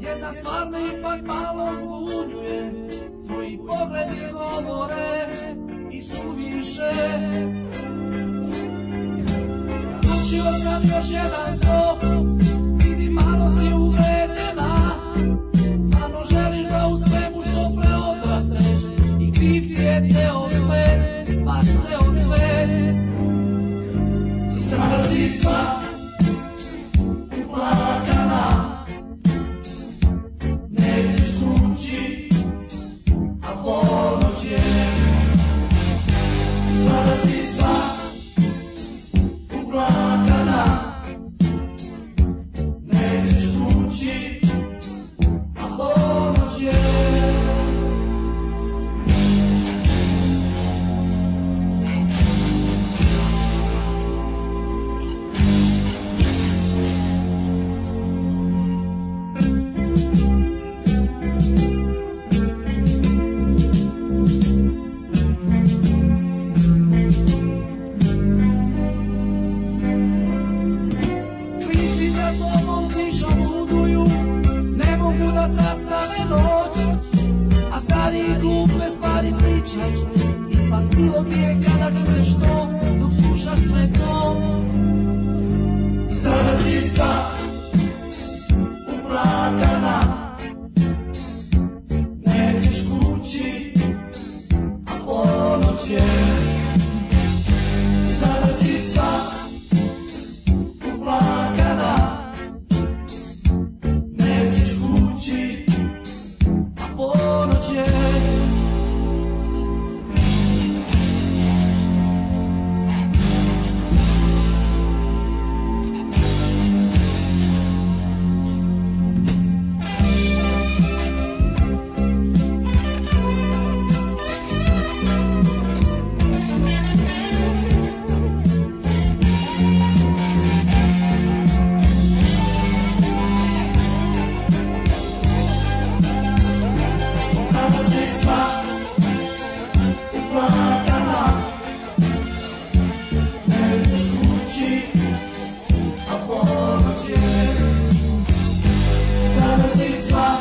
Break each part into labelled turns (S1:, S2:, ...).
S1: istina stvar me ipak malo zbunjuje Tvoji pogledi govore i suviše Naručio sam još jedan sto Vidi malo si uvređena Stvarno želiš da u svemu što preodrasteš I kriv ti je ceo svet, baš ceo svet I sada si sva uplakana Nećeš kući, a ponoć je Sada si sva uplakana Nećeš kući, a ponoć je Klinci za tobom klišom luduju, ne mogu da sastave noć, a stari i glupe stvari pričaju, ipak bilo ti je kada čuješ to, dok slušaš sve to. I sada si sva uplakana, nećeš kući, a ponoć je. Sada si sva uplakana Nećeš kući, a ponoć je Sada si sva uplakana Nećeš kući, a ponoć je Sada si sva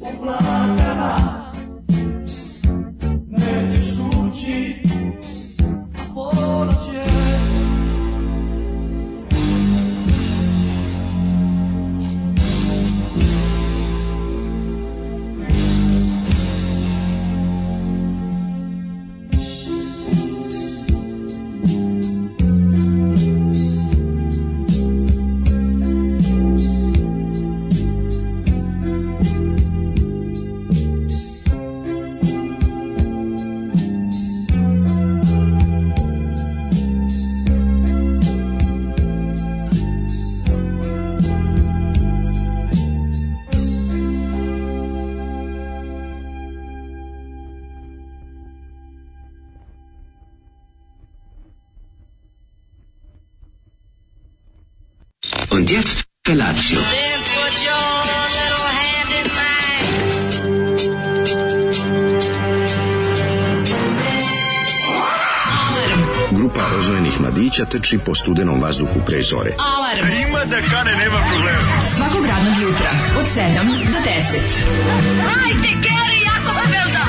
S1: uplakana Nećeš kući, a ponoć je
S2: Und jetzt Felatio.
S3: Then put your little hand in mine.
S4: Grupa rozvojenih mladića teči po studenom vazduhu pre zore.
S5: Alarm. Ima da kane, nema problema. Svakog radnog jutra, od 7 do 10.
S6: Hajde, Geri, jako se velda!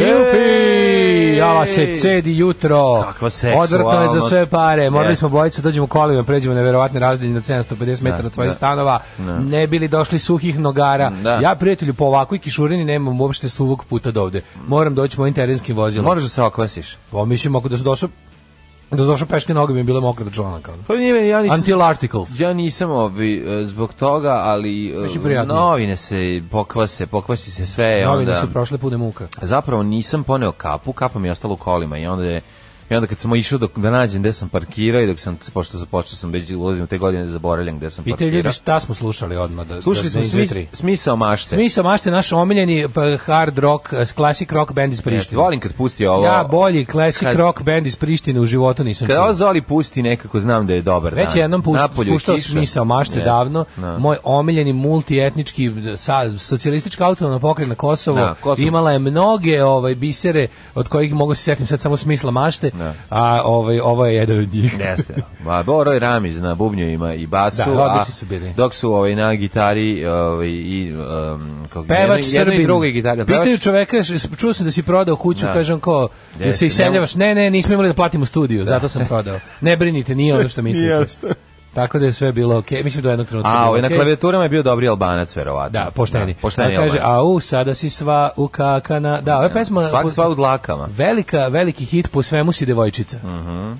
S7: Jupi! Java se cedi jutro.
S8: Kakva
S7: Odvrtno je za sve pare. Morali
S8: Je.
S7: smo bojice, dođemo kolima, pređemo na verovatne razdelje na 750 metara od svojih
S8: da.
S7: stanova. Ne bili došli suhih nogara.
S8: Da.
S7: Ja, prijatelju, po ovakvoj kišurini nemam uopšte suvog puta do ovde. Moram doći mojim terenskim vozilom.
S8: Moraš da se okvasiš.
S7: Pa mislim, ako da su došao da su došao peške noge mi je bilo mokre do članaka. ono.
S8: Pa nije, ja nisam...
S7: Until articles.
S8: Ja nisam obi, e, zbog toga, ali e,
S7: Biće prijatno.
S8: novine se pokvase, pokvasi se sve.
S7: Novine
S8: onda,
S7: su prošle pune muka.
S8: Zapravo nisam poneo kapu, kapa mi je ostala u kolima i onda je I onda kad sam išao dok, da nađem gde sam parkirao i dok sam, pošto sam počeo sam već ulazim u te godine zaboravljam gde sam
S7: Pite
S8: parkirao.
S7: ljudi šta smo slušali odmah da
S8: Slušali
S7: da
S8: smo
S7: ne
S8: smi,
S7: izvetri.
S8: smisao mašte.
S7: Smisao mašte naš omiljeni pa, hard rock, eh, classic rock band iz
S8: Jeste,
S7: Prištine.
S8: volim kad pusti ovo.
S7: Ja bolji classic
S8: Kad-
S7: rock band iz Prištine u životu nisam
S8: Kad
S7: čuo.
S8: ovo Zoli pusti nekako znam da je dobar dan.
S7: Već je jednom pušt,
S8: Napolju je
S7: puštao
S8: kiša.
S7: smisao mašte
S8: Ne,
S7: davno.
S8: da.
S7: Moj omiljeni multietnički sa, socijalistička autonomna pokrajina Kosovo,
S8: Da, Kosovo.
S7: imala je mnoge ovaj bisere od kojih mogu se setim sad samo smisla mašte,
S8: Da.
S7: a ovaj ovo je jedan od njih.
S8: Jeste. Ba, Boro i Ramiz na bubnju ima i basu.
S7: Da,
S8: a
S7: odlični su bili.
S8: Dok su ovaj, na gitari ovaj, i... Um, kako,
S7: Pevač
S8: jedno, jedno
S7: Srbin.
S8: i drugo je gitara.
S7: Pitaju čoveka, "Š- čuo sam da si prodao kuću,
S8: Da.
S7: kažem kao, da
S8: Jeste,
S7: se iseljavaš. Ne, ne, nismo imali da platimo studiju, zato sam prodao. Ne brinite, nije ono što mislite. Tako da je sve bilo okej. Mislim do jednog trenutka.
S8: A,
S7: bilo
S8: ovaj, na
S7: okej.
S8: klavijaturama je bio dobri albanac, verovatno.
S7: Da, pošteni.
S8: Da, pošteni
S7: A kaže,
S8: albanac.
S7: a u, sada si sva u kakana. Da, ova pesma...
S8: Svak sva u dlakama.
S7: Velika, veliki hit po svemu si devojčica.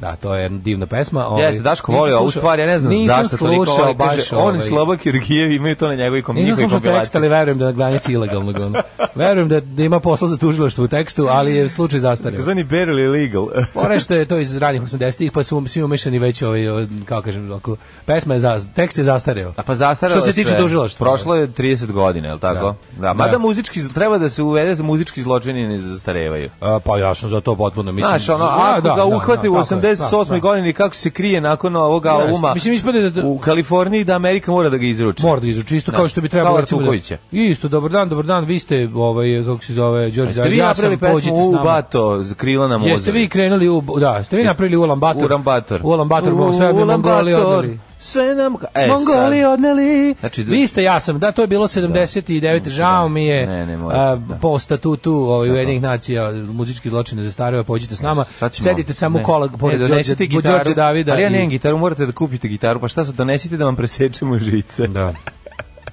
S7: Da, to je divna pesma. Ovaj,
S8: Mhm. Jeste, Daško
S7: nisam
S8: voli ovu
S7: slušao-
S8: stvar, ja ne znam
S7: nisam
S8: zašto toliko
S7: slušao
S8: voli. Kaže,
S7: baš
S8: on i
S7: ovaj-
S8: Slobak Jurgijev imaju to na njegovoj kom-
S7: Nisam
S8: njihovoj
S7: slušao tekst, ali
S8: kompilaciji.
S7: verujem da je na granici ilegalnog. ono. Verujem da, da ima posla za tužilaštvo u tekstu, ali je slučaj zastario.
S8: Zvani barely legal.
S7: Pore što je to iz ranih 80-ih, pa su svi umešani već, ovaj, ovaj, kako kažem, oko, pesma je, za, tekst je zastareo.
S8: A pa zastaralo
S7: Što se tiče
S8: sve.
S7: tužilaštva.
S8: Prošlo je 30 godina, je li tako? Da.
S7: Da.
S8: Mada
S7: Da.
S8: muzički, treba da se uvede za muzički zločini ne zastarevaju.
S7: A, pa ja sam za to potpuno, mislim.
S8: Znaš, ono,
S7: Da,
S8: ako
S7: da,
S8: ga
S7: da,
S8: uhvate
S7: da,
S8: u
S7: tako je,
S8: 88.
S7: da, da.
S8: godini, kako se krije nakon ovog
S7: Jeste.
S8: albuma
S7: Mislim, ispade da-
S8: u Kaliforniji, da Amerika mora da ga izruči.
S7: Mora da izruči isto
S8: Da.
S7: kao što bi trebalo
S8: Kao
S7: recimo da-
S8: Vukovića.
S7: Isto, dobar dan, dobar dan. Vi ste ovaj kako se zove Đorđe.
S8: Jeste vi
S7: ja sam
S8: napravili
S7: pođite
S8: pesmu
S7: s
S8: U
S7: nama.
S8: Bato, krila na mozovi?
S7: Jeste vi krenuli u da, ste vi napravili Ulan Bator.
S8: Ulan Bator.
S7: Ulan Bator, bo sve bi
S8: Ulan
S7: Mongoli
S8: Bator,
S7: odneli.
S8: Sve nam... E,
S7: Mongoli
S8: sad,
S7: odneli.
S8: Znači, da-
S7: vi ste ja sam, da to je bilo 79. žao mi je.
S8: Ne, ne, mora,
S7: a,
S8: da.
S7: po statutu ovaj Ujedinjenih nacija muzički zločine zastareva, pođite s nama.
S8: sad ćemo-
S7: Sedite samo u
S8: ne.
S7: kola pored
S8: Ne,
S7: Đorđe,
S8: donesite
S7: po Đorđe
S8: gitaru,
S7: Davida.
S8: Ali ja
S7: i-
S8: nemam gitaru, morate da kupite gitaru, pa šta sad donesite da vam presečemo žice?
S7: Da.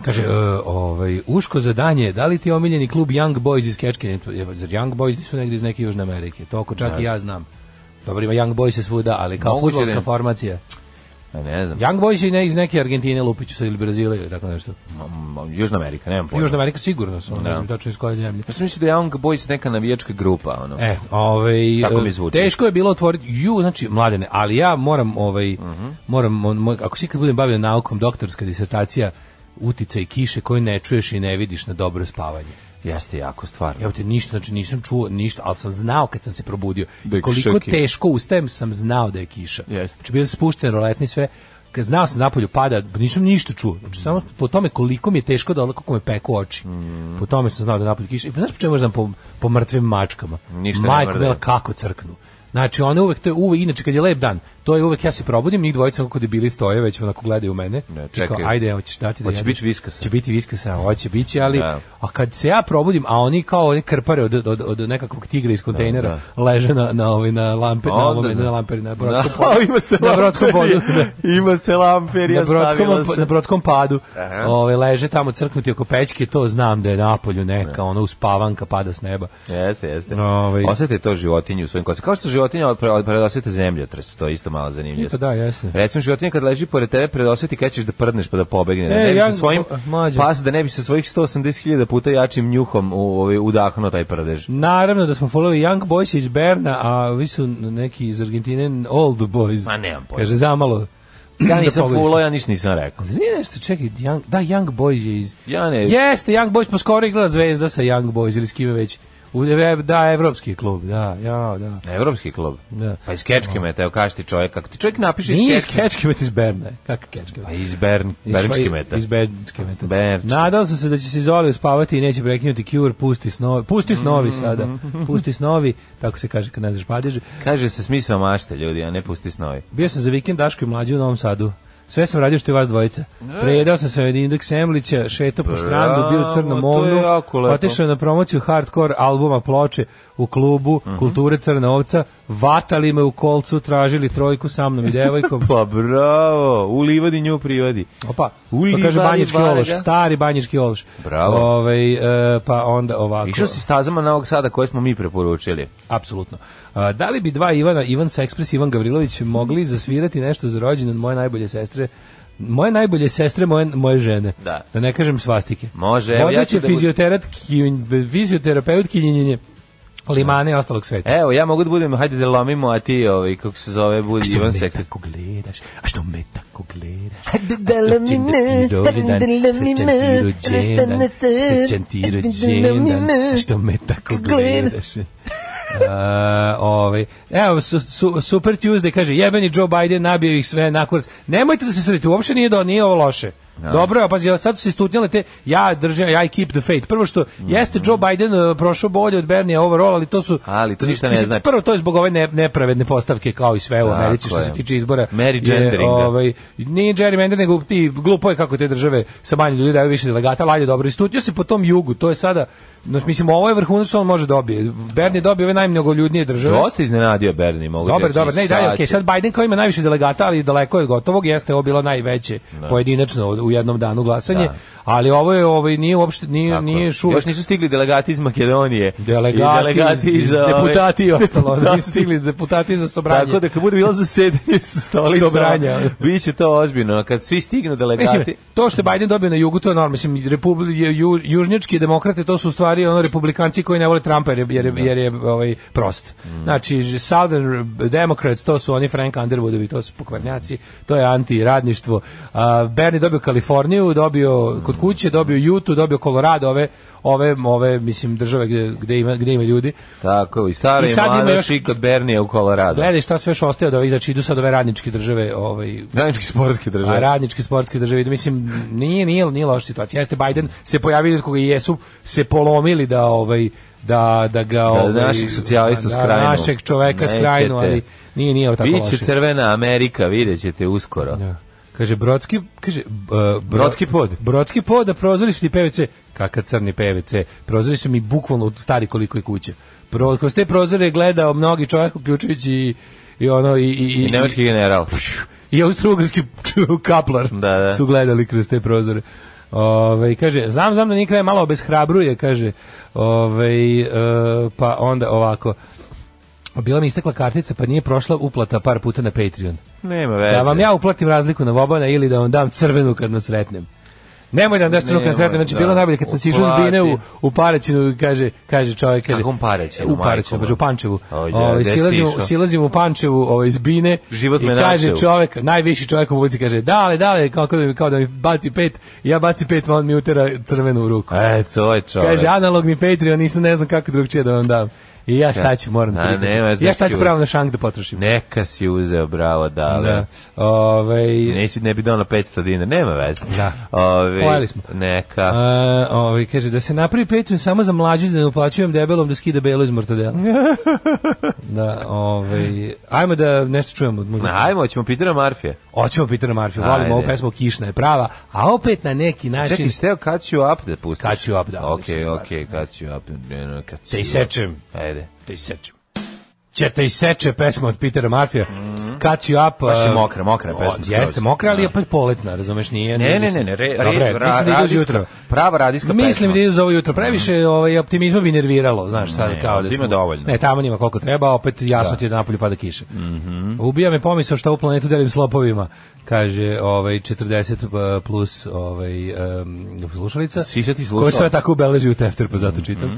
S7: Kaže, e, ovaj, Uško za danje, da li ti je omiljeni klub Young Boys iz Kečkine? To je- Zar Young Boys nisu negdje iz neke Južne Amerike? Toliko čak i ja znam. Dobro, ima Young Boys je svuda, ali kao
S8: Moguće
S7: fudbalska
S8: da je.
S7: formacija.
S8: A Ne znam,
S7: Young Boys je ne, iz neke Argentine, Lupiću sa ili Brazila ili tako nešto.
S8: m- m- Južna Amerika, nemam pojma.
S7: Južna Amerika sigurno su, ne znam tačno iz koje zemlje.
S8: Ja sam mislio da je Young Boys neka navijačka grupa, ono.
S7: E, ovaj
S8: Tako mi
S7: e,
S8: zvuči.
S7: teško je bilo otvoriti ju, znači mladene, ali ja moram ovaj
S8: Mhm.
S7: moram on, moj, ako se ikad budem bavio naukom, doktorska disertacija uticaj kiše koju ne čuješ i ne vidiš na dobro spavanje.
S8: Jeste jako stvar.
S7: Ja te ništa, znači nisam čuo ništa, ali sam znao kad sam se probudio.
S8: Da je
S7: Koliko
S8: kiša, kiša.
S7: teško ustajem, sam znao da je kiša.
S8: Jeste.
S7: Znači bili su spušteni roletni sve, kad znao sam napolju pada, pa nisam ništa čuo. Znači samo po tome koliko mi je teško da koliko me peku oči.
S8: Mm.
S7: Po tome sam znao da je napolju kiša. I pa znaš po čemu znam po, po mrtvim mačkama.
S8: Ništa ne
S7: Majko
S8: mrdaju.
S7: mila, kako crknu. Znači one uvek to je uvek inače kad je lep dan, to je uvek ja se probudim, njih dvojica kako debili stoje već onako gledaju u mene.
S8: Ne,
S7: I
S8: čekaj.
S7: kao, ajde, hoćeš dati da
S8: Hoće
S7: jedeš?"
S8: biti viskasa.
S7: Će biti viskasa, hoće biti, ali
S8: Da.
S7: a kad se ja probudim, a oni kao oni krpare od, od, od nekakvog tigra iz kontejnera leže na na ovaj na lampe na
S8: Onda
S7: ovome
S8: da.
S7: na lamperi
S8: Da,
S7: na brodskom podu.
S8: ima se
S7: na brodskom podu.
S8: lamperija.
S7: Da.
S8: Ima se lamperija,
S7: Na
S8: stavila
S7: brodskom, pa,
S8: se.
S7: na brodskom padu
S8: Aha.
S7: ovaj, leže tamo crknuti oko pećke, to znam da je napolju neka, ono uspavanka pada s neba.
S8: Jeste, jeste.
S7: Ovaj.
S8: Osete to životinju u svojim kosima. Kao što životinja od od predosete zemljotres, to je isto malo zanimljivo.
S7: Pa da, jeste.
S8: Recimo životinja kad leži pored tebe predoseti kad ćeš da prdneš pa da pobegne. Da
S7: E,
S8: ne bi
S7: ja-
S8: sa svojim
S7: o, mlađe.
S8: pas da ne bi sa svojih 180.000 puta jačim njuhom u, ovaj, udahnuo taj prdež.
S7: Naravno da smo folovi Young Boys iz Berna, a vi su neki iz Argentine Old Boys.
S8: Ma, nemam pojma.
S7: Kaže, zamalo.
S8: Ja
S7: da
S8: nisam
S7: pogodiš.
S8: fulo, ja ništa nisam rekao.
S7: Zar nije nešto, čekaj, Young, da, Young Boys je iz...
S8: Ja ne-
S7: Jeste, Young Boys, pa skoro igrala zvezda sa Young Boys ili s kime već. U, ev- da, evropski klub, da, ja, da.
S8: Evropski klub.
S7: Da.
S8: Pa iz Kečke me, teo kaži ti čovjek, kako ti čovjek napiše iz
S7: Nije iz
S8: Kečke.
S7: Kečkemet iz Berna. Kakav Kečkemet?
S8: Pa iz Bern,
S7: Iz
S8: Bernčke
S7: svoje-
S8: meta.
S7: Iz Bernčke meta.
S8: Bernčke.
S7: Nadao sam se da će se Zoli uspavati i neće prekinuti Cure, pusti snovi. Pusti
S8: Mhm,
S7: snovi sada. Pusti snovi, tako se kaže kad ne znaš padeže.
S8: Kaže se smisao mašte, ljudi, a ne pusti snovi.
S7: Bio sam za vikend Daško i mlađi u Novom Sadu. Sve sam radio što je vas dvojica. Prejedao sam se od Indeks Semlića, šetao po strandu, bio u
S8: Bravo,
S7: Crnom
S8: to je
S7: ovnu,
S8: jako lepo.
S7: otišao na promociju hardcore albuma ploče u klubu
S8: Mhm.
S7: Kulture Crna ovca, vatali me u kolcu, tražili trojku sa mnom i devojkom.
S8: Pa bravo, u livadi nju privadi.
S7: Opa,
S8: Uliva
S7: pa kaže banjički
S8: Varga.
S7: ološ, stari banjički ološ.
S8: Bravo.
S7: Ovaj, e, pa onda ovako.
S8: Išao si stazama Novog Sada koje smo mi preporučili.
S7: Apsolutno. A, da li bi dva Ivana, Ivan Sexpress, Ivan Gavrilović, mogli zasvirati nešto za rođendan moje najbolje sestre? Moje najbolje sestre, moje, moje žene.
S8: Da.
S7: ne kažem svastike.
S8: Može, evo, ja
S7: Vodeći
S8: ću da bud-
S7: fizioterapeut, fizioterapeut kinjenjenje. Limane i ostalog sveta.
S8: Evo, ja mogu da budem, hajde da lomimo, a ti, ovaj, kako se zove,
S7: A
S8: budi
S7: što
S8: Ivan
S7: me
S8: Sektor.
S7: tako gledaš? A što me tako gledaš?
S8: Hajde
S7: A srećan ti rođendan, srećan ti rođendan, srećan ti rođendan, a što me tako gledaš? A, ovaj, evo, su, su, Super Tuesday kaže, jebeni Joe Biden, nabio ih sve na kurac. Nemojte da se sredite, uopšte nije, do, nije ovo loše. Dobro, a pazi, sad su se istutnjale te, ja držim, ja i keep the faith. Prvo što, jeste Joe Biden e, prošao bolje od Bernija overall, ali to su...
S8: Ali to ništa ne
S7: Mislim,
S8: znači.
S7: Prvo, to je zbog ove ne, nepravedne postavke, kao i sve u
S8: Tako
S7: Americi, što
S8: je.
S7: se tiče izbora.
S8: Gerrymandering,
S7: Je,
S8: da.
S7: ovaj, nije gerrymandering, nego ti glupo je kako te države sa manje ljudi daju više delegata, ali ajde dobro. Istutio se po tom jugu, to je sada, no, mislim, ovo je vrhunac što on može dobije. Bernie dobio ove najmnogoljudnije države.
S8: Dosta iznenadio Berni, mogu ti
S7: Dobar,
S8: reći,
S7: dobar, ne i dalje,
S8: sad
S7: okej,
S8: je-
S7: sad Biden kao ima najviše delegata, ali daleko je od gotovog, jeste ovo bilo najveće pojedinačno u jednom danu glasanje,
S8: Da.
S7: ali ovo je, ovaj, nije uopšte, nije,
S8: Tako.
S7: nije
S8: Još
S7: šuvak
S8: nisu stigli delegati iz Makedonije.
S7: delegati,
S8: I delegati
S7: iz,
S8: za ove-
S7: deputati i ostalo,
S8: Da.
S7: nisu stigli deputati za sobranje.
S8: Tako da kad bude bilo zasedanje sa stolicama,
S7: Sobranja.
S8: biće to ozbiljno. Kad svi stignu delegati,
S7: Mislim, to što je Biden dobio na jugu, to je normalno. Mislim, Republi, ju, južnjački demokrate, to su u stvari ono republikanci koji ne vole Trumpa jer je, jer je, jer je ovaj, prost. Znači, Southern Democrats, to su oni Frank Underwoodovi, to su pokvarnjaci, to je antiradništvo. A, Bernie dobio Kaliforniju, dobio kod kuće, dobio Utah, dobio Colorado, ove, ove, ove mislim, države gde, gde, ima, gde ima ljudi.
S8: tako, i stari
S7: I
S8: i
S7: sad ima još-
S8: mladoš i kod Bernija u Koloradu.
S7: Gledaj šta sve još ostaje od ovih, znači idu sad ove radničke države, ovaj,
S8: Granički sportski
S7: A
S8: države.
S7: radničke sportske države, da mislim, nije, nije, nije loša situacija. Jeste Biden se pojavio od koga i jesu se polomili da ovaj da da ga ovaj,
S8: našeg socijalista
S7: da
S8: skrajnu.
S7: našeg čoveka
S8: Nećete.
S7: skrajnu, ali nije nije tako
S8: Biće
S7: loše.
S8: crvena Amerika, vidjet ćete uskoro.
S7: Da. Kaže Brodski, kaže uh,
S8: Brodski pod.
S7: Brodski pod, a prozori su ti PVC. Kakav crni PVC. Prozori su mi bukvalno stari koliko je kuće. Pro, kroz te prozore je gledao mnogi čovjek uključujući i, i ono i i,
S8: I nemački general.
S7: i austrougarski kaplar
S8: Da, da.
S7: su gledali kroz te prozore. Ove, kaže, znam, znam da nije kraj malo obeshrabruje, kaže, Ove, e, pa onda ovako, bila mi istekla kartica, pa nije prošla uplata par puta na Patreon.
S8: Nema veze.
S7: Da vam ja uplatim razliku na Vobana ili da vam dam crvenu kad nas sretnem. Nemoj da nam daš crvenu kad
S8: Nemoj,
S7: nas sretnem, znači
S8: da.
S7: bilo najbolje kad sam sišao s
S8: Uplati.
S7: Bine u, u Paraćinu, kaže, kaže čovjek, kaže,
S8: Kakvom Paraćinu,
S7: u Paraćinu,
S8: majko
S7: baš u Pančevu.
S8: Oj,
S7: Ovaj,
S8: gde si
S7: silazimo,
S8: išao?
S7: silazimo u Pančevu ovaj, s Bine
S8: Život
S7: i
S8: me
S7: kaže
S8: načeo.
S7: čovjek, najviši čovjek u ulici, kaže, dale, dale, kao, kao, da mi, kao da mi baci pet, ja baci pet, ma on mi utera crvenu u ruku.
S8: E, to je čovjek.
S7: Kaže, analogni Patreon, nisam ne znam kako drugčije da vam dam. I ja šta ću, moram
S8: A,
S7: da
S8: nema,
S7: Ja šta
S8: znači,
S7: ću pravo na šank da potrošim.
S8: Neka si uzeo, bravo, dale.
S7: Da.
S8: Da.
S7: Ovaj,
S8: Nesi, ne bi dao na 500 dinara, nema veze.
S7: Da.
S8: Ove,
S7: Pojeli smo.
S8: Neka.
S7: A, ovaj, kaže, da se napravi Patreon samo za mlađu, da ne uplaćujem debelom da skida belo iz mortadela. da, ovaj, ajmo da nešto čujemo od muzike.
S8: Ajmo, ćemo Petera Marfija.
S7: Oćemo Peter Marfija, volimo
S8: Ajde.
S7: ovu pesmu, kišna je prava, a opet na neki način...
S8: Čekaj, steo kad ću up da pustiš?
S7: Kad ću up, da,
S8: Okej,
S7: odlična
S8: okej, kad ću up. Ne, ne, kad ću
S7: Te
S8: up.
S7: isečem,
S8: Ajde.
S7: te isečem. Će te iseče pesma od Petera Marfija. Kad ću up...
S8: Mhm. Baš je
S7: a,
S8: mokra, mokra
S7: o,
S8: pesma skroz.
S7: Jeste mokra, ali je
S8: Da.
S7: opet poletna, razumeš, nije...
S8: Ne,
S7: nije-
S8: ne, ne, ne, re, re,
S7: Dobro je,
S8: ra-
S7: mislim da idu
S8: radijska-
S7: jutro.
S8: Prava radijska
S7: Mislim
S8: pesma. Mhm.
S7: da idu za ovo jutro. Previše ovaj, optimizma bi nerviralo, znaš, sad
S8: Ne,
S7: kao da
S8: ovdje ima
S7: smo-
S8: dovoljno.
S7: Ne, tamo nima koliko treba, a opet jasno ti je da napolju pada kiša.
S8: Mhm.
S7: Ubija me pomisao što u planetu delim s lopovima, kaže ovaj, 40 eh, plus ovaj, em, slušalica.
S8: Sisati
S7: Koji
S8: slušalac.
S7: sve tako ubeleži u tefter, pa
S8: Mhm.
S7: zato čitam. Eh,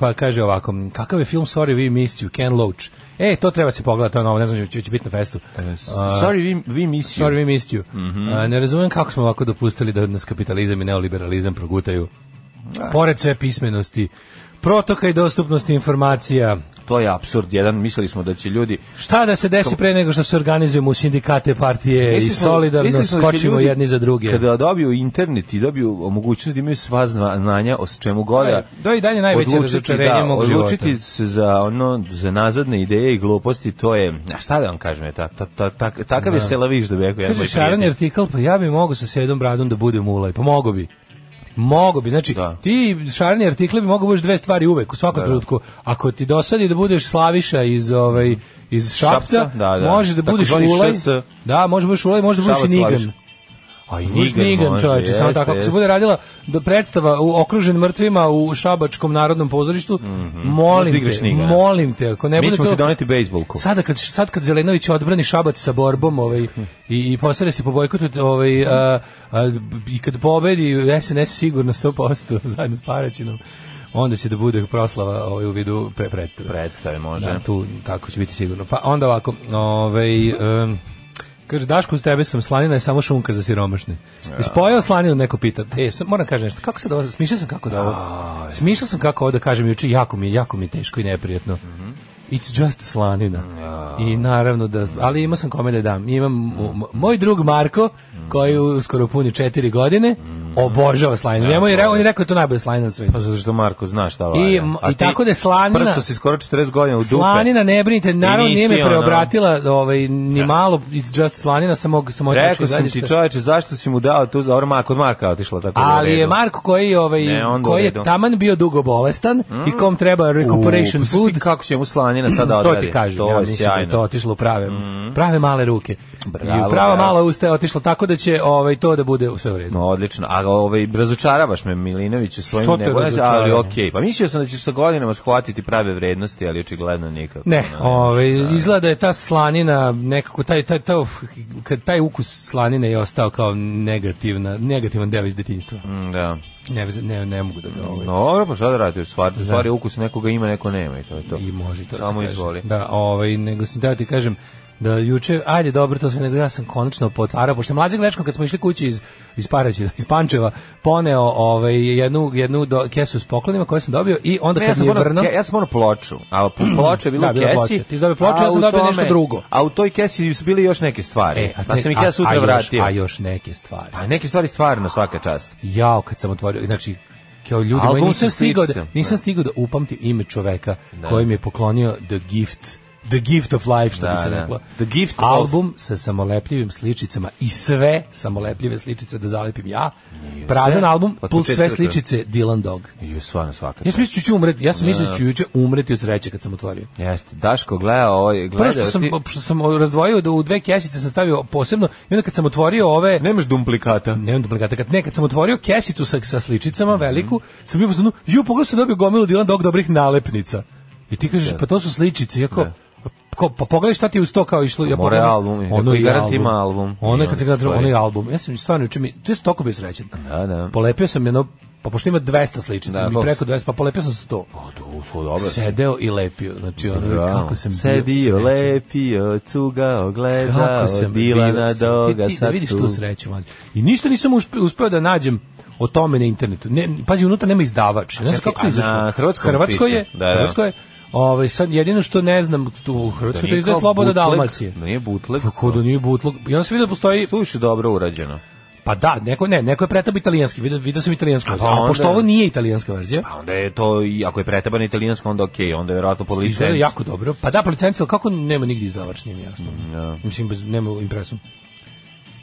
S7: pa kaže ovako, kakav je film Sorry We Missed You, Ken Loach. E, to treba se pogledati, ono, ne znam, će, će biti na festu.
S8: E,
S7: Eh,
S8: Sorry, vi, vi misiju.
S7: Sorry we missed you.
S8: Mhm.
S7: A, ne razumem kako smo ovako dopustili da nas kapitalizam i neoliberalizam progutaju. Pored sve pismenosti, protoka i dostupnosti informacija,
S8: To je absurd jedan, mislili smo da će ljudi...
S7: šta da se desi pre nego što se organizujemo u sindikate, partije E, i
S8: Mislili smo-
S7: solidarno
S8: mislili smo da će
S7: skočimo
S8: ljudi
S7: jedni za druge.
S8: Kada dobiju internet i dobiju mogućnost da imaju sva zna- znanja o s- čemu god da
S7: To je i dalje najveće
S8: odlučiti,
S7: razočarenje
S8: da,
S7: mog
S8: odlučiti
S7: života.
S8: se za ono za nazadne ideje i gluposti to je a šta da vam kažem je ta, ta, ta, ta, takav je selaviš da bi rekao jedan
S7: Kaže
S8: moj
S7: Šaran je
S8: prijatelj.
S7: artikl, pa ja bi mogao sa sedom bradom da budem ulaj, pa mogo bi. Mogo bi, znači
S8: Da.
S7: ti šarni artikli bi mogu budeš dve stvari uvek, u svakom trenutku. Ako ti dosadi da budeš Slaviša iz ovaj iz Šapca,
S8: Šapca, da, da.
S7: možeš da budeš
S8: Takozvani
S7: ulaj.
S8: ŠS.
S7: Da, možeš da budeš ulaj, možeš da budeš i
S8: Šabac
S7: Nigan.
S8: Slaviša. Aj,
S7: Budeš Nigan,
S8: može,
S7: čoveče, samo
S8: jeste,
S7: tako. Ako se
S8: jeste.
S7: bude radila do predstava u okružen mrtvima u Šabačkom narodnom pozorištu,
S8: Mhm. Možeš da
S7: molim
S8: igraš
S7: te,
S8: Nigana.
S7: molim te, ako ne
S8: Mi
S7: bude
S8: ćemo
S7: to
S8: ti doneti bejsbolku.
S7: Sada kad sad kad Zelenović odbrani Šabac sa borbom, ovaj i i posere se po bojkotu, ovaj a, a, i kad pobedi SNS sigurno 100% zajedno s Paraćinom. onda će da bude proslava ovaj, u vidu pre predstave.
S8: Predstave može.
S7: Da, tu tako će biti sigurno. Pa onda ovako, ovaj, em, kaže, Daško, uz tebe sam slanina je samo šunka za siromašne. Ispojao slaninu, neko pita. E, sam, moram kažem nešto, kako se da ovo, smišljao sam kako da ovo, smišljao sam kako ovo da kažem juče, jako mi je, jako mi je teško i neprijatno. It's just slanina. I naravno da, ali imao sam kome da dam. Imam, mo- mo- moj drug Marko, koji uskoro puni četiri godine, obožava slaninu. Njemu je, re- on je rekao da je to najbolje slanina na svetu.
S8: Pa zato što Marko zna šta valja.
S7: I, i tako da je slanina-
S8: Sprco si skoro 40 godina u dupe.
S7: Slanina, ne brinite, naravno
S8: I
S7: nije me
S8: nisi, ono-
S7: preobratila ovaj, ni malo, it's just slanina, sam mog sam
S8: Rekao sam ti čoveče, zašto si mu dao tu, dobro, Marko od Marka je otišla tako da je u
S7: Ali je
S8: redu.
S7: Marko koji je, ovaj,
S8: Ne, onda u
S7: koji je
S8: redu. Mm.
S7: taman bio dugo bolestan i kom treba recuperation
S8: U, pa znaš ti
S7: food,
S8: Kako će mu slanina sada
S7: to
S8: odradi?
S7: ti kažem,
S8: To
S7: ja
S8: je
S7: mislim da je
S8: sjajno. Mm.
S7: to otišlo u prave, prave male ruke. I
S8: Bravo,
S7: u prava
S8: bravo.
S7: mala usta je otišlo, tako da će ovaj, to da bude u sve u redu.
S8: No, odlično. A ovaj razočaravaš me Milinoviću svojim
S7: Što te
S8: nebojaznim, ali
S7: razočaram?
S8: okej. Pa mislio sam da ćeš sa godinama shvatiti prave vrednosti, ali očigledno nikako. ono.
S7: Ne,
S8: znaš.
S7: ovaj izgleda je ta slanina nekako taj taj taj uf, kad taj ukus slanine je ostao kao negativna negativan deo iz detinjstva.
S8: Mm, Da.
S7: Ne, ne, ne mogu da ga ovaj.
S8: Dobro, pa šta da radiš? Stvar, stvar je ukus nekoga ima, neko nema i to je to.
S7: I može to. se
S8: Samo
S7: kaže.
S8: izvoli.
S7: Da, ovaj nego sam teo ti kažem da juče, ajde dobro to sve, nego ja sam konačno potvarao, pošto je mlađeg dečkom kad smo išli kući iz, iz Paraćina, iz Pančeva, poneo ovaj, jednu, jednu do, kesu s poklonima koju sam dobio i
S8: Ne,
S7: onda
S8: Pa ja
S7: kad
S8: sam
S7: mi je
S8: morao,
S7: vrno...
S8: ja, ja sam morao ploču, a po- ploča je bila
S7: Da,
S8: u
S7: bila
S8: kesi.
S7: ploča. Ti si dobio ploču,
S8: a
S7: ja sam
S8: u
S7: dobio nešto drugo.
S8: A u toj kesi su bili još neke stvari,
S7: E, a
S8: pa
S7: te-
S8: sam ih
S7: a-
S8: ja sutra
S7: a još-
S8: vratio.
S7: A još neke stvari.
S8: Pa neke stvari stvarno svaka čast.
S7: Jao, kad sam otvorio, znači, kao ljudi moji,
S8: Album
S7: nisam
S8: sa
S7: stigao, da,
S8: sličicom.
S7: nisam stigao da upamtim ime čoveka koji mi je poklonio The Gift, The Gift of Life, što
S8: Da,
S7: bi se
S8: da.
S7: reklo.
S8: The Gift of-
S7: Album sa samolepljivim sličicama i sve samolepljive sličice da zalepim ja, prazan
S8: sve?
S7: album,
S8: Od
S7: plus sve
S8: početka do kraja.
S7: sličice Dylan Dog.
S8: I stvarno svaka
S7: Ja
S8: čast.
S7: sam mislio da ću umreti, ja sam mislio da ću juče umreti od sreće kad sam otvorio.
S8: Jeste, Daško gleda ovaj,
S7: Prvo
S8: gleda.
S7: što sam,
S8: ti-
S7: što sam razdvojio da u dve kesice sam stavio posebno i onda kad sam otvorio ove...
S8: Nemaš dumplikata.
S7: Nemam duplikata. Kad nekad sam otvorio kesicu sa, sa sličicama veliku, sam bio u fazonu, ju, pogledaj sam dobio gomilu Dylan Dog dobrih nalepnica. I ti kažeš, pa to su sličice, iako... Ko, pa pogledaj šta ti je uz to kao išlo. Ja
S8: Mora
S7: pogledam,
S8: album, kako i garant ima album.
S7: Ono je
S8: I
S7: kad se
S8: on
S7: gleda,
S8: stoji.
S7: ono je album. Ja sam stvarno juče mi, to je toliko bio srećan.
S8: Da, da.
S7: Polepio sam jedno, pa pošto ima 200 sličica,
S8: Da,
S7: mi
S8: koliko
S7: preko 200, pa polepio sam 100.
S8: O, to su dobro.
S7: Sedeo i lepio, znači ono,
S8: Bravo.
S7: kako sam bio
S8: Sedio,
S7: srećan.
S8: lepio, cugao, gledao,
S7: Kako sam
S8: E, Dilana
S7: bio srećan.
S8: Doga,
S7: ti, ti,
S8: sad
S7: da vidiš
S8: tu.
S7: tu sreću, mlađe. I ništa nisam uspe- uspeo da nađem o tome na internetu. Ne, pazi, unutra nema izdavač. Ne znam
S8: čekaj,
S7: kako to
S8: a
S7: izašlo.
S8: na hrvatskom
S7: Hrvatsko je,
S8: piše. Da, da.
S7: Hrvatsko je, ovaj, sad jedino što ne znam, tu u Hrvatskoj to
S8: nije
S7: izgleda
S8: kao
S7: Sloboda
S8: bootleg,
S7: Dalmacije. Pa
S8: Da nije butleg.
S7: Kako da nije butlog. I onda sam vidio da postoji,
S8: Tu je dobro urađeno.
S7: pa da, neko, ne, neko je pretabo italijanski, vidio, vidio sam italijansku verziju, a
S8: onda-
S7: pošto ovo nije italijanska verzija,
S8: A onda je to, i ako je preteban italijansko, onda okej, onda je vjerojatno po
S7: Izgleda
S8: licenci.
S7: jako dobro. Pa da, po licenci, ali kako nema nigdje izdavač, nije mi jasno.
S8: Mm,
S7: Mislim, bez, nema u impresu.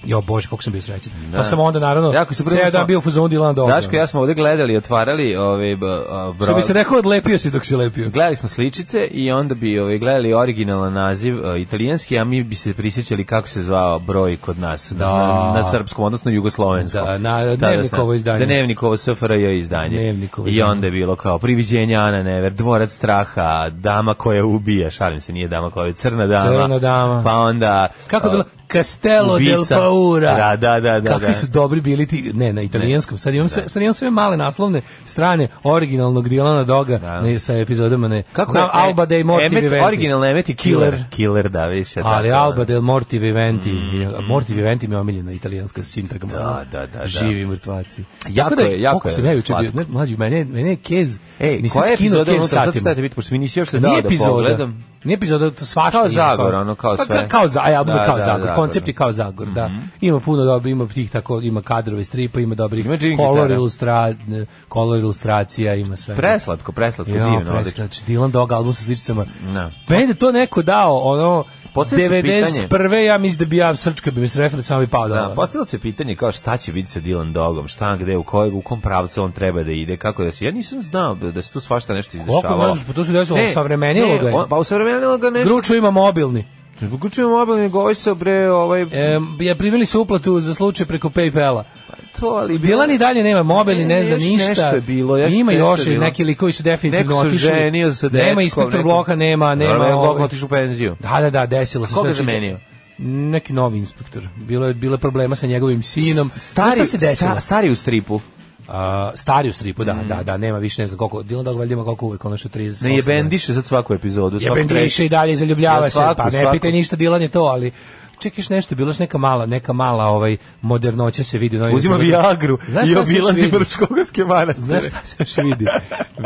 S7: Jo, bože, kako sam bio srećan. Pa sam onda, naravno,
S8: Jako se prvo
S7: ceo
S8: smo-
S7: dan bio u fazonu Dilana Doga.
S8: Daško, i ja smo ovdje gledali, i otvarali ove b- a, bro...
S7: Što bi se rekao, odlepio si dok si lepio.
S8: Gledali smo sličice i onda bi ovaj, gledali originalan naziv e, italijanski, a mi bi se prisjećali kako se zvao broj kod nas da. na, na srpskom, odnosno jugoslovenskom.
S7: Da, na
S8: Tada
S7: Dnevnikovo
S8: sam-
S7: izdanje.
S8: Da, Dnevnikovo SFRJ izdanje.
S7: Dnevnikovo
S8: I
S7: izdanje.
S8: onda je bilo kao priviđenja Ana Never, dvorac straha, dama koja ubija, šalim se, nije dama koja je crna dama.
S7: Crna dama.
S8: Pa onda...
S7: Kako je
S8: e,
S7: bilo? Castello del
S8: Ubica.
S7: Paura.
S8: Da, da, da, da,
S7: Kakvi
S8: da.
S7: su dobri bili ti, ne, na italijanskom. Sad imam, sve, sad imam sve male naslovne strane originalnog Dilana Doga ne, sa epizodama. Ne.
S8: Kako
S7: Znam,
S8: e,
S7: Alba del Morti
S8: Emmet-
S7: Viventi.
S8: Originalno Emmet i Killer.
S7: Killer.
S8: Killer, da, više.
S7: Ali
S8: tako,
S7: Alba del Morti Viventi, mm. Morti Viventi mi je omiljena italijanska sintagma.
S8: Da, da, da, da.
S7: Živi mrtvaci.
S8: Jako
S7: Tako
S8: je, jako
S7: koliko
S8: je
S7: sam ja juče bio,
S8: slatko.
S7: ne, mlađi, mene, mene je kez,
S8: Ej,
S7: nisam
S8: E, koja je
S7: skinuo
S8: epizoda
S7: kez
S8: unutra? Sad
S7: satima.
S8: stavite biti, pošto mi nisi još
S7: Da,
S8: dao da
S7: nije epizoda,
S8: pogledam.
S7: nije epizoda, to svašta.
S8: Kao
S7: je,
S8: Zagor, ono, kao
S7: Pa
S8: sve.
S7: ka- kao za, aj, album je
S8: Da,
S7: kao
S8: da,
S7: Zagor,
S8: da,
S7: koncept
S8: da. Mhm.
S7: je kao Zagor, da. Ima puno dobro, ima tih tako, ima kadrove stripa, ima dobrih
S8: Ima Jimmy
S7: kolor,
S8: gitara.
S7: ilustra, kolor ilustracija, ima sve.
S8: Preslatko, preslatko,
S7: Ja,
S8: divno.
S7: preska-
S8: odlično. Mhm.
S7: znači Dylan Dog album sa sličicama.
S8: Da.
S7: Meni je to neko dao, ono,
S8: Postavlja se
S7: 91. ja mislim da bi ja srčka bi mi se refer samo bi pao
S8: Da,
S7: da.
S8: postavilo se pitanje kao šta će biti sa Dylan Dogom, šta, gde, u, kojeg, u kom pravcu on treba da ide, kako da se... Ja nisam znao da se tu svašta nešto izdešavalo.
S7: možeš, pa to se desilo,
S8: Ne,
S7: osavremenilo
S8: ne,
S7: ga je.
S8: on- Pa osavremenilo ga nešto.
S7: Gruču ima mobilni.
S8: Gručujem mobilni, govoj se bre, ovaj...
S7: E, ja primili su uplatu za slučaj preko PayPala.
S8: to, ali... bilo-
S7: Dilan i dalje nema mobilni,
S8: Ne,
S7: ne, zna
S8: još
S7: ništa.
S8: nešto je bilo, još
S7: ima
S8: nešto je
S7: još
S8: bilo.
S7: neki likovi su definitivno
S8: Neko se
S7: otišli.
S8: ženio sa dečkom.
S7: nema inspektor
S8: neko-
S7: bloka, nema, nema.
S8: Normalno je
S7: ovaj-
S8: blok otišao u penziju.
S7: Da, da, da, desilo se.
S8: Koga je
S7: znači,
S8: zamenio?
S7: Neki novi inspektor. Bilo je, bilo je problema sa njegovim sinom. Znaš šta se desilo?
S8: sta- stari u stripu.
S7: A, stari u stripu, da,
S8: Mm.
S7: da, da, nema više, ne znam koliko, Dylan Dog valjda ima koliko uvek, ono što 38.
S8: Ne jebendiše sad svaku epizodu. svaku
S7: Jebendiše
S8: treću.
S7: i dalje
S8: Ja
S7: zaljubljava se,
S8: svaku,
S7: pa ne
S8: svaku.
S7: pitaj ništa, Dilan je to, ali čekaš nešto, bilo je još neka mala, neka mala ovaj, modernoća se vidi. u novim
S8: Uzima
S7: epizodama.
S8: Viagru
S7: Znaš
S8: i
S7: šta se još
S8: obilazi
S7: vidi?
S8: Brčkogovske manastire.
S7: Znaš šta se još vidi?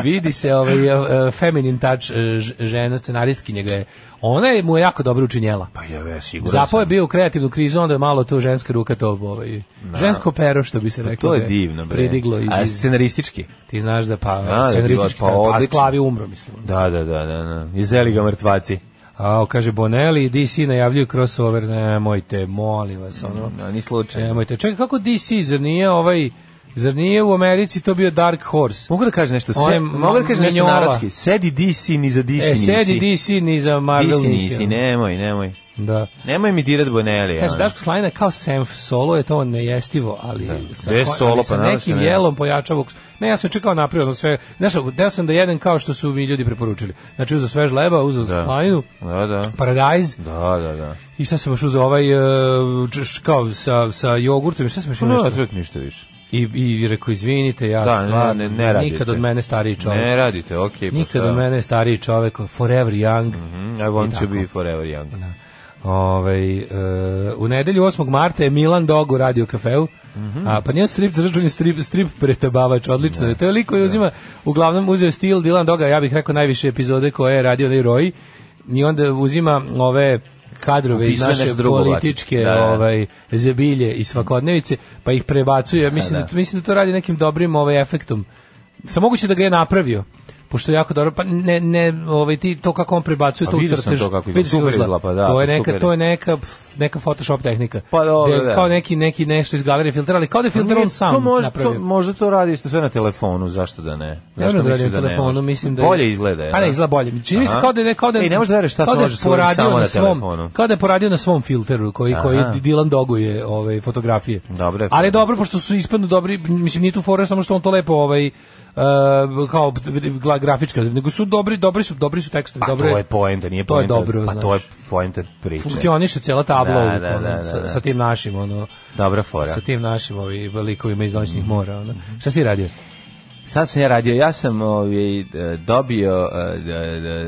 S7: vidi se ovaj e, e, feminine touch e, ž- žena scenaristkinja ga je. Ona je mu je jako dobro učinjela.
S8: Pa je, ja, siguran
S7: Zapo je
S8: sam.
S7: bio u kreativnu krizu, onda je malo tu ženska ruka to ovaj, žensko pero, što bi se reklo.
S8: Pa To je
S7: da
S8: divno, bre.
S7: Pridiglo iz,
S8: A
S7: iz-
S8: scenaristički?
S7: ti znaš da pa
S8: da,
S7: scenaristički,
S8: bilo je, pa
S7: pa, pa
S8: odlično.
S7: sklavi umro, mislim.
S8: Da, da, da, da, da. I zeli ga mrtvaci.
S7: A, kaže Bonelli i DC najavljuju crossover, nemojte, molim vas, ono.
S8: No, ni slučajno.
S7: Nemojte. Čekaj, kako DC, zar nije ovaj, zar nije u Americi to bio Dark Horse?
S8: Mogu da kažem nešto,
S7: On je
S8: se, mogu da kažem nešto
S7: minjola.
S8: narodski. Sedi DC ni za DC
S7: E,
S8: nisi.
S7: sedi DC ni za Marvel
S8: DC nisi,
S7: ono.
S8: nemoj, nemoj.
S7: Da.
S8: Nemoj mi dirat Bonelli.
S7: Kaže,
S8: ono.
S7: Daško Slajna je kao Senf, solo je to nejestivo, ali sa,
S8: Gde je
S7: ko- ali
S8: solo,
S7: sa
S8: pa naravno se
S7: nekim
S8: ne-
S7: jelom pojača vokus. Ne, ja sam čekao naprijed, ono sve, znaš, deo sam da jedem kao što su mi ljudi preporučili. Znači, uzeo svež leba, uzeo
S8: Da.
S7: Slajnu,
S8: Da, da.
S7: paradajz,
S8: Da, da, da.
S7: I šta sam još uzeo ovaj e, č- š- kao sa sa jogurtom, i šta sam još imao
S8: Pa Ne
S7: nešto?
S8: treba ništa više.
S7: I i rekao izvinite, ja
S8: Da, ne,
S7: stvarno
S8: ne, ne radite.
S7: nikad od mene stariji čovjek.
S8: Ne radite, okej. pa
S7: nikad
S8: šta?
S7: od mene stariji čovjek, forever young.
S8: Mm, I want to be forever young.
S7: Ovaj e, u nedelju 8. marta je Milan Dog u Radio Kafeu. A pa nije strip za račun je strip strip pretabavač, odlično. je. To je lik koji uzima uglavnom uzeo stil Dylan Doga, ja bih rekao najviše epizode koje je radio na Roy. I onda uzima ove kadrove iz
S8: Upisuje
S7: naše
S8: nešto drugo, Vlačić.
S7: političke
S8: Da, da.
S7: ovaj zebilje i svakodnevice, pa ih prebacuje. Mislim da,
S8: da.
S7: mislim da to radi nekim dobrim ovaj efektom. Samo moguće da ga je napravio. Pošto je jako dobro, pa ne, ne, ovaj, ti to kako on prebacuje,
S8: A
S7: to u
S8: vidio sam
S7: crtež.
S8: to kako izgleda.
S7: vidiš
S8: Super izgleda, pa da,
S7: to je
S8: pa
S7: neka,
S8: super
S7: to
S8: je.
S7: je neka pf, neka Photoshop tehnika.
S8: Pa dobro,
S7: Gde je
S8: da. Pa
S7: Kao neki neki nešto iz galerije filtera, ali kao da je filter on sam
S8: to može,
S7: napravio.
S8: To, možda to radi isto sve na telefonu, zašto da ne?
S7: Ne znam
S8: Zašto
S7: da
S8: misliš
S7: radim na
S8: ne
S7: telefonu,
S8: može?
S7: mislim da je-
S8: Bolje izgleda, jel
S7: Pa
S8: da?
S7: ne, izgleda bolje. Čini mi se
S8: Aha.
S7: kao da je kao da
S8: Ej, ne možeš da veruješ šta
S7: kao
S8: se
S7: da je
S8: može svojim
S7: poradio
S8: samo na
S7: svom,
S8: telefonu.
S7: Kao da je poradio na svom filteru koji koji
S8: Aha.
S7: Dylan doguje ovaj fotografije.
S8: Dobro je.
S7: Ali je dobro pošto su ispadnu dobri, mislim nije tu fora samo što on to lepo ovaj e, kao gla- grafička, nego su dobri, dobri su, dobri su tekstovi,
S8: Pa
S7: dobro
S8: to je poenta, nije
S7: To je
S8: poenta.
S7: dobro,
S8: pa to je
S7: znaš.
S8: poenta priče.
S7: funkcioniše cela tabla
S8: Da,
S7: ono,
S8: da, da,
S7: sa,
S8: da.
S7: sa tim našim ono
S8: Dobra fora. Mhm.
S7: sa tim našim ovi likovima iz noćnih mora ono. Šta si ti radio?
S8: Sad sam ja radio, ja sam ovaj, e, dobio, e,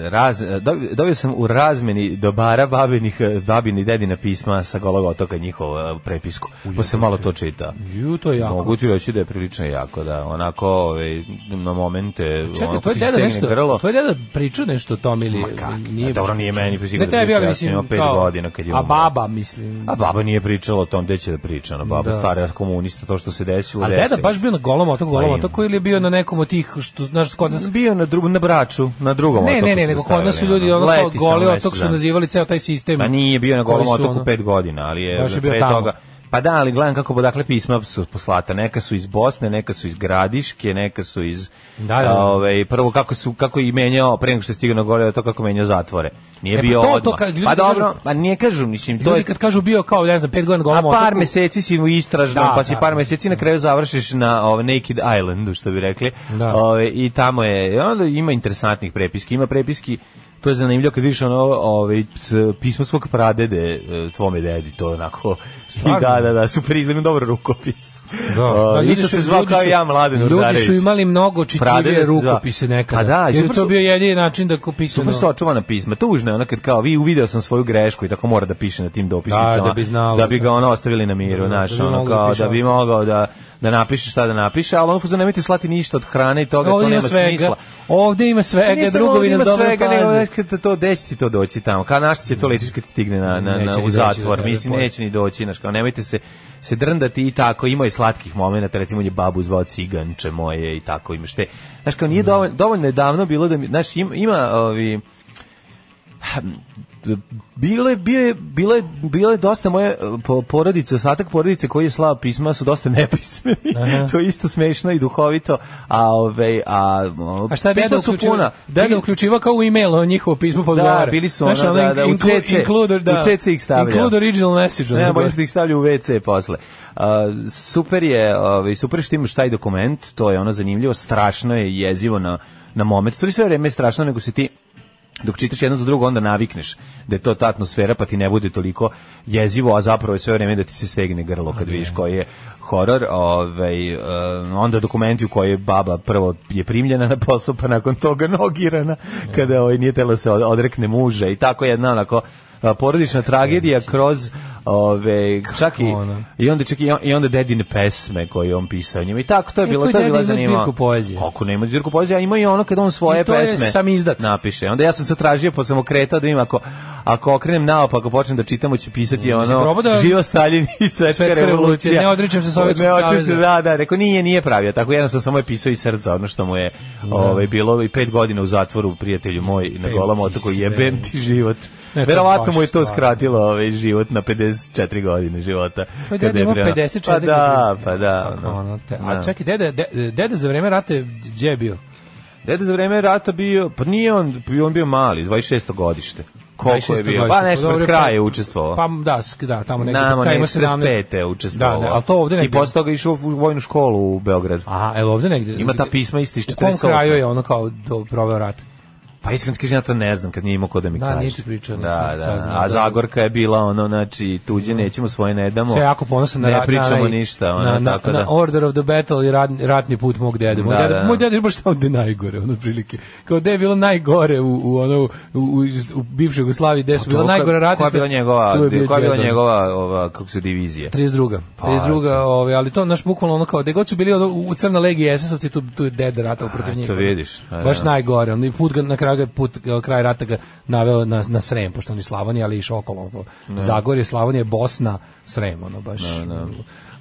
S8: e, raz, e, dobio, dobio sam u razmeni dobara babinih, e, babini i dedina pisma sa golog otoka njihovu e, prepisku. Pa sam malo to čita.
S7: Ju, to je jako.
S8: Mogu ti reći da je prilično jako, da. Onako, ovaj, na momente,
S7: Pa Čekaj,
S8: ono,
S7: tvoj
S8: ti se
S7: deda
S8: stegne
S7: nešto,
S8: grlo.
S7: tvoj deda priču nešto o tom ili nije?
S8: A dobro, nije meni pa sigurno
S7: Ne tebi,
S8: pričao, ja
S7: ali
S8: sam
S7: mislim,
S8: imao pet
S7: kao-
S8: godina kad je
S7: A
S8: umro.
S7: baba, mislim.
S8: A baba nije pričala o tom gde će da priča, ono, baba
S7: Da.
S8: stara komunista, to što se desilo,
S7: A
S8: desilo.
S7: deda baš bio na golom otoku, golom
S8: ima.
S7: otoku ili je bio na nekom od tih, što, znaš, kod nas...
S8: bio na drugom na braču, na drugom
S7: Ne,
S8: otoku.
S7: ne,
S8: su
S7: ne,
S8: ga
S7: nego kod nas su
S8: stavili,
S7: ljudi
S8: ono.
S7: ono kao
S8: Leti sam
S7: goli
S8: mesec
S7: otok su
S8: dana.
S7: nazivali ceo taj sistem.
S8: Pa nije bio na
S7: koji
S8: golom
S7: su,
S8: otoku
S7: ono-
S8: pet godina, ali je,
S7: Baš je bio
S8: pre
S7: tamo.
S8: toga... Pa da, ali gledam kako odakle pisma su poslata. Neka su iz Bosne, neka su iz Gradiške, neka su iz...
S7: Da, da.
S8: Ovaj, prvo kako su kako je i menjao, pre nego što je stigao na gore, to kako je menjao zatvore. Nije
S7: E, pa
S8: bio
S7: to- to
S8: odmah.
S7: kad ljudi
S8: pa dobro,
S7: kažu-
S8: pa nije kažu, mislim, to
S7: Ljudi
S8: je
S7: kad kažu bio kao, ne znam, pet godina na
S8: A
S7: golom otoku...
S8: par meseci si u istražnom,
S7: Da,
S8: pa si
S7: da.
S8: par meseci na kraju završiš na ovaj, Naked Islandu, što bi rekli.
S7: Da.
S8: Ovaj, I tamo je, i onda ima interesantnih prepiski. Ima prepiski, to je zanimljivo kad vidiš ono, ovaj, s- pismo svog pradede, e, tvome dedi, to je onako,
S7: Stvarno?
S8: da, da, da, super izgledam, dobro rukopis.
S7: Da,
S8: O,
S7: ljudi
S8: isto
S7: su-
S8: se zvao
S7: ljudi
S8: kao
S7: su-
S8: ja, Mladen
S7: Ljudi
S8: Urdarević.
S7: su imali mnogo čitljivije
S8: Pradede se zvao.
S7: rukopise nekada.
S8: Pa da, i
S7: jer je
S8: super
S7: to
S8: su-
S7: bio jedini način da kupisano...
S8: Super su očuvana pisma. Tužno je ono kad kao vi uvideo sam svoju grešku i tako mora da piše na tim dopisnicama.
S7: Da, da bi znao.
S8: Da bi ga ono ostavili na miru,
S7: Da,
S8: znaš,
S7: da bi
S8: ono
S7: mogao da
S8: kao
S7: piše
S8: da bi
S7: ostalo.
S8: mogao da da napiše šta da napiše, ali ono fuzon nemojte slati ništa od hrane i toga, to
S7: Ovdje
S8: nema
S7: ima svega,
S8: smisla.
S7: ovdje ima
S8: Pa
S7: svega,
S8: nisam
S7: drugovi
S8: ovdje
S7: nas
S8: ima
S7: dobro
S8: svega, nego
S7: paze.
S8: znaš, kad to deći ti to doći tamo. Kao naš će to lečiš kad stigne na, na,
S7: Neće
S8: na,
S7: ni
S8: u
S7: doći
S8: zatvor.
S7: do tebe,
S8: Mislim,
S7: pored.
S8: neće ni doći. Znaš, kao nemojte se se drndati i tako, ima i slatkih momenata, recimo on je babu zvao ciganče moje i tako imaš te. Znaš, kao nije dovoljno, dovoljno je davno bilo da mi, znaš, im- ima ovi, bilo je, bio je, bilo je, bilo je dosta moje e, po- porodice, ostatak porodice koji je slao pisma su dosta nepismeni. to je isto smešno i duhovito, a ove, a, o,
S7: A šta je
S8: pisma
S7: deda
S8: su
S7: uključivao?
S8: puna.
S7: Deda uključivao kao u e-mail, on njihovo pismo podgovara.
S8: Da, bili su
S7: Znaš,
S8: ono,
S7: ono,
S8: da, da, u
S7: inclu-
S8: CC.
S7: include- da,
S8: U CC ih stavlja.
S7: Include original message. ono,
S8: Ne,
S7: gore.
S8: bojim se da ih stavlja u WC posle. A, super je, ovaj, super je što imaš taj dokument, to je ono zanimljivo, strašno je jezivo na, na moment. To je sve vreme strašno, nego se ti dok čitaš jedno za drugo onda navikneš da je to ta atmosfera pa ti ne bude toliko jezivo, a zapravo je sve vreme da ti se stegne grlo kad vidiš koji je horor, ovaj, eh, onda dokumenti u kojoj je baba prvo je primljena na posao, pa nakon toga nogirana, kada ovaj, nije tela se od- odrekne muža i tako jedna onako eh, porodična tragedija kroz ove čak i
S7: ono?
S8: i onda čak i, on- i onda dedine pesme koje on pisao njima i tako to je
S7: E,
S8: bilo
S7: tvoj
S8: to je
S7: deda
S8: bila
S7: ima
S8: zanimljiva
S7: zbirku poezije.
S8: kako nema zbirku poezije a ima i ono kad on svoje
S7: I to je
S8: pesme
S7: samizdat.
S8: napiše onda ja sam se tražio pa sam okretao da im ako ako okrenem naopako počnem da čitam hoće pisati
S7: Jesi
S8: ono
S7: probao da-
S8: živo Stalin i svetska,
S7: Svetska revolucija.
S8: revolucija
S7: Ne odričem se Sovjetskog
S8: Ne odričem se,
S7: saveza.
S8: da da rekao nije nije pravio tako jednostavno samo je pisao iz srca ono što mu je ovaj bilo i pet godina u zatvoru prijatelju moj na
S7: ti
S8: golom otoku
S7: sve.
S8: jebem ti život
S7: Ne, to je
S8: Verovatno
S7: baš
S8: mu je to
S7: stvarno.
S8: skratilo ovaj život na 54 godine života.
S7: Tvoj
S8: kada
S7: deda
S8: je
S7: ima
S8: prema-
S7: 54
S8: Pa da,
S7: godine.
S8: pa da.
S7: Kako ono te-
S8: Da.
S7: A čekaj, deda, de- deda za vreme rata je gdje je bio?
S8: Deda za vreme rata bio, pa nije on, on bio mali, 26. godište. Koliko je
S7: 26.
S8: bio?
S7: godište.
S8: Pa nešto
S7: Dobro,
S8: pred
S7: pa-
S8: kraje učestvovao.
S7: Pa da, sk- da, tamo negdje.
S8: Namo,
S7: Namo,
S8: ne,
S7: ima 17.
S8: 45. je učestvovao.
S7: Da, da, ali to ovde
S8: I
S7: negdje.
S8: posle toga išao u vojnu školu u Beograd.
S7: Aha, el ovde Pa, negdje.
S8: Ima ta pisma isti iz
S7: U kom
S8: 48.
S7: kraju je ono kao do, proveo rat?
S8: Pa iskreno ti kažem, ja to ne znam kad nije imao ko da mi
S7: Da,
S8: kaže.
S7: nije ti pričao, nisam
S8: Da, da.
S7: saznao,
S8: A
S7: da.
S8: Zagorka je bila ono, znači, tuđe nećemo, svoje ne damo.
S7: Sve jako ponosan na
S8: Ne
S7: rat- na,
S8: pričamo
S7: onaj-
S8: ništa, ono,
S7: na, na,
S8: tako
S7: na
S8: da.
S7: Order of the Battle i rat, ratni put mog dede. Moj,
S8: Da,
S7: deda,
S8: da.
S7: moj deda je baš tamo gde je najgore, ono prilike. Kao gde je bilo najgore u, u, ono, u, u, u bivšoj Jugoslaviji, gde su bila
S8: Pa To,
S7: najgora rata.
S8: Koja je bila njegova,
S7: tu je
S8: koja
S7: bio
S8: je bila
S7: đedo.
S8: njegova, ova, kako se divizije?
S7: 32.
S8: Pa,
S7: 32. Ovaj, ali to naš bukvalno ono kao gde god su bili ono, u Crna legija i SS-ovci tu tu je deda ratao protiv njih. ono.
S8: to vidiš, a,
S7: Baš
S8: da.
S7: najgore. On i put ga, na kraju ga put kraj rata ga naveo na na Srem, pošto on je Slavonija, ali i okolo. Ono, Zagorje, Slavonija, Bosna, Srem, ono baš.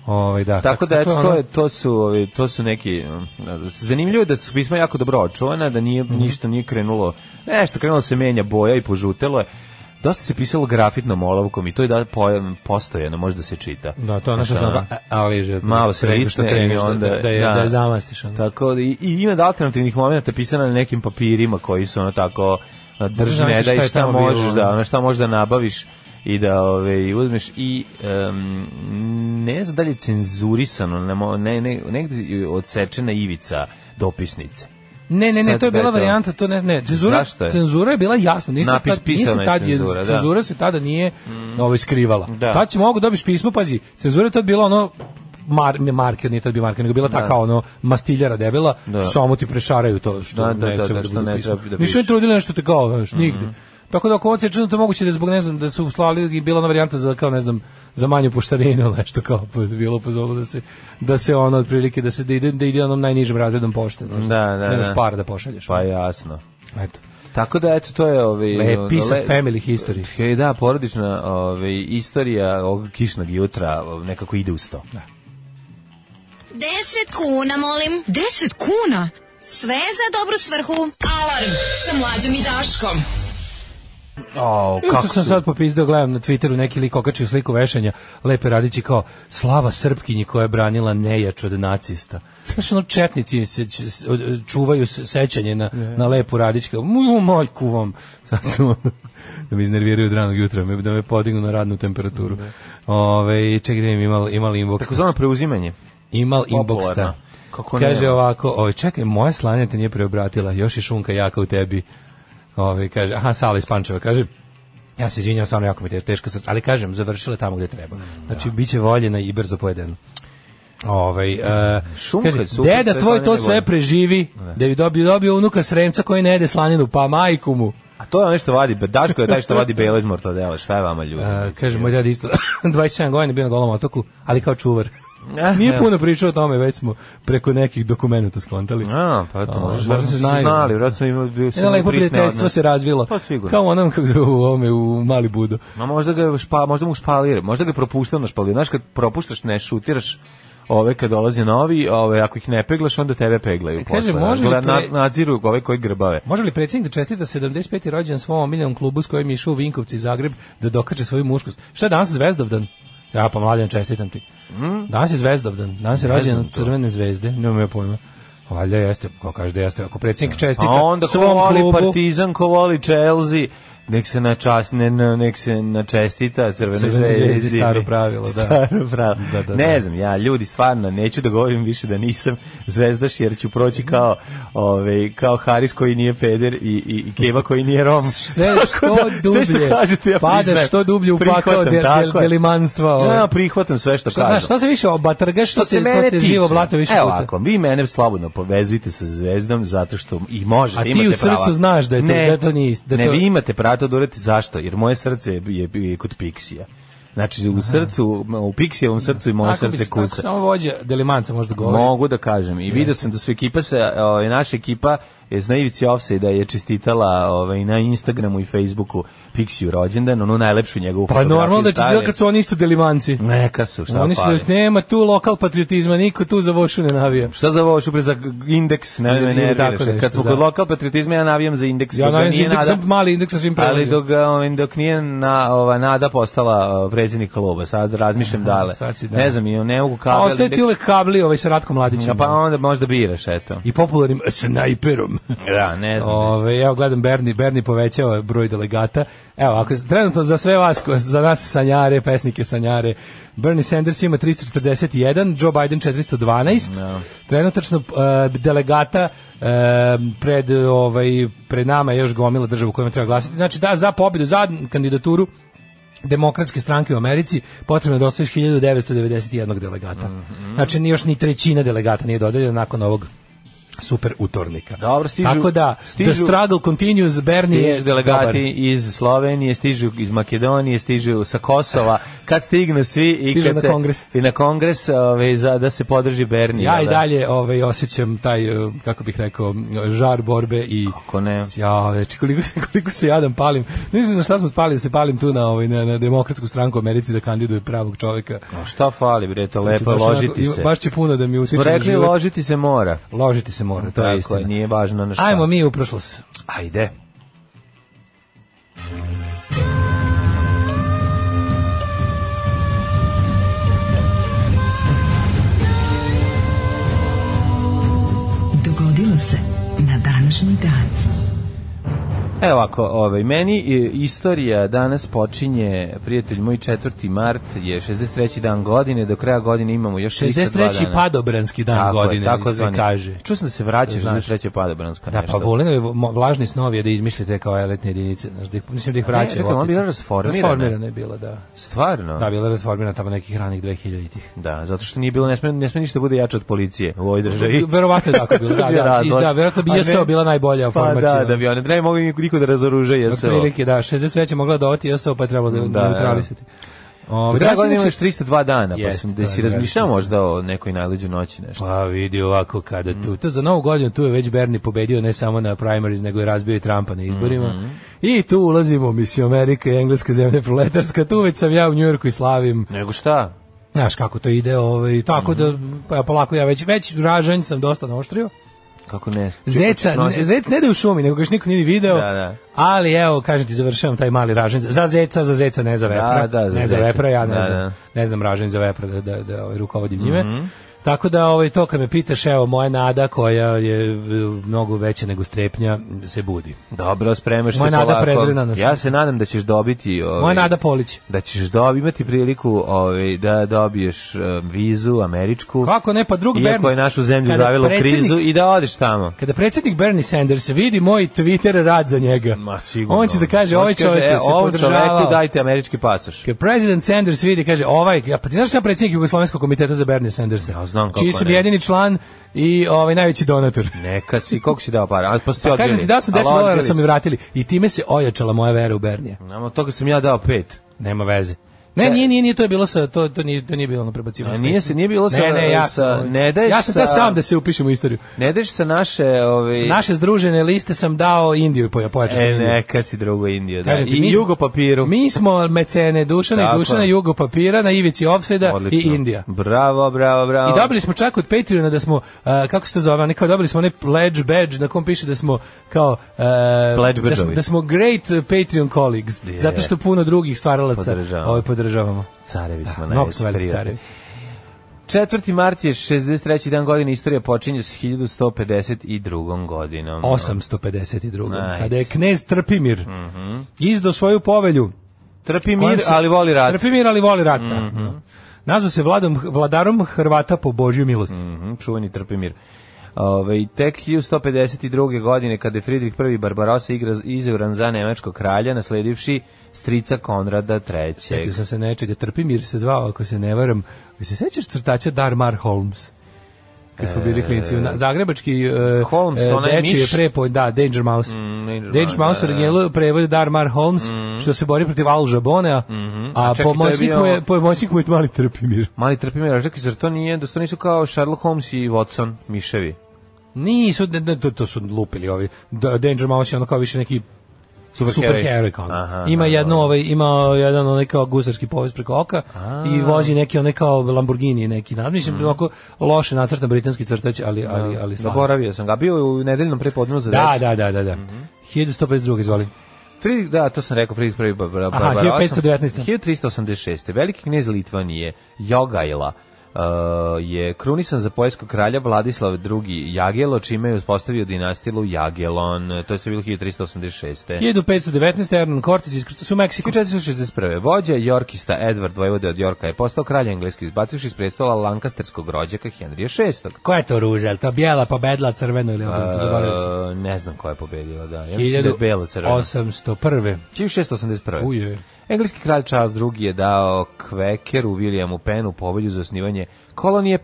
S7: Ovaj da.
S8: Tako da
S7: kako
S8: eto
S7: ono-
S8: to je to su ovi to su neki mm, zanimljivo je da su pisma jako dobro očuvana, da nije
S7: Mhm.
S8: ništa nije krenulo. Nešto krenulo se menja boja i požutelo je. Dosta se pisalo grafitnom olovkom i to je da pojam postojano, može da se čita.
S7: Da, to je ono što
S8: Znaš,
S7: sam
S8: ono,
S7: a- ali že
S8: Malo se
S7: rekao što
S8: ricne i
S7: kreneš da-
S8: onda-
S7: da, da, je,
S8: da.
S7: da, je zamastiš ono.
S8: Tako da i, i ima da alternativnih momenata pisana na nekim papirima koji su ono tako a, drži
S7: Znam
S8: ne
S7: se
S8: da
S7: šta
S8: i
S7: je
S8: šta
S7: tamo
S8: možeš
S7: bilo,
S8: da
S7: ono.
S8: ono šta možeš da nabaviš i da ove i uzmeš i em, ne znam da li je cenzurisano ne, mo- ne, ne negde je odsečena ivica dopisnice
S7: Ne, ne, ne,
S8: Sad
S7: to je bila
S8: da je to-
S7: varijanta, to ne, ne, cenzura,
S8: Zašto je?
S7: cenzura je bila jasna, nisi
S8: Napis
S7: tad, nisi
S8: pisana je
S7: tad je-
S8: cenzura, da. Mm.
S7: cenzura se tada nije ovaj, skrivala.
S8: Da.
S7: Tad si mogu dobiš pismo, pazi, cenzura je tad bila ono, mar, ne, marker, nije tad bio marker, nego bila ta kao ono mastiljara debela,
S8: Da.
S7: samo ti prešaraju to što
S8: Da, da,
S7: ne
S8: da,
S7: treba
S8: da, što
S7: bude
S8: ne
S7: pismo.
S8: treba da
S7: Nisu
S8: piše.
S7: oni trudili nešto te kao, znaš,
S8: Mhm.
S7: nigde. Tako da ako ovo čini to je moguće da je zbog ne znam da su slali i bila ona varijanta za kao ne znam za manju poštarinu ili nešto kao pa je bilo pozvalo da se da se ono otprilike da se da ide da ide onom najnižim razredom pošte, znaš.
S8: Da, da,
S7: Što nemaš
S8: da.
S7: para da pošalješ.
S8: pa jasno
S7: Eto.
S8: tako da eto to je ovaj
S7: Le, piece of
S8: le-
S7: family history.
S8: E, da porodična ovaj istorija ovog kišnog jutra ovaj, nekako ide uz to
S5: 10 kuna, molim. 10 kuna? Sve za dobru svrhu. Alarm sa mlađom i Daškom.
S8: O,
S7: Kako
S8: kako
S7: Isto sam
S8: su-
S7: sad popizdao, gledam na Twitteru neki lik okačio sliku vešanja Lepe Radići kao slava Srpkinji koja je branila nejač od nacista. Znaš, ono, četnici se, č- s- od- čuvaju se- sećanje na, na Lepu Radić. Kao, "Mu, majku vam. Sad su, ono, da me iznerviraju od ranog jutra, me- da me podignu na radnu temperaturu. Ove, čekaj da im imali, imali inbox.
S8: takozvano preuzimanje
S7: Imal
S8: Popularna.
S7: inboxta.
S8: Kako ono?
S7: Kaže
S8: nema?
S7: ovako, oj, čekaj, moja slanja te nije preobratila, još je šunka jaka u tebi. Ovaj kaže, aha, Sala iz Pančeva, kaže, ja se izvinjam, stvarno jako mi je te- teško srce, ali kažem, završila je tamo gde treba.
S8: Mm,
S7: Znači, bit će voljena i brzo pojedena. Ovaj, e,
S8: Šunka je
S7: kaže,
S8: super,
S7: deda
S8: sve
S7: tvoj to
S8: slanine
S7: sve
S8: volim."
S7: preživi, da bi dobio, dobio unuka sremca koji ne jede slaninu, pa majku mu.
S8: A to je ono što vadi, Daško je taj što vadi belo iz mortadela, šta je vama ljudi?
S7: E, kaže, moj dad isto, 27 godina bio na golom otoku, ali kao čuvar.
S8: Eh,
S7: Nije
S8: evo.
S7: puno pričao o tome, već smo preko nekih dokumenta skontali.
S8: A, pa to
S7: A,
S8: možeš,
S7: možda
S8: možda
S7: se
S8: su
S7: znaju.
S8: znali, vratno su imali bili su
S7: Jedno
S8: imali
S7: lepo
S8: prisne
S7: prijateljstvo
S8: odnose.
S7: se razvilo.
S8: Pa sigurno.
S7: Kao u onom kako se u ovome u Mali Budo.
S8: Ma možda ga je špa, možda mu špalir, možda ga je propuštao na špalir. Znaš, kad propuštaš, ne šutiraš ove kad dolaze novi, ove, ako ih ne peglaš, onda tebe peglaju.
S7: E, Kaže,
S8: posle,
S7: može
S8: znaš,
S7: li
S8: gleda-
S7: pre-
S8: na- nadziru ove koji grbave.
S7: Može li predsjednik da čestita 75. rođendan svom omiljenom klubu s kojim je išao u Vinkovci i Zagreb da dokače svoju muškost? Šta je danas Zvezdovdan? Ja pa mladen čestitam ti. Danas je Zvezdovdan, danas je rođendan Crvene zvezde, nemam ja pojma. Valjda jeste, ko kaže da jeste. Ako predsjednik čestita
S8: A onda ko
S7: svom
S8: voli
S7: klubu,
S8: Partizan, ko voli Chelsea, Nek se na čas, ne, na- nek se na čestita crvenoj
S7: Crvenoj
S8: zvezdi.
S7: zvezdi, staro pravilo, da.
S8: Staro pravilo.
S7: Da, da,
S8: ne
S7: da.
S8: znam, ja ljudi stvarno neću da govorim više da nisam zvezdaš jer ću proći kao ovaj kao Haris koji nije peder i i, i Keva koji nije Rom.
S7: Sve što
S8: Tako da,
S7: dublje,
S8: sve što kažete ja
S7: padaš
S8: priznajem.
S7: što dublje u pakao
S8: Prihvatam,
S7: del,
S8: tako
S7: del,
S8: je.
S7: delimanstva. ovaj.
S8: Ja prihvatam sve što,
S7: Šta,
S8: kažu.
S7: znaš, šta se više obatrga, što, se, to te živo blato više
S8: Evo
S7: puta.
S8: ovako, vi mene slobodno povezujte sa zvezdom zato što i možete,
S7: A ti
S8: imate
S7: u srcu
S8: prava.
S7: znaš da je to-
S8: ne,
S7: da to nije ist- da
S8: ne,
S7: to-
S8: vi imate pravo to da uradite. zašto? Jer moje srce je, je, je kod Pixija. Znači, u srcu, u Pixijevom srcu i moje
S7: Ako bi
S8: srce
S7: se- ako
S8: kuca.
S7: Samo vođa delimanca možda govori.
S8: Mogu da kažem. I video sam da su ekipa se, ovaj, naša ekipa je na ivici da je čestitala ovaj, na Instagramu i Facebooku Pixiju rođendan, onu najlepšu njegovu
S7: Pa
S8: fotografiju
S7: normalno da će
S8: stavili.
S7: bilo kad su oni isto delimanci.
S8: Neka su, šta
S7: Oni su,
S8: fali.
S7: nema tu lokal patriotizma, niko tu za vošu ne navija.
S8: Šta za ovo šupre za indeks, ne, ne,
S7: Ili
S8: ne,
S7: tako
S8: nerviraš.
S7: nešto,
S8: Kad smo
S7: da.
S8: kod lokal patriotizma, ja navijam za indeks.
S7: Ja
S8: dok ga
S7: naravno
S8: nije
S7: indeks
S8: Nada-
S7: sam mali indeks sa svim
S8: Ali
S7: prelazim.
S8: dok, ga, ovaj, dok nije na, ova, Nada postala uh, predsjednik kluba, sad razmišljam da li.
S7: sad si da.
S8: Ne znam, i ne mogu
S7: A
S8: kabel.
S7: ostaje ti
S8: indeks.
S7: uvek kabli ovaj sa Ratkom
S8: Ja,
S7: Mladićem.
S8: pa onda možda biraš, eto.
S7: I popularnim snajperom.
S8: Da, ne znam.
S7: Ove, ja gledam Berni, Berni povećava broj delegata. Evo, ako trenutno za sve vas, ko- za nas sanjare, pesnike sanjare, Bernie Sanders ima 341, Joe Biden 412. Trenutačno e, delegata e, pred ovaj pred nama je još gomila država u kojoj treba glasati. Znači da za pobjedu, za kandidaturu demokratske stranke u Americi potrebno je da osvojiš 1991 delegata.
S8: Mhm.
S7: Znači ni još ni trećina delegata nije dodeljena nakon ovog super utornika.
S8: Dobro, stižu-
S7: Tako da,
S8: stižu-
S7: the struggle continues, Bernie je
S8: Stižu delegati
S7: dobar.
S8: iz Slovenije, stižu iz Makedonije, stižu sa Kosova. Kad stignu svi i
S7: Stižu
S8: kad
S7: na
S8: se,
S7: kongres.
S8: I na kongres ovaj, za, da se podrži Berni.
S7: Ja i
S8: jel da?
S7: dalje ovaj, osjećam taj, eh, kako bih rekao, eh, žar borbe i...
S8: Kako ne?
S7: Ja, več, koliko, se, koliko se jadan palim. Ne znam na šta smo spali, da se palim tu na, ovaj, na, na demokratsku stranku u Americi da kandiduje pravog čoveka.
S8: A Šta fali, bre, to
S7: Znači,
S8: lepo,
S7: baš onako-
S8: ložiti
S7: i-
S8: se.
S7: Baš će puno da mi utiče
S8: Smo
S7: na
S8: rekli,
S7: život.
S8: ložiti se mora.
S7: Ložiti se mora, to je
S8: Tako
S7: istina.
S8: je, nije važno na šta.
S7: Ajmo mi u prošlost.
S8: Ajde.
S5: Dogodilo se na današnji dan.
S8: Evo ovako, ovaj, meni e, istorija danas počinje, prijatelj moj 4. mart je 63. dan godine, do kraja godine imamo još 302
S7: 63.
S8: dana.
S7: padobranski dan
S8: Tako je,
S7: godine, tako se
S8: zvani.
S7: kaže.
S8: Čuo sam da se vraća
S7: Znaš.
S8: 63. padobranska
S7: Da,
S8: nešto.
S7: pa Volinovi mo- vlažni snovi je da izmišljate kao elitne jedinice. Znaš, da ih, mislim da ih vraćaju.
S8: čekaj, ona
S7: opet.
S8: bila rasformirana?
S7: Rasformirana je bila, da.
S8: Stvarno?
S7: Da, bila je rasformirana tamo nekih ranih 2000-ih.
S8: Da, zato što nije bilo, ne sme, ne sme ništa da bude jače od policije u ovoj državi.
S7: Verovatno je tako bilo, da,
S8: To bi bio
S7: da. I
S8: razlog.
S7: da, verovatno bi
S8: A ne-
S7: JSO bila najbolja
S8: Pa
S7: formacija.
S8: da, da bi one, da ne mogu niko da razoruže JSO.
S7: Otprilike, da, 63. mogla da oti JSO, pa je trebalo da,
S8: Da,
S7: da, neutralisati. Ove, da,
S8: godine
S7: inače-
S8: imaš 302 dana, pa
S7: Jeste,
S8: sam
S7: to
S8: da
S7: je
S8: si
S7: vjerojatno
S8: razmišljao
S7: isto.
S8: možda o nekoj najluđoj noći nešto.
S7: Pa vidi ovako kada tu. To za novu godinu tu je već Bernie pobedio ne samo na primaries, nego je razbio i Trumpa na izborima. I tu ulazimo, mislim, Amerika i Engleska zemlja proletarska. Tu već sam ja u Njujorku i slavim.
S8: Nego šta?
S7: Znaš kako to ide, ovaj, tako da pa, polako ja već, već ražanj sam dosta naoštrio.
S8: Kako ne?
S7: Zeca,
S8: Hoćeš
S7: ne,
S8: nositi?
S7: zec ne da je u šumi, nego ga još niko nije ni video.
S8: Da, da.
S7: Ali evo, kažem ti, završavam taj mali ražanj. Za zeca, za zeca, ne za
S8: Da,
S7: vepra.
S8: da, za
S7: ne za
S8: zeca.
S7: vepra, ja ne,
S8: Da,
S7: znam,
S8: da. Mhm.
S7: ne znam ražanj za vepra, da, da, da ovaj, rukovodim njime. Tako da ovaj to kad me pitaš, evo moja nada koja je v- mnogo veća nego strepnja se budi.
S8: Dobro, spremaš
S7: Moja
S8: se
S7: nada
S8: polako.
S7: prezrena nas.
S8: Ja se nadam da ćeš dobiti... Ovaj,
S7: Moja nada Polić.
S8: Da ćeš dobi, imati priliku ovaj, da dobiješ eh, vizu američku.
S7: Kako ne, pa drug
S8: Iako
S7: Bernie-
S8: je našu zemlju
S7: Kada
S8: zavilo u
S7: predsjednik-
S8: krizu i da odeš tamo.
S7: Kada predsjednik Bernie Sanders vidi moj Twitter rad za njega,
S8: Ma sigurno.
S7: on će da kaže,
S8: On će
S7: ovaj
S8: kaže,
S7: čovjek
S8: e,
S7: je se
S8: ovom čoveku
S7: podržavao.
S8: dajte američki pasoš.
S7: Kad president Sanders vidi, kaže, ovaj, ja, pa ti znaš šta je predsjednik Jugoslovenskog komiteta za Bernie Sandersa?
S8: Ja znam kako
S7: Čiji sam
S8: ne.
S7: jedini član i ovaj, najveći donator.
S8: Neka si, koliko si dao para? Ali pa ste
S7: Pa
S8: odbili.
S7: kažem ti, dao sam 10
S8: Ali
S7: dolara,
S8: odbili
S7: sam mi
S8: ste.
S7: vratili. I time se ojačala moja vera u Bernija.
S8: Nama toga sam ja dao pet.
S7: Nema veze. Ne,
S8: Čekaj.
S7: nije, nije, nije, to je bilo sa, to, to nije, to nije bilo na prebacivanju.
S8: A nije se- nije bilo sa-
S7: ne, ne, ja,
S8: sa-
S7: sam-
S8: ne daješ
S7: ja sam
S8: sa-
S7: da sam da se upišem u istoriju.
S8: Ne daš sa naše... Ovaj,
S7: Sa naše združene liste sam dao Indiju i poja, pojačao sam
S8: E,
S7: Indiju.
S8: neka si drugo Indija, da.
S7: Kažem ti,
S8: I
S7: mi smo-
S8: jugo papiru.
S7: Mi smo mecene Dušana
S8: Tako
S7: i Dušana,
S8: je.
S7: Jugo Papira, na Ivici Offseda i
S8: Odlično.
S7: Indija.
S8: Bravo, bravo, bravo.
S7: I dobili smo čak od Patreona da smo, a, kako se to zove, oni kao dobili smo onaj pledge badge na kom piše da smo kao, a,
S8: Pledge
S7: da, smo,
S8: badgeovi.
S7: da smo great eh, Patreon colleagues,
S8: Je.
S7: zato što puno drugih stvaralaca
S8: Podržavamo.
S7: ovaj podržavamo.
S8: Carevi smo najveći
S7: Da,
S8: Mm.
S7: Mnogo smo veliki
S8: prijatelji.
S7: carevi.
S8: 4. mart je 63. dan godine istorija počinje s 1152. godinom.
S7: 852.
S8: Ajde.
S7: Kada je knez Trpimir izdo svoju povelju
S8: Trpi
S7: kojom
S8: Mhm. mir,
S7: se-
S8: ali voli Mhm. rat.
S7: Trpi mir, ali voli rata. Da. Nazvao se vladom, vladarom Hrvata po Božju milosti.
S8: Mhm, čuveni Trpimir. Ove, tek 1152. godine kada je Fridrih I Barbarossa igra izvran za nemačkog kralja, nasledivši strica Konrada
S7: Sjetio
S8: III.
S7: sam se nečega. Trpimir se zvao, ako se ne varam. Vi se sećaš crtača Darmar Holmes? Kad smo bili klinci. Na- Zagrebački e,
S8: Holmes,
S7: e,
S8: onaj
S7: dečiji
S8: miš. Mm,
S7: prepoj, da, Danger Mouse.
S8: Danger
S7: Danger
S8: Mouse,
S7: Mouse u
S8: da, da.
S7: originalu prevodi Darmar Holmes, što se bori protiv Al Jabonea, a,
S8: Mhm. čekaj, to je
S7: pomoćnik,
S8: bio-
S7: mu je, pomoćnik mu je mali Trpimir.
S8: Mali Trpimir, a čekaj, zar to nije, da su to nisu kao Sherlock Holmes i Watson, miševi?
S7: Nisu, ne, ne, to, to su lupili ovi. Da- Danger Mouse je ono kao više neki
S8: Superheroj.
S7: superheroj kao ono.
S8: Aha,
S7: ima
S8: da,
S7: jedno ovaj ima jedan onaj kao gusarski povez preko oka i vozi neki onaj kao Lamborghini neki nad mislim
S8: Mm.
S7: onako loše nacrtan britanski crtač ali ali ali slavan.
S8: Zaboravio Mhm. sam ga, bio je u nedeljnom prepodnevu za
S7: da
S8: decu.
S7: da da da da 1152 izvoli
S8: Fridrik, da, to sam rekao, Fridrik prvi Bar- Bar-
S7: Aha,
S8: Barbarossa.
S7: 1519.
S8: 1386. Veliki knjez Litvanije, Jogajla, uh, je krunisan za poljskog kralja Vladislav II. Jagelo, čime je uspostavio dinastilu Jagelon. To je sve bilo 1386.
S7: 1519 Hernan Cortes iskrcao se u Meksiku
S8: 1461. Vođa Jorkista Edward Vojvode od Jorka je postao kralj engleski izbacivši iz prestola Lankasterskog rođaka Henrija VI.
S7: koja je to ruža jel to bijela pa bedla crveno ili obrnuto zaboravio sam
S8: Uh, ne znam koja je pobedila, da. Ja mislim da je belo crveno.
S7: 1801
S8: 1681.
S7: Uje.
S8: Engleski kralj Charles II je dao Kvekeru Williamu Pennu povelju za osnivanje kolonije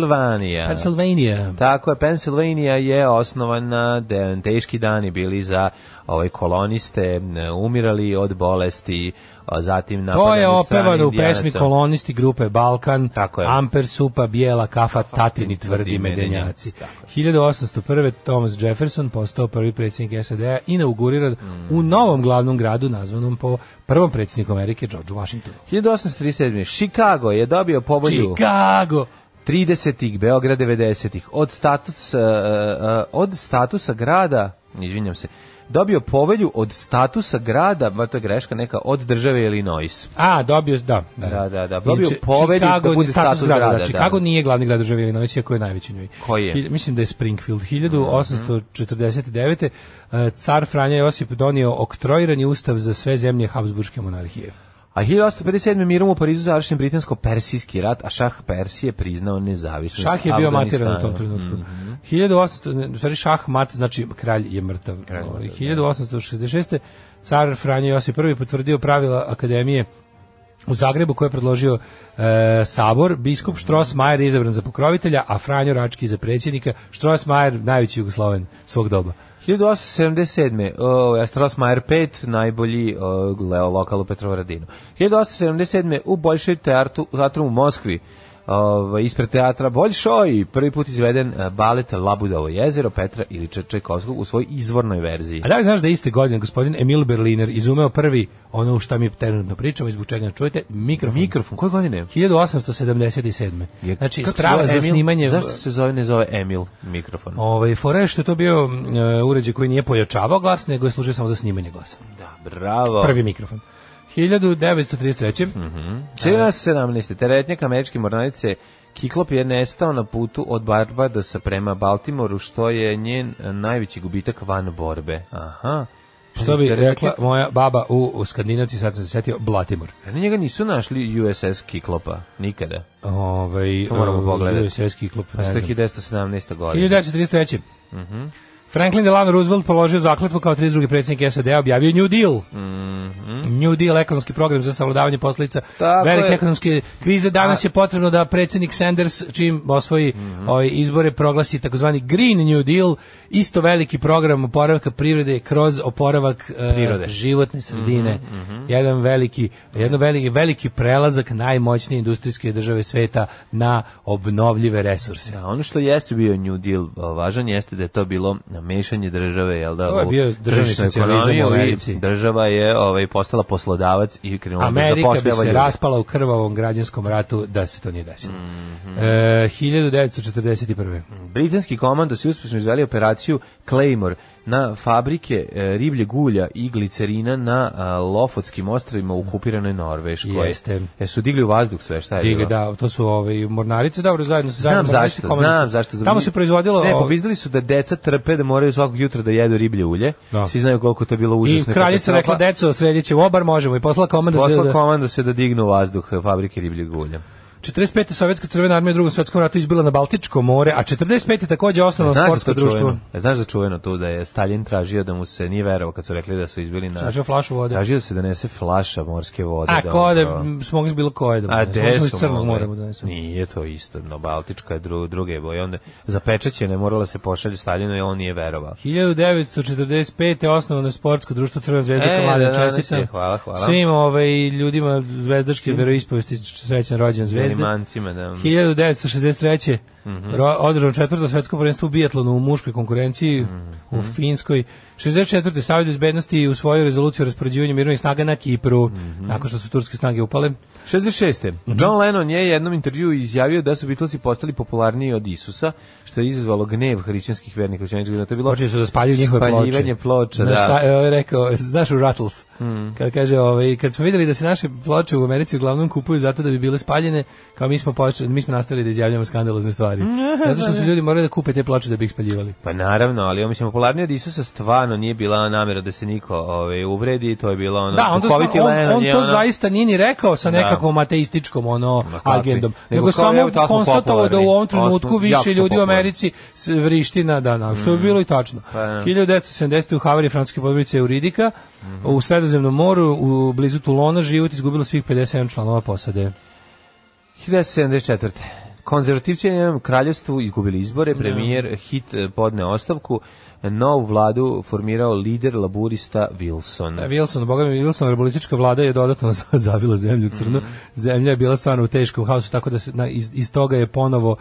S8: Pensilvanija.
S7: Pennsylvania
S8: Tako je, Pensilvanija je osnovana, de, teški dani bili za ovaj koloniste, ne, umirali od bolesti, a zatim
S7: To je
S8: napadani od strane
S7: opevano u pesmi
S8: Indijanaca.
S7: kolonisti grupe Balkan,
S8: Tako je.
S7: Amper Supa, Bijela Kafa, Tatini tvrdi
S8: tvrdi
S7: medenjaci.
S8: Medenjaci, tako
S7: 1801. Thomas Jefferson postao prvi predsjednik SAD-a inauguriran u novom glavnom gradu nazvanom po prvom predsjedniku Amerike, George Washingtonu.
S8: 1837. Chicago je dobio povelju
S7: Chicago!
S8: 30-ih, Beograd 90-ih, od, status, e, e, od statusa grada, izvinjam se, dobio povelju od statusa grada, ba to je greška neka, od države Illinois.
S7: A, dobio, da. Da,
S8: Da, da, da. Dobio
S7: Inače,
S8: povelju da
S7: Chicago je
S8: bude status grada,
S7: da.
S8: da.
S7: Chicago nije glavni grad države Illinois, iako je najveći u njoj.
S8: Koji je? Mhm.
S7: Hilj- mislim da je Springfield. 1849. eh, Car Franja Josip donio oktroirani ustav za sve zemlje Habsburgske monarhije.
S8: A 1857. mirom u Parizu završen britansko-persijski rat, a šah Persije priznao nezavisnost
S7: Šah je bio matiran u tom
S8: Afganistana.
S7: trenutku.
S8: Mhm.
S7: 1800, ne, u stvari šah mat znači kralj je mrtav.
S8: je mrtav,
S7: Ovaj,
S8: da.
S7: 1866. car Franjo Josip I potvrdio pravila akademije u Zagrebu koje je predložio e, Sabor, biskup Strossmajer je izabran za pokrovitelja, a Franjo Rački za predsjednika. Strossmajer, najveći Jugosloven svog doba.
S8: 1877. Uh, Astrosmajer 5, najbolji uh, leo lokal u Petrovaradinu. 1877. u Boljšoj teatru, teatru u Moskvi, ovaj, ispred teatra Boljšoj, prvi put izveden uh, balet Labudovo jezero Petra Ilića Čajkovskog u svojoj izvornoj verziji.
S7: A da li znaš da je iste godine gospodin Emil Berliner izumeo prvi ono šta mi trenutno pričamo i zbog čega ne čujete, mikrofon.
S8: Mikrofon, koje godine?
S7: 1877.
S8: Je-
S7: Znači,
S8: kako se
S7: sprava
S8: zove
S7: za
S8: Emil?
S7: snimanje...
S8: Zašto se zove, ne zove Emil mikrofon?
S7: Ovaj fora je što je to bio mm, e, uređaj koji nije pojačavao glas, nego je služio samo za snimanje glasa.
S8: Da, Mhm. bravo.
S7: Prvi mikrofon. 1933.
S8: Čega 17. teretnjak američke mornarice Kiklop je nestao na putu od Barbadosa prema Baltimoru, što je njen e, najveći gubitak van borbe. Aha.
S7: Što bi
S8: Teretnjak-
S7: rekla moja baba u, u Skandinavci, sad sam se setio, Blatimor.
S8: Ali njega nisu našli USS Kiklopa, nikada.
S7: Ovaj,
S8: To moramo
S7: e,
S8: pogledati.
S7: USS-ki klub, ne
S8: Znači, to
S7: znam.
S8: je 1917. godine.
S7: 1933. Franklin Delano Roosevelt položio zakletvu kao 32. predsjednik SAD-a, objavio New Deal. New Deal, ekonomski program za savladavanje posljedica
S8: Mhm. Tako
S7: velike
S8: je.
S7: ekonomske krize. Danas je potrebno da predsjednik Sanders, čim osvoji
S8: Mhm.
S7: ovaj, izbore, proglasi takozvani Green New Deal, isto veliki program oporavka privrede kroz oporavak e,
S8: Prirode. Mhm,
S7: životne sredine. Jedan veliki, jedno veliki, veliki prelazak najmoćnije industrijske države sveta na obnovljive resurse.
S8: Da, ono što jeste bio New Deal o, važan jeste da je to bilo mešanje države, jel da?
S7: To je
S8: u
S7: bio državni
S8: tržišnu
S7: socijalizam
S8: ekonomiju
S7: u
S8: i
S7: Americi.
S8: Država je ovaj, postala poslodavac i krenula Ono, da
S7: Amerika bi
S8: zapošljava
S7: se
S8: ljude.
S7: raspala u krvavom građanskom ratu da se to nije desilo.
S8: Mhm.
S7: E, 1941.
S8: Britanski komandos je uspješno izveli operaciju Claymore na fabrike e, riblje gulja i glicerina na a, Lofotskim ostrovima u okupiranoj Norveškoj.
S7: Jeste.
S8: Jesu digli u vazduh sve, šta je
S7: Diga,
S8: bilo?
S7: da, to su ove mornarice, dobro, zajedno su
S8: Znam
S7: zajedno mornarice,
S8: zašto,
S7: komande
S8: znam
S7: su-
S8: zašto.
S7: Tamo se proizvodilo
S8: Ne,
S7: ov-
S8: pobizdili su da deca trpe da moraju svakog jutra da jedu riblje ulje.
S7: Da.
S8: Svi znaju koliko je to bilo
S7: i
S8: užasno.
S7: kraljica rekla, deco, sredit ćemo obar, možemo, i poslala komanda se
S8: Posla
S7: da...
S8: komanda se da dignu u vazduh e, fabrike ribljeg ulja.
S7: 45. Sovjetska crvena armija u drugom svetskom ratu izbila na Baltičko more, a 45. takođe osnovno
S8: Znaš za
S7: sportsko
S8: to
S7: društvo.
S8: čuveno? E, Znaš za čuveno to da je Stalin tražio da mu se nije verovao kad su rekli da su izbili na...
S7: Tražio flašu vode.
S8: Tražio da se donese flaša morske vode.
S7: A
S8: da
S7: ko da
S8: ono-
S7: m, smogli s bilo koje da
S8: A
S7: mu donesu.
S8: gde
S7: Mogli
S8: su
S7: su iz crnog
S8: mogli?
S7: mora mu donesu.
S8: Nije to isto, no Baltička je dru, druge boje. Onda zapečaćene morala se pošalje Stalinu i on nije verovao.
S7: 1945. osnovano je sportsko društvo Crvena zvezda
S8: E,
S7: e, Mladen,
S8: da, da, da,
S7: čestitam.
S8: da, hvala, hvala.
S7: Svim ovaj, ljudima zvezdaške veroispovesti srećan rođen zvezde.
S8: Zelimancima, da...
S7: 1963. Mm
S8: Mhm.
S7: -hmm. održano četvrto svetsko prvenstvo u bijatlonu u muškoj konkurenciji u
S8: Mhm.
S7: Finskoj. 64. Savjet bezbednosti usvojio rezoluciju o raspoređivanju mirovnih snaga na Kipru,
S8: Mhm.
S7: nakon što su turske snage upale.
S8: 66.
S7: Mhm.
S8: John Lennon je jednom intervju izjavio da su Beatlesi postali popularniji od Isusa, što je izazvalo gnev hrišćanskih vernika. Hrišćanskih vernika. To je bilo
S7: Počeli su da spaljuju njihove ploče.
S8: Spaljivanje ploča,
S7: Znaš šta
S8: da. Hmm.
S7: je ovaj rekao, znaš u Rattles, kad kaže, ovaj, kad smo videli da se naše ploče u Americi uglavnom kupuju zato da bi bile spaljene, kao mi smo, počeli, mi smo nastavili da izjavljamo skandalozne stvari. Zato što su ljudi morali da kupe te ploče da bi ih spaljivali.
S8: Pa naravno, ali on mislim popularniji od Isusa stvarno nije bila namera da se niko ovaj uvredi, to je bilo ono
S7: Da, on to,
S8: duhoviti
S7: stvarno-
S8: Lennon
S7: on, on
S8: je
S7: to
S8: ono-
S7: zaista nije ni rekao sa
S8: Da.
S7: nekakvom ateističkom
S8: Ma
S7: ono
S8: kakvi.
S7: agendom,
S8: Nego
S7: nego,
S8: kao,
S7: samo
S8: evo, tako smo
S7: konstatovao da u ovom
S8: popularni.
S7: trenutku
S8: Jako smo
S7: više ljudi u
S8: popularni.
S7: Americi s- vrišti na dana, što je bilo i tačno.
S8: Pa, da. Mhm.
S7: 1970. u Havari francuske podmornice Euridika u Sredozemnom moru u blizu Tulona život izgubilo svih 57 članova posade.
S8: 1974. Konzervativci u Ujedinjenom kraljevstvu izgubili izbore, premijer Hit eh, podne ostavku, novu vladu formirao lider laburista Wilson.
S7: Da, Wilson, boga mi, Wilson, rebelistička vlada je dodatno zavila zemlju u crno. Zemlja je bila stvarno u teškom haosu, tako da se, na, iz, iz toga je ponovo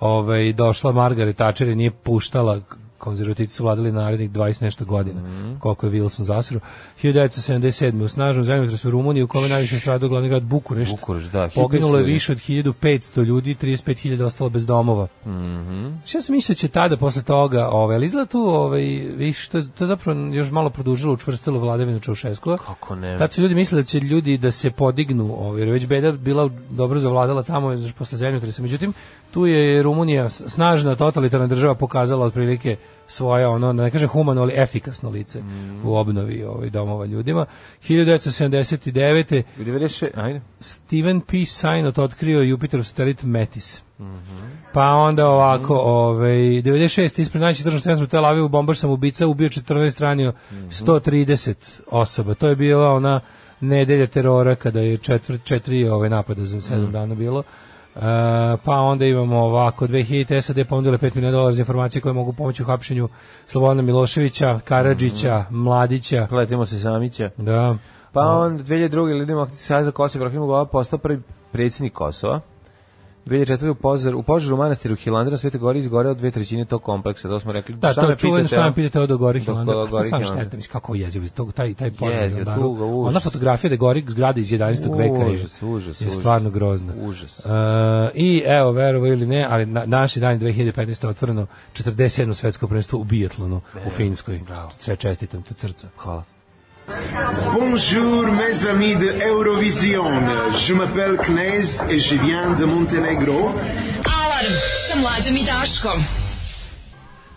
S7: ovaj, došla Margaret Thatcher i nije puštala konzervativci su vladali narednih 20 nešto godina, koliko je Wilson zasru. 1977. u snažnom zemljotresu u Rumuniji, u kome najviše stradao glavni grad Bukurešt.
S8: Bukurešt, da, 1500
S7: Poginulo je
S8: ljudi.
S7: više od 1500 ljudi, 35.000 ostalo bez domova.
S8: Mhm.
S7: Šta sam mislio da će tada posle toga, ovaj, ali izgleda tu, ovaj, viš, to, je- to je zapravo još malo produžilo, učvrstilo vladavinu Čaušeskova.
S8: Kako ne?
S7: Tad su ljudi mislili da će ljudi da se podignu, ovaj, jer je već beda bila u- dobro zavladala tamo još posle zemljotresa. Međutim, tu je Rumunija s- snažna totalitarna država pokazala otprilike svoje ono ne kažem humano ali efikasno lice
S8: Mhm.
S7: u obnovi ovaj domova ljudima 1979.
S8: 96, ajde.
S7: Steven P. Sinot otkrio Jupiterov satelit Metis. Pa onda ovako, ovaj 96 ispred najvećeg državnog centra u Tel Avivu bombar sam ubica, ubio 14 ranio 130 osoba. To je bila ona nedelja terora kada je četvr, četiri ovaj napada za 7 dana bilo. E, pa onda imamo ovako 2000 SAD ponudile 5 miliona dolara za informacije koje mogu pomoći u hapšenju Slobodana Miloševića, Karadžića, Mladića.
S8: Letimo se Samića.
S7: Da.
S8: Pa on 2002. Lider Demokratski savez Kosova Ibrahim Glava postao prvi predsjednik Kosova. 2004. u požaru, u požaru u manastiru Hilandara na Svete Gori izgoreo dve trećine tog kompleksa. To smo rekli.
S7: Da,
S8: Šta
S7: to
S8: me
S7: je čuveno
S8: pitate,
S7: šta
S8: ono?
S7: me pitate od Gori
S8: Dok
S7: Hilanda.
S8: Gori
S7: Šta sam
S8: Hilandar.
S7: šteta, mislim, kako je jezivo, to, taj, taj požar.
S8: Jezivo,
S7: na Hilandaru.
S8: tuga, užas.
S7: Ona fotografija da gori zgrada iz 11. veka je,
S8: Užas, užas,
S7: je
S8: užas.
S7: stvarno grozna.
S8: Užas.
S7: E, I evo, verovo ili ne, ali na, naši dan 2015. otvoreno 47. svetsko prvenstvo u bijatlonu u Finskoj. Sve čestitam, to crca.
S8: Hvala.
S2: Bonjour mes amis de Eurovision. Je m'appelle Knez et je viens de Montenegro.
S5: Alarm sa mlađom i Daškom.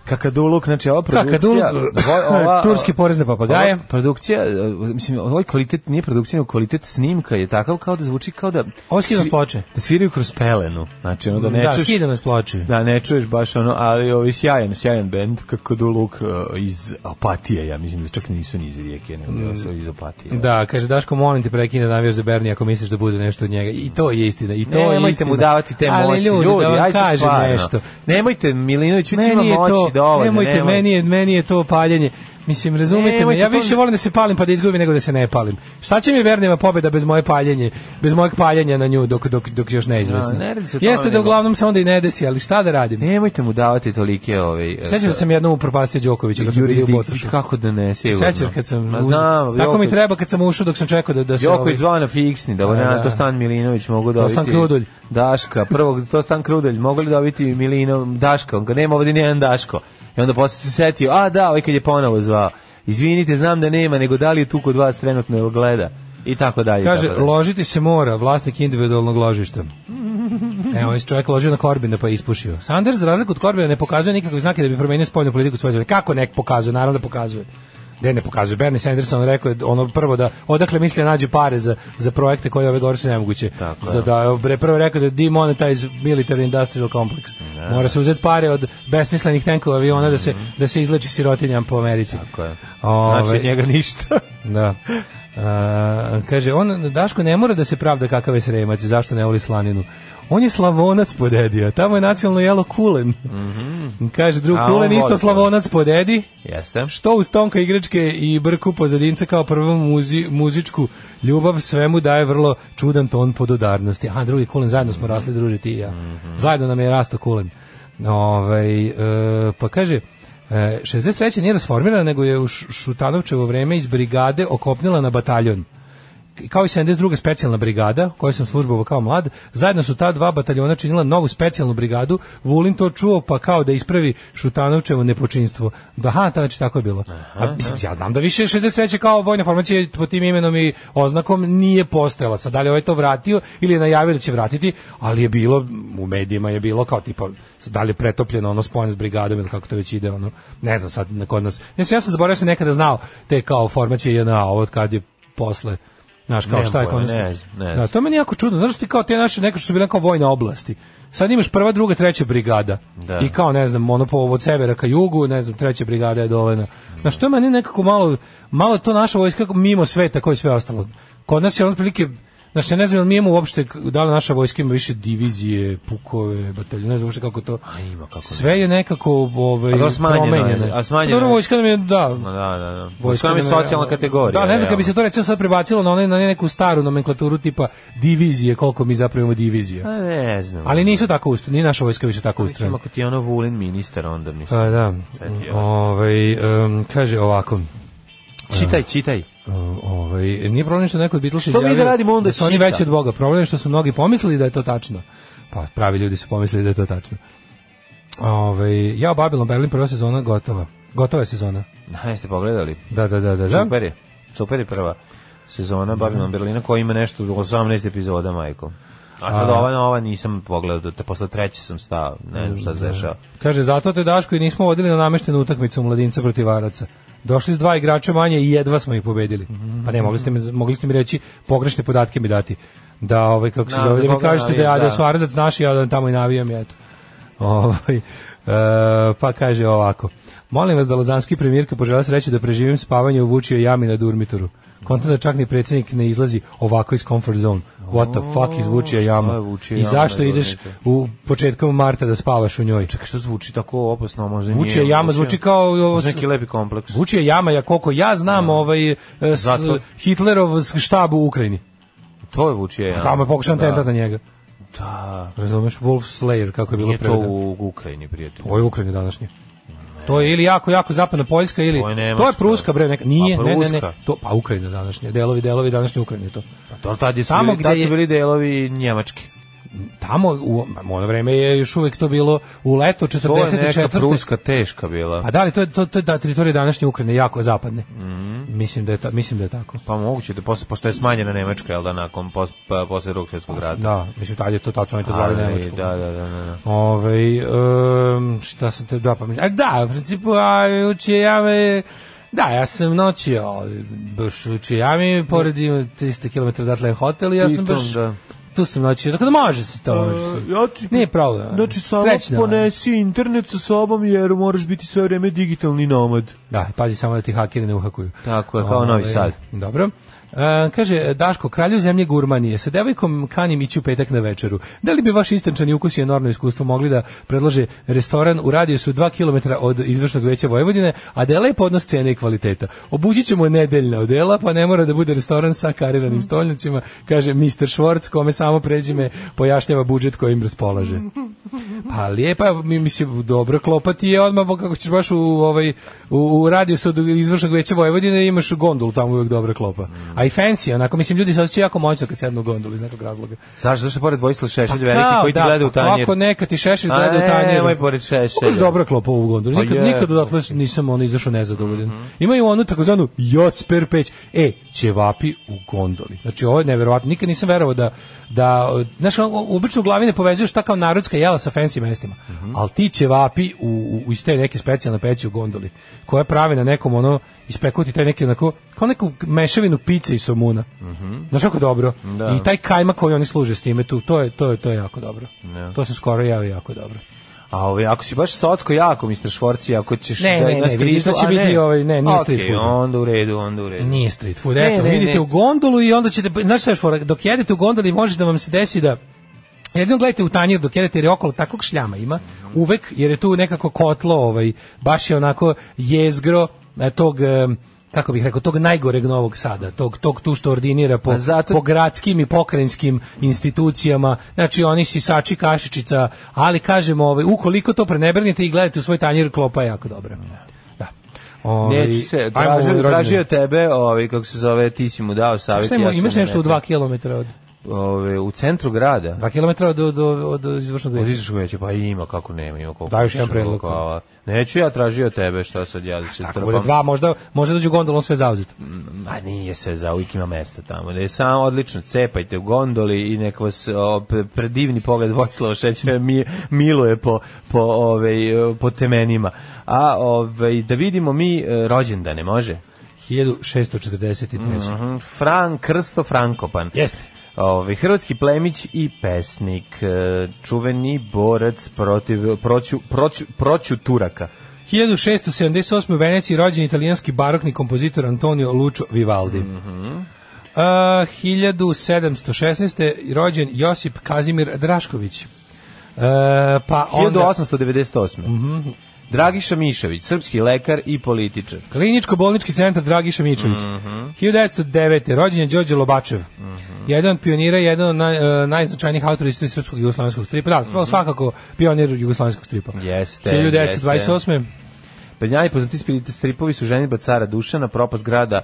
S8: Kakaduluk, znači ova produkcija...
S7: Kakaduluk,
S8: vo- ova-
S7: turski porez na papagaje.
S8: ova Produkcija, e, mislim, ovaj kvalitet nije produkcija, nego kvalitet snimka je takav kao da zvuči kao da...
S7: Ovo skidam
S8: svi-
S7: s ploče.
S8: Da sviraju kroz pelenu. Znači, ono da ne
S7: da,
S8: čuješ...
S7: skidam s ploče.
S8: Da, ne čuješ baš ono, ali ovi sjajan, sjajan bend, kako do luk iz Opatije, ja mislim da čak nisu ni iz Rijeke, nego da su iz Opatije.
S7: Da, kaže Daško, molim te prekine navijaš za Berni ako misliš da bude nešto od njega. I to je istina, i to
S8: Ne,
S7: je
S8: nemojte
S7: istina.
S8: mu davati te moći,
S7: Ali ljudi, da vam
S8: aj sad
S7: kažem
S8: stvarno.
S7: nešto.
S8: Nemojte, Milinović, već ima
S7: meni je
S8: moći ovaj,
S7: to,
S8: dovoljno.
S7: nemojte,
S8: nemoj.
S7: meni je, meni je to paljenje. Mislim, razumete me,
S8: Nemojte,
S7: ja
S8: to
S7: više
S8: ne-
S7: volim da se palim pa da izgubim nego da se ne palim. Šta će mi Verneva pobeda bez moje paljenje, bez mojeg paljenja na nju dok, dok, dok još neizvesno?
S8: Da, ne radi se o tome,
S7: Jeste da
S8: nego-
S7: uglavnom se onda i ne desi, ali šta da radim?
S8: Nemojte mu davati tolike ovaj, e, ove...
S7: Sećam se da sam jednom upropastio Đokovića kad sam bio u Botošu.
S8: Kako da ne, sigurno.
S7: Sećaš kad sam
S8: Ma
S7: uzeo-
S8: znam,
S7: Tako mi
S8: Joković-
S7: treba kad sam ušao dok sam čekao da, da se... ovaj-
S8: Joković zvao na fiksni, da
S7: Da, da.
S8: na to stan Milinović mogu dobiti.
S7: Tostan Krudulj.
S8: Daška, prvog to stan Krudulj, mogli dobiti Milino, Daška, on ga nema ovdje nijedan Daško. I onda posle se setio, a da, ovaj kad je ponovo zvao. Izvinite, znam da nema, nego da li je tu kod vas trenutno ili gleda? I tako dalje. i
S7: Kaže,
S8: tako dalje.
S7: ložiti se mora, vlasnik individualnog ložišta. Evo, ovaj se čovjek ložio na Korbina pa je ispušio. Sanders, za razliku od Korbina, ne pokazuje nikakve znake da bi promenio spoljnu politiku svoje zemlje. Kako nek pokazuje? Naravno da pokazuje. Gde ne pokazuje? Bernie Sanders on rekao je ono prvo da odakle misle nađe pare za, za projekte koje ove gore su nemoguće.
S8: Tako
S7: da,
S8: je.
S7: da, bre, prvo je rekao da je demonetize military industrial complex. Mora se uzeti pare od besmislenih tenkova aviona da se, da se izleči sirotinjam po Americi.
S8: Tako je.
S7: Ovaj-
S8: Znači, od njega ništa.
S7: da. A, kaže, on, Daško ne mora da se pravda kakav je sremac i zašto ne voli slaninu. On je slavonac po dedi, a tamo je nacionalno jelo kulen. Kaže, drug
S8: Mhm. A on
S7: kulen isto
S8: voli
S7: slavonac po dedi.
S8: Jeste.
S7: Što uz tonka igračke i brku pozadinca kao prvu muzi, muzičku ljubav svemu daje vrlo čudan ton pododarnosti. Aha, drugi kulen, zajedno smo rasli, druže, ti i ja. Zajedno nam je rasto kulen. Ovaj, e, pa kaže, e, 63. nije rasformirana, nego je u Š- Šutanovčevo vreme iz brigade okopnila na bataljon kao i 72. specijalna brigada, u kojoj sam službovao kao mlad, zajedno su ta dva bataljona činila novu specijalnu brigadu. Vulin to čuo, pa kao da ispravi Šutanovčevo nepočinstvo. Da, aha, ta, znači, tako je bilo. A, mislim, ja znam da više 63. kao vojna formacija po tim imenom i oznakom nije postojala. Sad, da li je ovaj to vratio ili je najavio da će vratiti, ali je bilo, u medijima je bilo kao tipa, da li je pretopljeno ono spojeno s brigadom ili kako to već ide, ono, ne znam sad na kod nas. Mislim, ja sam zaboravio da sam nekada znao te kao formacije JNA, ovo od kad je posle Znaš, kao
S8: Nemam
S7: šta je
S8: pojma,
S7: konačno?
S8: ne znam, ne znam.
S7: Da, to meni je jako čudno. Znaš ti kao te naše neka što su bile kao vojne oblasti. Sad imaš prva, druga, treća brigada.
S8: Da.
S7: I kao, ne znam, ono po od severa ka jugu, ne znam, treća brigada je dole na... Znaš, to je meni nekako malo, malo je to naša vojska mimo sveta koji sve ostalo. Kod nas je on prilike, znaš, ja ne znam, jel mi imamo uopšte, k- da li naša vojska ima više divizije, pukove, bataljone, ne znam uopšte kako to...
S8: A ima kako ne.
S7: Sve je nekako ovaj,
S8: A dobro, smanjeno je,
S7: promenjeno. Pa
S8: a smanjeno
S7: Dobro,
S8: je.
S7: vojska nam je, da,
S8: Da, da, da.
S7: Vojska
S8: Vojska nam je
S7: nema-
S8: socijalna kategorija.
S7: Da, ne znam, kad bi se
S8: realno.
S7: to recimo sad prebacilo na, one, na neku staru nomenklaturu tipa divizije, koliko mi zapravo imamo divizija.
S8: A Pa ne znam.
S7: Ali nisu tako ustrojeni, nije naša vojska više tako
S8: Mislim,
S7: ustrojena.
S8: ako ti je ono Vulin ministar, onda mislim.
S7: Pa da,
S8: Setio sam.
S7: ovaj, em, kaže ovako,
S8: Čitaj, čitaj.
S7: em, ovaj, nije problem što neko od Beatlesa
S8: Što mi da
S7: izjavio
S8: radimo onda
S7: da su oni
S8: čita?
S7: veći od Boga. Problem je što su mnogi pomislili da je to tačno. Pa pravi ljudi su pomislili da je to tačno. Ovaj, ja Babylon Berlin prva sezona gotova. Gotova je sezona.
S8: Da, jeste pogledali?
S7: Da, da, da, da. da.
S8: Super je. Super je prva sezona Babylon Berlina koja ima nešto 18 epizoda, majko. A sad
S7: A-
S8: ova nova nisam pogledao, te posle treće sam stao, ne znam šta se dešava.
S7: Kaže, zato te Daško i nismo vodili na nameštenu utakmicu mladinca protiv Varaca. Došli s dva igrača manje i jedva smo ih pobedili. Pa ne, mogli ste mi, mogli ste mi reći, pogrešne podatke mi dati. Da, ovaj, kako se
S8: Da,
S7: zove,
S8: za
S7: da mi
S8: koga
S7: kažete da, ja,
S8: navijaš,
S7: da
S8: da.
S7: su Aranac naši, ja da tamo i navijam, i eto. Ovaj, e, pa kaže ovako. Molim vas da Lozanski premijerka požela sreću da preživim spavanje u Vučijoj jami na Durmitoru. Kontam da čak ni predsjednik ne izlazi ovako iz comfort zone. What the fuck iz Vučija
S8: šta
S7: jama?
S8: je Vučija
S7: I
S8: jama
S7: zašto
S8: na
S7: ideš
S8: Durmitoru?
S7: u početkom marta da spavaš u njoj?
S8: Čekaj, što zvuči tako opasno, možda
S7: Vučija
S8: nije.
S7: jama zvuči kao i ovo
S8: Možda
S7: s-
S8: neki lepi kompleks.
S7: Vučija jama, ja koliko ja znam, ovaj e, s-
S8: Zatvor.
S7: Hitlerov štab u Ukrajini.
S8: To je Vučija jama.
S7: Tamo je pokušan
S8: Da.
S7: tentat na njega.
S8: Da.
S7: Razumeš? Wolf Slayer, kako je bilo
S8: Nije to
S7: prevedeno.
S8: u Ukrajini, prijatelj.
S7: Ovo je Ukrajina današnje. To je ili jako, jako zapadna Poljska ili...
S8: To je
S7: to je
S8: Nemačka.
S7: Pruska, bre, neka. Nije,
S8: Pa
S7: ne, ne, ne.
S8: Pruska.
S7: To, pa Ukrajina današnje, delovi, delovi današnje Ukrajine to.
S8: To tad je
S7: Tamo
S8: tamo
S7: gde
S8: gde tad
S7: je-
S8: su bili delovi Njemačke.
S7: Tamo, u, u ono vreme je još uvijek to bilo u leto
S8: To je neka
S7: 44.
S8: pruska teška bila.
S7: Pa da li, to je, to, to je da, teritorija današnje Ukrajine, jako zapadne.
S8: Mhm.
S7: Mislim, da je ta, mislim da je tako.
S8: Pa moguće da posle pošto je smanjena Nemačka, jel da nakon pos, pa, posle drugog svjetskog rata.
S7: Da, mislim, tad je to, tad su oni to zvali
S8: Ali,
S7: Nemačku.
S8: Da, da, da, da. da.
S7: Ovaj em, šta sam te da pa mislim. Da, u principu a uče ja me Da, ja sam noći baš u Čijami, pored ima 300 km odatle je hotel i ja sam
S8: Pritom,
S7: baš
S8: da. E,
S7: tu sam noći, tako da može se to. može se.
S8: Ja ti,
S7: Nije problem. ono.
S8: Znači, samo
S7: Srećno.
S8: ponesi internet sa sobom jer moraš biti sve vreme digitalni nomad.
S7: Da, pazi samo da ti hakeri ne uhakuju.
S8: Tako je, kao Novi
S7: Ovaj,
S8: Sad.
S7: Dobro. E, kaže Daško, kralju zemlje gurmanije, sa devojkom kanim ići u petak na večeru. Da li bi vaš istančani ukus i enormno iskustvo mogli da predlože restoran u radijusu 2 km od izvršnog veća Vojvodine, a dela je podnos cene i kvaliteta. Obući ćemo nedeljna odela, pa ne mora da bude restoran sa kariranim stolnicima, kaže Mr. Schwartz, kome samo pređime pojašnjava budžet kojim raspolaže. Pa lijepa, mi mislim, dobro klopati je odmah, bo kako ćeš baš u, ovaj, u, u radiju od izvršnog veća Vojvodine imaš gondolu, tamo uvijek dobra klopa. A A i fancy, onako, mislim, ljudi se osjećaju jako moćno kad sednu u gondolu iz nekog razloga.
S8: Zašto? Zašto pored Vojislav Šešelj veliki koji ti gleda u tanjir?
S7: Pa Ako neka ti šešelj
S8: A
S7: gleda u
S8: ne,
S7: tanjir.
S8: nemoj pored Šešelja.
S7: Uz dobro klopo u gondolu.
S8: Pa
S7: Nikad,
S8: je.
S7: nikad odatle nisam ono izašao nezadovoljan. Imaju onu takozvanu Josper peć. E, ćevapi u gondoli. Znači, ovo je neverovatno. Nikad nisam verovao da, da znaš, ono, obično u glavi ne povezuju šta kao narodska jela sa fancy mestima. Ali ti ćevapi u, u, u iz te neke specijalne peći u gondoli, koje prave na nekom ono, ispekuti taj neki onako, kao neku mešavinu pice i somuna. Znaš kako dobro? I taj kajma koji oni služe s time tu, to je, to je, to je jako dobro. To sam skoro jao i jako dobro.
S8: A ovaj, ako si baš sotko jako, Mr. Švorci, ako ćeš...
S7: Ne, ne,
S8: ima
S7: ne, vidiš da
S8: street-
S7: će
S8: a
S7: biti ovaj- ne, nije
S8: Okej,
S7: street food.
S8: onda u redu, onda u redu.
S7: Nije street food.
S8: Ne,
S7: Eto,
S8: ne,
S7: vidite
S8: ne.
S7: u gondolu i onda ćete, znaš šta je još fora? dok jedete u gondoli može da vam se desi da Jedino gledajte u tanjir dok jedete jer je okolo takvog šljama ima uvek jer je tu nekako kotlo ovaj baš je onako jezgro eh, tog eh, kako bih rekao tog najgoreg Novog Sada tog tog tu što ordinira po
S8: Pa zato-
S7: po gradskim i pokrajinskim institucijama znači oni sisači kašičica ali kažemo ovaj ukoliko to prenebrnete i gledate u svoj tanjir klopa je jako dobra da Ovaj,
S8: Neću se,
S7: ajmo u
S8: tražio,
S7: rođendan.
S8: tražio tebe, ovaj, kako se zove, ti si mu dao savjet.
S7: Šta ima,
S8: ja sam
S7: imaš
S8: mu
S7: nešto u
S8: rekao.
S7: 2 km od
S8: Ovaj, u centru grada.
S7: 2 km od, od, od, od izvršnog
S8: Od
S7: veća?
S8: izvršnog veća, pa ima, kako nema, ima koliko.
S7: Daj još jedan
S8: hoćeš,
S7: predlog.
S8: hvala. Neću ja tražio tebe, šta sad ja da se
S7: Ako bude
S8: trpam.
S7: dva, možda, možda dođu gondolom sve zauzeti.
S8: A nije sve za uvijek ima mesta tamo. Da je samo odlično, cepajte u gondoli i nek vas o, pre- predivni pogled Vojislava Šećera mi, miluje po, po, ovaj, e, po temenima. A ovaj, da vidimo mi e, rođendane, može?
S7: 1643.
S8: Mhm, Fran Krsto Frankopan.
S7: Jeste.
S8: Ovaj, hrvatski plemić i pesnik, e, čuveni borac protiv proću, proću, proću Turaka.
S7: 1678. u Veneciji rođen italijanski barokni kompozitor Antonio Lucio Vivaldi.
S8: Mhm.
S7: A, 1716. rođen Josip Kazimir Drašković. E, pa onda Mhm.
S8: 1898. Dragiša Mišović, srpski lekar i političar.
S7: Kliničko-bolnički centar Dragiša Mičović.
S8: Mhm.
S7: 1909. rođen je Đorđe Lobačev. Jedan od pionira, i jedan od naj, e, najznačajnijih autora istorije srpskog i jugoslovenskog stripa. Da, svakako pionir jugoslovenskog stripa.
S8: Mhm. Jeste,
S7: 1928.
S8: Pa najpoznatiji spiriti stripovi su ženitba cara Dušana, propast grada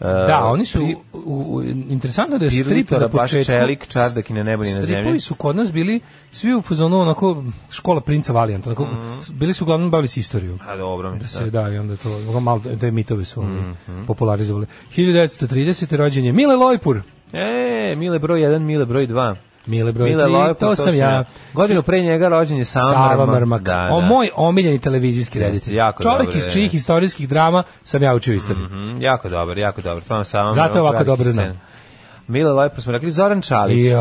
S8: e,
S7: Da, oni su,
S8: Pri-
S7: u, u, interesantno da je strip
S8: Pirlitora,
S7: na
S8: baš
S7: početku...
S8: čelik, čardak i na nebu i na zemlji.
S7: Stripovi su kod nas bili svi u fazonu onako škola princa Valijanta. Onako,
S8: Mhm.
S7: Bili su uglavnom bavili se istorijom.
S8: A dobro, mi
S7: Da
S8: se
S7: se da, i onda to, ovo malo te mitove su oni
S8: Mhm.
S7: popularizovali. 1930. rođen je Mile Lojpur.
S8: E, Mile broj 1, Mile broj 2.
S7: Mile broj
S8: Mile
S7: tri,
S8: Lojpur,
S7: to sam ja.
S8: Godinu pre njega rođen je Sava,
S7: Sava
S8: Marmak.
S7: Mrmak.
S8: Da,
S7: O
S8: da.
S7: moj omiljeni televizijski reditelj.
S8: jako
S7: Čovjek
S8: dobro
S7: iz
S8: je.
S7: čijih istorijskih drama sam ja učio istoriju.
S8: Mhm, jako dobar, jako dobar. Stvarno Sava
S7: Zato je
S8: Mrmak,
S7: ovako
S8: veliki
S7: dobro znam.
S8: scen. Mile Lojpur smo rekli, Zoran Čalić.
S7: Jo,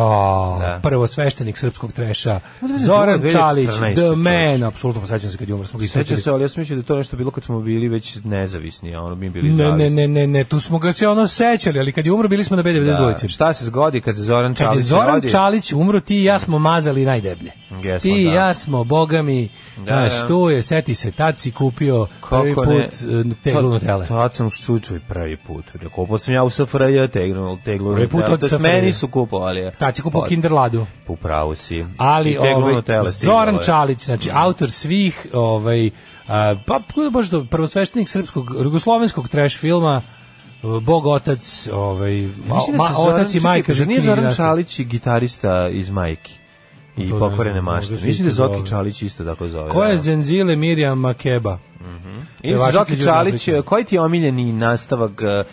S8: Da.
S7: prvo sveštenik srpskog treša.
S8: da,
S7: Zoran
S8: da, da,
S7: Čalić,
S8: 2014
S7: The
S8: čovječe.
S7: Man, apsolutno posjećam se kad je umro, smo ga
S8: Sećam
S7: ispričali.
S8: se, ali ja sam mislio da je to nešto bilo kad smo bili već nezavisni, a ono mi bili
S7: Ne,
S8: zavisni.
S7: ne, ne, ne, ne, tu smo ga se ono sećali, ali kad je umro bili smo na B92.
S8: Da,
S7: Da,
S8: šta se zgodi kad se Zoran Čalić
S7: Kad je Zoran
S8: rodi?
S7: Čalić umro, ti i ja smo mazali najdeblje.
S8: Jesmo,
S7: ti i
S8: da.
S7: ja smo, boga mi,
S8: Da,
S7: znaš,
S8: da.
S7: tu je, seti se, tad si kupio prvi
S8: Kako
S7: put
S8: ne?
S7: eh, teglu Nutelle.
S8: Tad sam šučuj prvi put. Kupao sam ja u SFRJ teglu, teglu
S7: Prvi put
S8: Nutelle.
S7: od
S8: To s
S7: SFRJ.
S8: meni su kupovali. je.
S7: Tad si kupao
S8: Pa,
S7: Kinder Ladu.
S8: U pravu si.
S7: Ali
S8: I teglu
S7: ovaj,
S8: Nutelle stiglo
S7: Zoran
S8: je.
S7: Čalić, znači
S8: Mhm.
S7: autor svih ovaj a, pa baš do prvosveštenik srpskog jugoslovenskog trash filma eh, Bog otac, ovaj ma,
S8: Mislim da
S7: ma-
S8: se Zoran-
S7: otac i
S8: čekaj, pa
S7: majka
S8: zar nije
S7: Žikini,
S8: Zoran
S7: znaš kako.
S8: Čalić i gitarista iz Majki? I
S7: Pa To ne
S8: pokvarene
S7: znam,
S8: mašte.
S7: možda se
S8: Mislim da je
S7: isto
S8: Zoki
S7: zove.
S8: Čalić isto tako zove.
S7: Ko je
S8: da.
S7: Zenzile Mirjam Makeba?
S8: Ili
S7: Pevačica
S8: Zoki
S7: Đurđe
S8: Čalić,
S7: Obrić.
S8: koji ti je omiljeni nastavak e,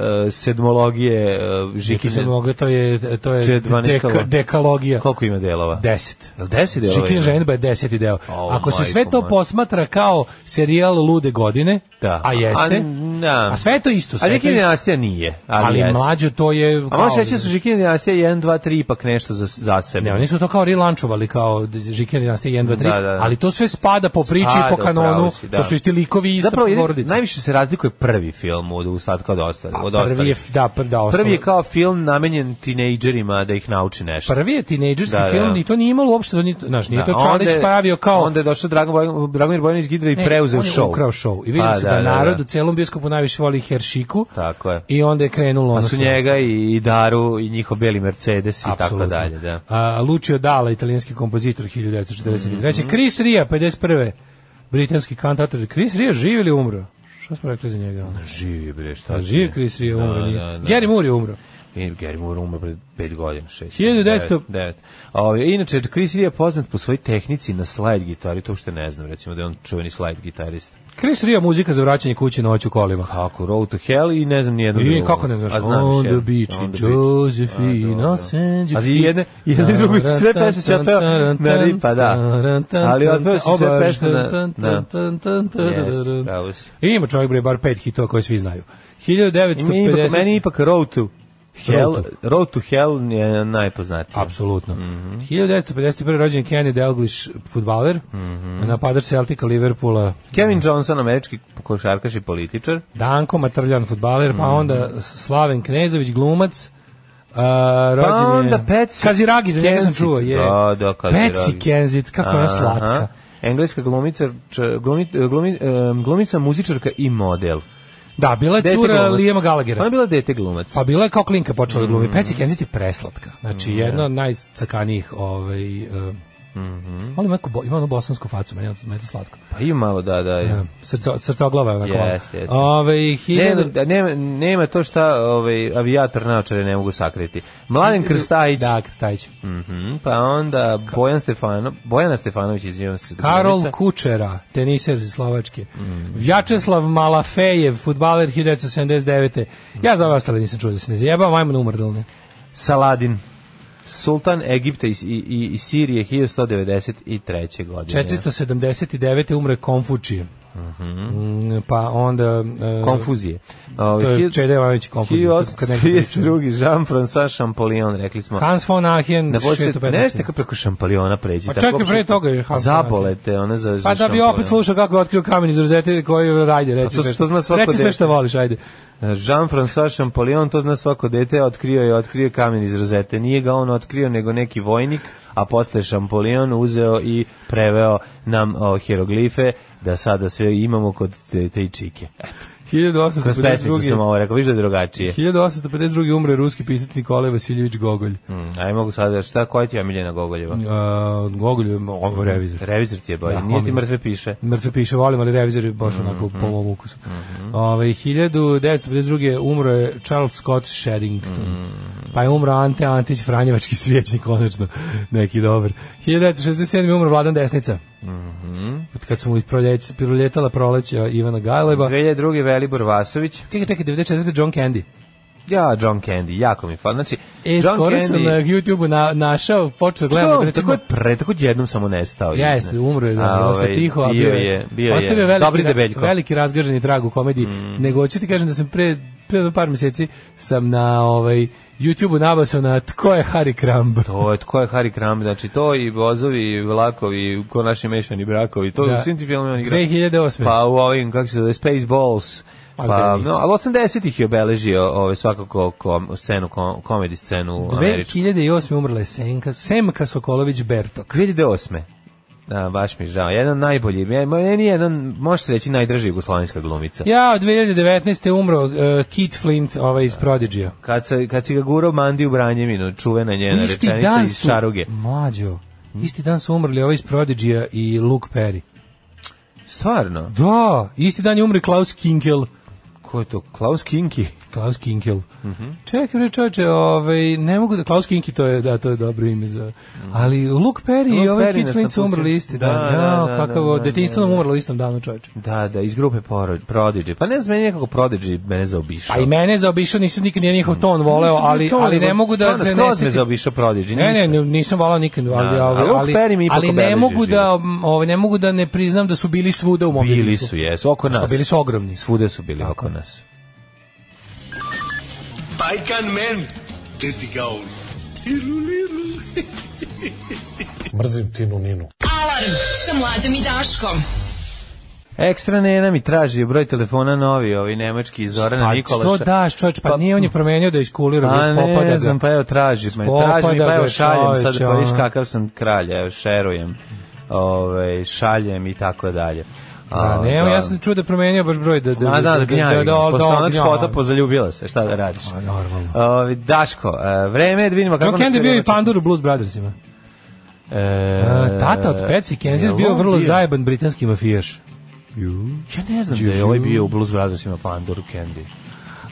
S8: e, sedmologije e,
S7: Žiki se
S8: Žikine?
S7: mogu, to je, to je
S8: Če- 12
S7: deka-
S8: kalorija.
S7: dekalogija.
S8: Koliko ima delova?
S7: 10.
S8: Jel deset delova
S7: Žikina
S8: ima?
S7: ženidba je deseti deo.
S8: O,
S7: Ako se sve
S8: majko
S7: to
S8: moja.
S7: posmatra kao serijal Lude godine,
S8: Da.
S7: a jeste,
S8: A, da.
S7: a sve je to isto. sve
S8: A
S7: je to
S8: Žikine
S7: isto.
S8: dinastija nije. Ali,
S7: ali
S8: jeste.
S7: mlađo to je...
S8: A
S7: kao-
S8: možeš reći da su Žikine dinastije 1, 2, 3 ipak nešto za, za sebe.
S7: Ne, oni su to kao relančovali kao Žikina dinastija 1, 2, 3,
S8: Da, da, da.
S7: ali to sve spada po priči
S8: Spada,
S7: i po kanonu,
S8: upravo si, da.
S7: to su isti likovi i ista
S8: Zapravo, jedin-
S7: porodica. Pa
S8: najviše se razlikuje prvi film od Ustatka od ostalih. od
S7: Prvi je,
S8: ostalih.
S7: da, prvi, da,
S8: Prvi
S7: ostalo-
S8: je kao film namenjen tinejdžerima da ih nauči nešto.
S7: Prvi je tinejdžerski
S8: Da, da.
S7: film i to nije imalo uopšte, da ni- znaš, nije
S8: Da,
S7: to
S8: a
S7: Čalić
S8: je-
S7: pravio kao...
S8: Onda je došao Dragan Boj- Dragomir Bojanić Gidra i
S7: Ne,
S8: preuzeo
S7: on je
S8: show.
S7: ukrao show. I vidjeli
S8: Pa,
S7: su da,
S8: da, da,
S7: narod
S8: da.
S7: u celom bioskopu najviše voli Heršiku.
S8: Tako je.
S7: I onda je krenulo
S8: Pa
S7: ono
S8: su
S7: sve
S8: njega i, i Daru i njihov beli Mercedes i
S7: Apsolutno.
S8: tako dalje. Da.
S7: A, Lucio Dalla, italijanski kompozitor
S8: Mhm.
S7: 1943. Chris Ria, 51. Britanski kantator. Chris Ria živ ili umro? Šta smo rekli za njega? ono?
S8: Živi bre, šta?
S7: A
S8: ti
S7: živ
S8: ne?
S7: Chris Ria
S8: Da,
S7: umro. nije.
S8: da, da.
S7: Gary Moore je umro.
S8: I Gary Moore umro pred 5 godina, 6.
S7: 1900.
S8: 9. inače, Chris Rea je poznat po svojoj tehnici na slide gitari, to uopšte ne znam, recimo da je on čuveni slide gitarista.
S7: Chris Ria muzika za vraćanje kući noću kolima.
S8: Kako, Road to Hell i ne znam nijedno
S7: I kako ne znaš,
S8: A znam
S7: on
S8: još
S7: the
S8: jednu.
S7: beach,
S8: On the A,
S7: Josephine,
S8: dobro.
S7: send you
S8: A i jedne, i jedne i druge su sve pesme se otpeo na ripa, da. Ali otpeo su sve pesme na... da. Jeste, pravo si.
S7: Ima čovjek bre bar pet hitova koje svi znaju.
S8: I mi je ipak, meni je
S7: 1950...
S8: ipak Road to Hell,
S7: Road
S8: Road to Hell je najpoznatiji.
S7: Apsolutno.
S8: Mhm.
S7: 1951. rođen Kenny Dalglish, futbaler,
S8: Mhm.
S7: napadač Celtica Liverpoola,
S8: Kevin Johnson, američki košarkaš i političar.
S7: Danko Matrljan, futbaler,
S8: Mm.
S7: pa onda Slaven Knezović, glumac, a, rođen
S8: Pa
S7: je-
S8: onda Patsy
S7: Kaziragi, za njega sam
S8: Kensit.
S7: čuo, je.
S8: Da, da, Kaziragi.
S7: Patsy Kenzit, kako je ona slatka.
S8: Aha. Engleska glumica, č- glumi, glumi, em, glumica, muzičarka i model.
S7: Da, bila je
S8: Dete
S7: cura
S8: glumac.
S7: Lijema
S8: Ona je Mm.
S7: Galagera.
S8: bila dete glumac.
S7: Pa bila je kao klinka počela da glumi. Patsy Kensett je preslatka. Znači,
S8: Mm.
S7: jedna od najcakanijih, ovaj, uh,
S8: Mhm.
S7: ali ima, neku bo- ima onu bosansku facu, meni je to- meni je to slatko.
S8: Pa ima malo, da, da.
S7: Ja.
S8: Ja.
S7: Srca, srcoglava je onako. malo.
S8: Jeste, jeste.
S7: Ove,
S8: Nema,
S7: hiljadu-
S8: da, nema, nema to šta ovaj, avijator naočare ne mogu sakriti. Mladen Krstajić,
S7: Da, Krstajić.
S8: mhm, pa onda Bojan Stefano, Bojana Stefanović, izvijem se.
S7: Karol
S8: glumica.
S7: Kučera, teniser iz Slovačke.
S8: Mm.
S7: Vjačeslav Malafejev, futbaler 1979. Ja za vas ali nisam čuo da se ne zajebam, ajmo na umrdalne.
S8: Saladin, Sultan Egipta i, i, i- i Sirije 1193. godine.
S7: 479. umre Konfučije.
S8: Mhm.
S7: Mm, Pa onda... e,
S8: Konfuzije. Ovaj,
S7: To je
S8: hil-
S7: Čede Jovanović Konfuzije. kad neko priča.
S8: 1832. Jean-François Champollion, rekli smo.
S7: Hans von Aachen,
S8: Da počne, nešto
S7: 615.
S8: kako preko Champolliona pređi.
S7: Pa
S8: tako
S7: čekaj, pre
S8: opšte-
S7: toga je Hans von Aachen.
S8: Zabolete, ona za, za
S7: Pa da bi
S8: Champollion.
S7: opet slušao kako je otkrio kamen iz rozete koji rajde,
S8: A
S7: reci
S8: to-
S7: sve
S8: to zna
S7: što,
S8: svako
S7: reci sve
S8: dete.
S7: što voliš, ajde.
S8: Jean-François Champollion, to zna svako dete, otkrio je, otkrio je kamen iz rozete. Nije ga on otkrio, nego neki vojnik, a posle je Champollion uzeo i preveo nam o, hieroglife, da sada sve imamo kod te, te i čike. Eto, kroz pesmicu sam
S7: 1852.
S8: ovo rekao, viš da je drugačije.
S7: 1852. umre ruski pisac Nikolaj Vasiljević Gogolj.
S8: Mm, aj mogu sada, šta, koja ti je Miljana Gogoljeva?
S7: Uh, Gogolj je ovo revizor.
S8: Revizor ti je bolje,
S7: Da,
S8: nije ti
S7: omiljen.
S8: mrtve piše.
S7: Mrtve piše, volim, ali revizor je baš onako
S8: Mhm,
S7: po mom ukusu. Ovaj, 1952. umro je Charles Scott Sherrington.
S8: Mhm.
S7: Pa je umro Ante Antić, Franjevački svjećnik, konačno. Neki dobar. 1967. je umro Vladan Desnica.
S8: Mhm.
S7: Od Kad su mu isproljeć- proljetala proleća Ivana Gajleba.
S8: 2002. Velibor Vasović.
S7: Čekaj, čekaj, 94. John Candy.
S8: Ja, John Candy, jako mi fali. Znači,
S7: E,
S8: John
S7: skoro sam na
S8: Candy...
S7: YouTube-u na, našao, počeo gledam.
S8: Tako,
S7: recimo-
S8: tako je pre, tako jednom samo nestao.
S7: Jeste, umro je,
S8: Pa A,
S7: da, dosta
S8: ovaj,
S7: tiho, a
S8: bio je, bio je.
S7: ostavio veliki,
S8: Dobri
S7: ra-
S8: debeljko. Mm.
S7: veliki razgaženi trag u komediji. Nego hoću ti kažem da sam pre, pre jedno par mjeseci sam na ovaj, YouTube-u nabasao na tko je Harry Kramb.
S8: To je, tko je Harry Kram, znači to i vozovi, i vlakovi, ko naši mešani brakovi, to
S7: Da.
S8: u svim ti filmima on igra.
S7: 2008.
S8: Pa u ovim, kako se zove, Spaceballs.
S7: Pa
S8: Pa,
S7: gde nije.
S8: no, ali 80-ih je obeležio ove, svakako kom, scenu, kom, komedi scenu američku.
S7: 2008. umrla je Senka, Semka Sokolović Bertok.
S8: 2008. Da, baš mi je žao. Jedan najbolji, ja- meni je jedan, može se reći, najdrža jugoslovenska glumica.
S7: Ja, od 2019. je umro uh, Keith Flint, ovaj iz Prodigy-a.
S8: Kad, se, kad si ga gurao Mandi u Branjevinu, čuvena njena rečenica iz Hm? Čaruge.
S7: Mlađo, isti dan su umrli ovaj iz Prodigy-a i Luke Perry.
S8: Stvarno?
S7: Da, isti dan je umri Klaus Kinkel.
S8: Ko je to? Klaus Kinki?
S7: Klaus Kinkel.
S8: Mhm.
S7: Čekaj, bre čoveče, ovaj, ne mogu da... Klaus Kinki, to je, da, to je dobro ime za... Ali Luke Perry i
S8: Mhm. Luke
S7: ovaj
S8: Perry
S7: Kid
S8: nas
S7: Flint su
S8: napustio.
S7: umrli isti
S8: Da,
S7: dan.
S8: da,
S7: Jao,
S8: da,
S7: kakav,
S8: da, da,
S7: detinjstvo nam
S8: da.
S7: umrlo istom danu, čoveče.
S8: Da, da, iz grupe Poro- Prodigy. Pa ne znam, meni nekako Prodigy mene zaobišao.
S7: Pa i mene je zaobišao, nisam nikad nije njihov ton voleo,
S8: Nisam
S7: ali,
S8: ni to,
S7: ali ne
S8: nego
S7: mogu da
S8: stvarno
S7: se
S8: skroz
S7: ne
S8: me
S7: setim.
S8: zaobišao Prodigy.
S7: Ne, ne,
S8: ništa.
S7: ne, nisam volao nikad, ali,
S8: Da,
S7: ali,
S8: a Luke
S7: ali,
S8: Perry mi ipak
S7: ali ne
S8: obeleži
S7: mogu da,
S8: život.
S7: m, ovaj, ne mogu da ne priznam da su bili svuda u mom
S8: Bili
S7: biznisu.
S8: su, jesu, oko nas.
S7: Bili su ogromni.
S8: Svude su bili oko nas.
S9: Pajkan men, teti gaun.
S10: Mrzim Tinu Ninu.
S5: Alarm sa mlađom i Daškom.
S8: Ekstra Nena mi traži broj telefona novi, ovi nemački iz Zorana
S7: Pa
S8: Nikolaša.
S7: što daš, čovječ, pa,
S8: Pa-
S7: nije on je promenio da iskulira,
S8: A
S7: već popada
S8: ne
S7: ga.
S8: znam, pa evo traži me,
S7: Spopada
S8: traži mi, pa
S7: ga,
S8: evo šaljem sad,
S7: čoveče,
S8: pa vidiš
S7: ono.
S8: kakav sam kralj, evo šerujem, ove, šaljem i tako dalje.
S7: A, ne, evo, ja sam čuo da je promenio baš broj da da
S8: A da, da gnjavi
S7: da,
S8: ga.
S7: da,
S8: Posle ona
S7: gnjava.
S8: škoda pozaljubila se, šta da radiš?
S7: A, normalno.
S8: Ovi, Daško, e, vreme je da vidimo
S7: John
S8: kako...
S7: Candy
S8: nas
S7: je bio i
S8: sve
S7: pandur u Blues Brothersima.
S8: E,
S7: A, tata od Patsy Kenzie
S8: jel
S7: bio
S8: on
S7: vrlo zajeban britanski mafijaš.
S8: Ja ne znam da je ovaj bio u Blues Brothersima Pandora Candy.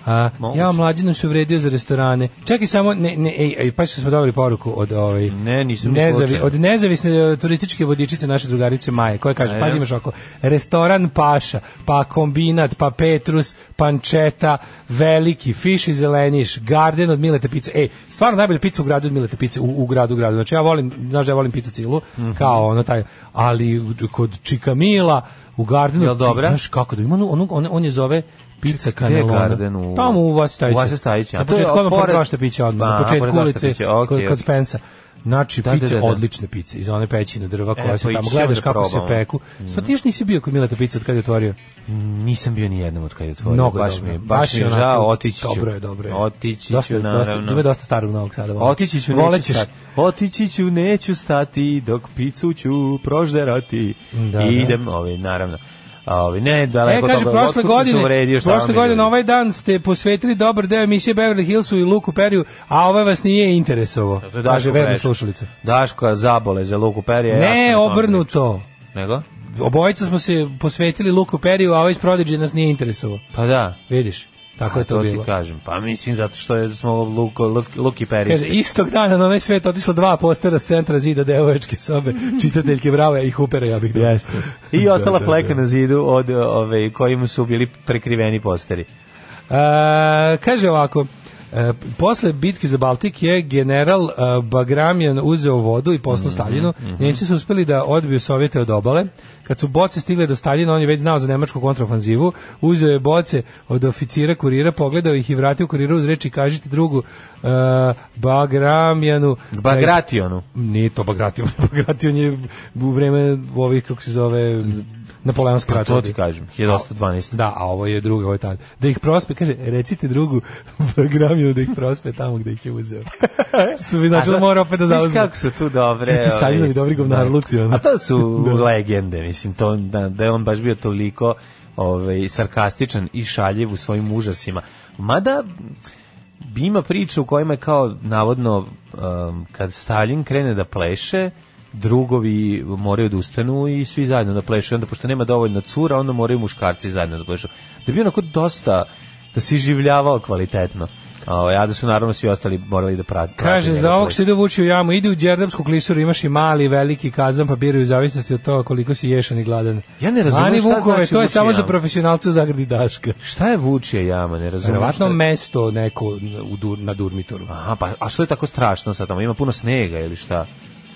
S7: A,
S8: Moguće.
S7: ja mlađinu se uvredio za restorane. Čekaj samo, ne, ne, ej, ej, pa smo dobili poruku od ovaj,
S8: Ne, nisam ni slučajno.
S7: od nezavisne e, turističke vodičice naše drugarice Maje, koja kaže,
S8: Ajde.
S7: pazi imaš oko, restoran Paša, pa kombinat, pa Petrus, pančeta, veliki, fiš i zeleniš, garden od Milete pice. Ej, stvarno najbolja pizza u gradu od Milete pice, u, u gradu, u gradu. Znači ja volim, znaš da ja volim pizza cilu,
S8: Mhm.
S7: kao ono taj, ali kod Čikamila, u gardenu,
S8: Jel dobra?
S7: znaš kako da ima, onu- onu- on, on je zove pizza
S8: Gde je
S7: Kanelona.
S8: garden u-
S7: Tamo u Vastajića.
S8: U Vase Stajića.
S7: Na
S8: A to je
S7: početku odmah pored
S8: pored-
S7: Vašta pića odmah.
S8: Aha,
S7: Na početku
S8: pored Vašte
S7: ulice
S8: pića, okej,
S7: kod, kod
S8: okej.
S7: Spensa. Znači,
S8: Da, da,
S7: piće
S8: da, da.
S7: odlične pice iz one pećine drva koja
S8: pa
S7: se tamo
S8: ići ćemo
S7: gledaš
S8: da
S7: kako se
S8: probamo. Mhm.
S7: peku. Sva ti još nisi bio kod Mileta pica od kada je otvorio?
S8: Nisam bio ni jednom od kad je otvorio.
S7: Mnogo je
S8: baš
S7: dobro.
S8: mi je, baš, mi je
S7: onako,
S8: žao, otići ću.
S7: Dobro je, dobro je.
S8: Otići ću,
S7: dosta, Dosta,
S8: naravno.
S7: ima dosta starog novog sada. volim.
S8: Otići ću, neću
S7: Volećeš.
S8: stati. Otići ću, neću stati, dok picu ću prožderati.
S7: Da,
S8: I
S7: da.
S8: idem, ovaj, naravno. A, Ovaj, ne,
S7: E,
S8: daleko
S7: kaže,
S8: dobro,
S7: prošle
S8: otkud sam se
S7: godine,
S8: uvredio, šta vam
S7: prošle
S8: je?
S7: godine na ovaj dan ste posvetili dobar deo emisije Beverly Hillsu i Luku Periju, a ovaj vas nije interesovao.
S8: To je Daško
S7: Kaže, verni
S8: Pereć.
S7: slušalica.
S8: Daško zabole za Luku Perija. E, ja sam o
S7: Ne,
S8: tome
S7: obrnuto.
S8: pričao. Nego?
S7: Obojica smo se posvetili Luku Periju, a ovaj iz Prodigy nas nije interesovao.
S8: Pa da.
S7: Vidiš, tako
S8: A
S7: je to,
S8: ti
S7: bilo.
S8: kažem. Pa mislim, zato što je, smo Luko, Luk- Luki Perija.
S7: Kaže, istog dana na onaj svet otišla dva postera s centra zida devoječke sobe, čitateljke brava i hupera, ja bih dao. Jeste.
S8: I ostala fleka na zidu od ove kojim su bili prekriveni posteri.
S7: E, kaže ovako, e, posle bitke za Baltik je general e, Bagramjan uzeo vodu i
S8: Mhm,
S7: poslao Staljinu. Njemci su uspeli da odbiju Sovjete od obale. Kad su boce stigle do Staljina, on je već znao za nemačku kontraofanzivu. Uzeo je boce od oficira kurira, pogledao ih i vratio kurira uz reči kažite drugu e, Bagramjanu. da-
S8: Bagrationu.
S7: Nije to Bagration. Bagration je u vreme ovih, kako se zove, Napoleonske
S8: Pa to
S7: ratove.
S8: ti kažem, 1812.
S7: Da, a ovo je drugo, ovo je tad. Da ih prospe, kaže, recite drugu programiju da ih prospe tamo gde ih je uzeo. Što bi
S8: A
S7: značilo
S8: da-
S7: mora opet da
S8: Znaš
S7: zauzme.
S8: kako su tu dobre.
S7: Ti Staljinovi
S8: ovi-
S7: dobri govnar Luci, ono.
S8: A to su legende, mislim, to, da, da je on baš bio toliko ovaj, sarkastičan i šaljiv u svojim užasima. Mada bi ima priča u kojima je kao navodno em, kad Stalin krene da pleše drugovi moraju da ustanu i svi zajedno da plešu. I Onda, pošto nema dovoljno cura, onda moraju muškarci zajedno da plešu. Da bi onako dosta, da se življavao kvalitetno. Ovaj, A, a da su naravno svi ostali morali da prate.
S7: Kaže,
S8: prate
S7: za
S8: njega
S7: ovog
S8: plešu.
S7: se ide vući u jamu, idi u Đerdapsku klisuru, imaš i mali, i veliki kazan, pa biraju u zavisnosti od toga koliko si ješan i gladan.
S8: Ja ne razumem
S7: Mani
S8: šta
S7: Vukove,
S8: znači
S7: to je
S8: vući
S7: samo
S8: jamu.
S7: za profesionalce u zagradi Daška.
S8: Šta je vučija jama, ne razumijem.
S7: Verovatno
S8: šta je-
S7: mesto neko u dur, na Durmitoru.
S8: Aha, pa, a što je tako strašno sad tamo? Ima puno snega ili šta?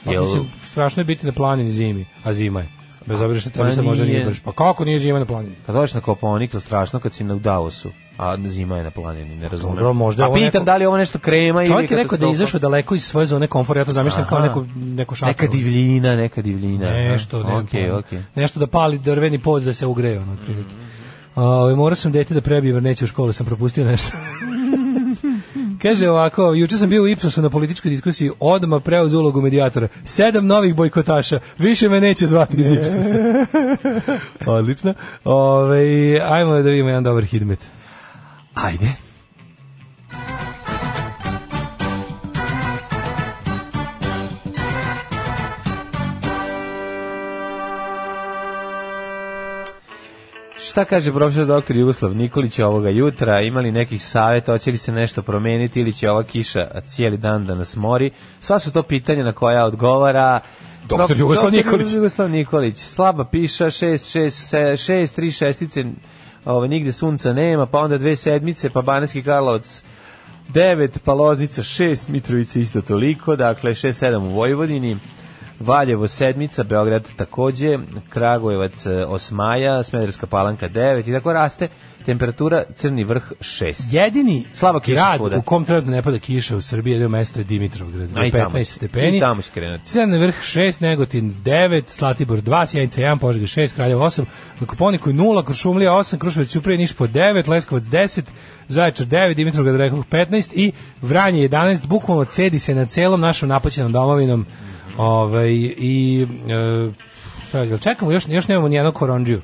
S7: Pa, mislim, strašno je biti na planini zimi, a zima je. Bez obzira što tebi
S8: Pa
S7: se možda nije
S8: nije.
S7: baš. Pa kako nije zima na planini?
S8: kad dođeš na Koponik, to strašno kad si na Davosu, a zima je na planini, ne razumem.
S7: dobro, možda je
S8: a
S7: ovo
S8: pitam
S7: neko-
S8: da li je ovo nešto krema ili
S7: Čovjek je rekao da je
S8: katastrofa?
S7: izašao daleko iz svoje zone komfora, ja to zamišljam kao
S8: Aha.
S7: neko, neko šator.
S8: Neka divljina, neka divljina.
S7: Nešto, ne, ono.
S8: Okej,
S7: pojma.
S8: okej.
S7: nešto da pali drveni pod da se ugreje, ono, otprilike. Ovaj, morao sam dete da prebijem, jer neće u školu, sam propustio nešto. Kaže ovako, juče sam bio u Ipsosu na političkoj diskusiji, odma preuz ulogu medijatora. Sedam novih bojkotaša, više me neće zvati iz Ipsosa. Odlično. Ove, ajmo da vidimo jedan dobar hidmet.
S8: Ajde. Šta kaže profesor doktor Jugoslav Nikolić ovoga jutra? Imali nekih savjeta, hoće li se nešto promeniti ili će ova kiša cijeli dan da nas mori? Sva su to pitanja na koja odgovara
S7: Doktor
S8: Dok-
S7: Jugoslav
S8: doktor
S7: Nikolić.
S8: Jugoslav Nikolić. Slaba piša, 6, 6, 6, 3 šestice, ovaj, nigde sunca nema, pa onda dve sedmice, pa Banacki Karlovac 9, pa Loznica 6, Mitrovica isto toliko, dakle 6, 7 u Vojvodini. Valjevo sedmica, Beograd takođe, Kragujevac e, osmaja, Smederska palanka 9 i tako raste temperatura Crni vrh 6.
S7: Jedini
S8: Slaba kiša
S7: grad
S8: svuda.
S7: u kom trenutno ne pada kiša u Srbiji, jedno mesto je Dimitrovgrad, do
S8: A i tamo
S7: 15
S8: će-
S7: stepeni.
S8: i tamo će krenuti.
S7: Crni vrh 6, Negotin 9, Slatibor 2, Sjenica 1, Požega 6, Kraljevo 8, na Koponiku 0, Kuršumlija 8, Kruševac Ćuprije Niš po 9, Leskovac 10, Zaječar 9, Dimitrovgrad rekoh 15 i Vranje 11, bukvalno cedi se na celom našom napaćenom domovinom. Ovaj i e, šta, jel čekamo još još nemamo ni jednog korondžiju.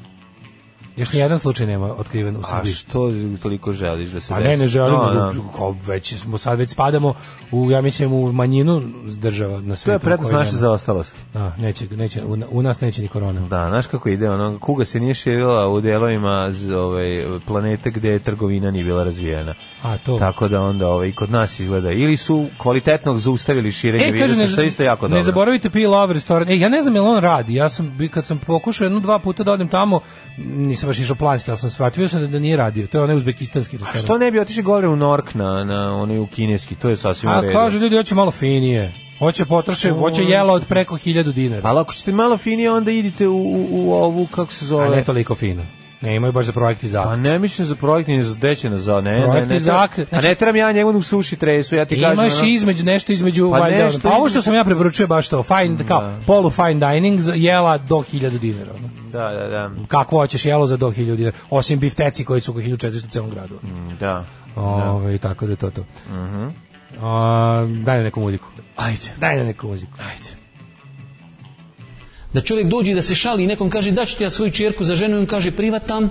S7: Još ni jedan slučaj nema otkriven u
S8: A
S7: Srbiji.
S8: što toliko želiš da se
S7: Pa ne,
S8: desi?
S7: ne želimo,
S8: No, no.
S7: da- kao već smo sad već spadamo u, ja mislim, u manjinu država na
S8: To
S7: svijetu.
S8: je prednost
S7: koje
S8: naše
S7: nema.
S8: zaostalosti.
S7: Da, neće, neće, u, u nas neće ni korona.
S8: Da, znaš kako ide, ono, kuga se nije širila u delovima z, ovaj, planete gde je trgovina nije bila razvijena.
S7: A, to.
S8: Tako da onda ovaj, kod nas izgleda. Ili su kvalitetnog zaustavili širenje
S7: E,
S8: virusa,
S7: kaže, ne,
S8: što je isto jako dobro.
S7: ne zaboravite Peel Love restoran. E, ja ne znam je li on radi. Ja sam, bi- kad sam pokušao jednu, dva puta da odem tamo, nisam baš išao planski, ali sam shvatio sam da, da nije radio. To je onaj uzbekistanski restoran.
S8: Što ne bi otišli gore u Nork na, na onaj u kineski, to je sasvim u
S7: A
S8: redu.
S7: kaže ljudi hoće malo finije. Hoće potroše, hoće jela od preko 1000 dinara.
S8: Pa Ali ako ćete malo finije, onda idite u, u, u ovu, kako se
S7: A
S8: zove...
S7: ne toliko fino. Ne imaju baš za projekti
S8: A
S7: zakon.
S8: ne mislim za projekti, ni za dećena za... Ne, ne,
S7: Projekti
S8: ne,
S7: za ak-
S8: a
S7: znači-
S8: ne trebam ja njemu da suši tresu, ja ti kažem...
S7: Imaš
S8: ono-
S7: između nešto između
S8: Pa
S7: pa,
S8: nešto
S7: pa ovo što
S8: između-
S7: sam ja preporučio je baš to, fine kao polu fine dining za jela do 1000 dinara. ono.
S8: Da, da, da.
S7: Kako hoćeš jelo za do 1000 dinara, osim bifteci koji su oko 1400 u celom gradu.
S8: Mm, Da. Mhm.
S7: Ove, tako da je to to. A, daj na neku muziku. Ajde. Daj na neku muziku. Ajde.
S11: Da čovjek dođe i da se šali i nekom kaže da ću ti ja svoju čerku za ženu i on kaže privatam,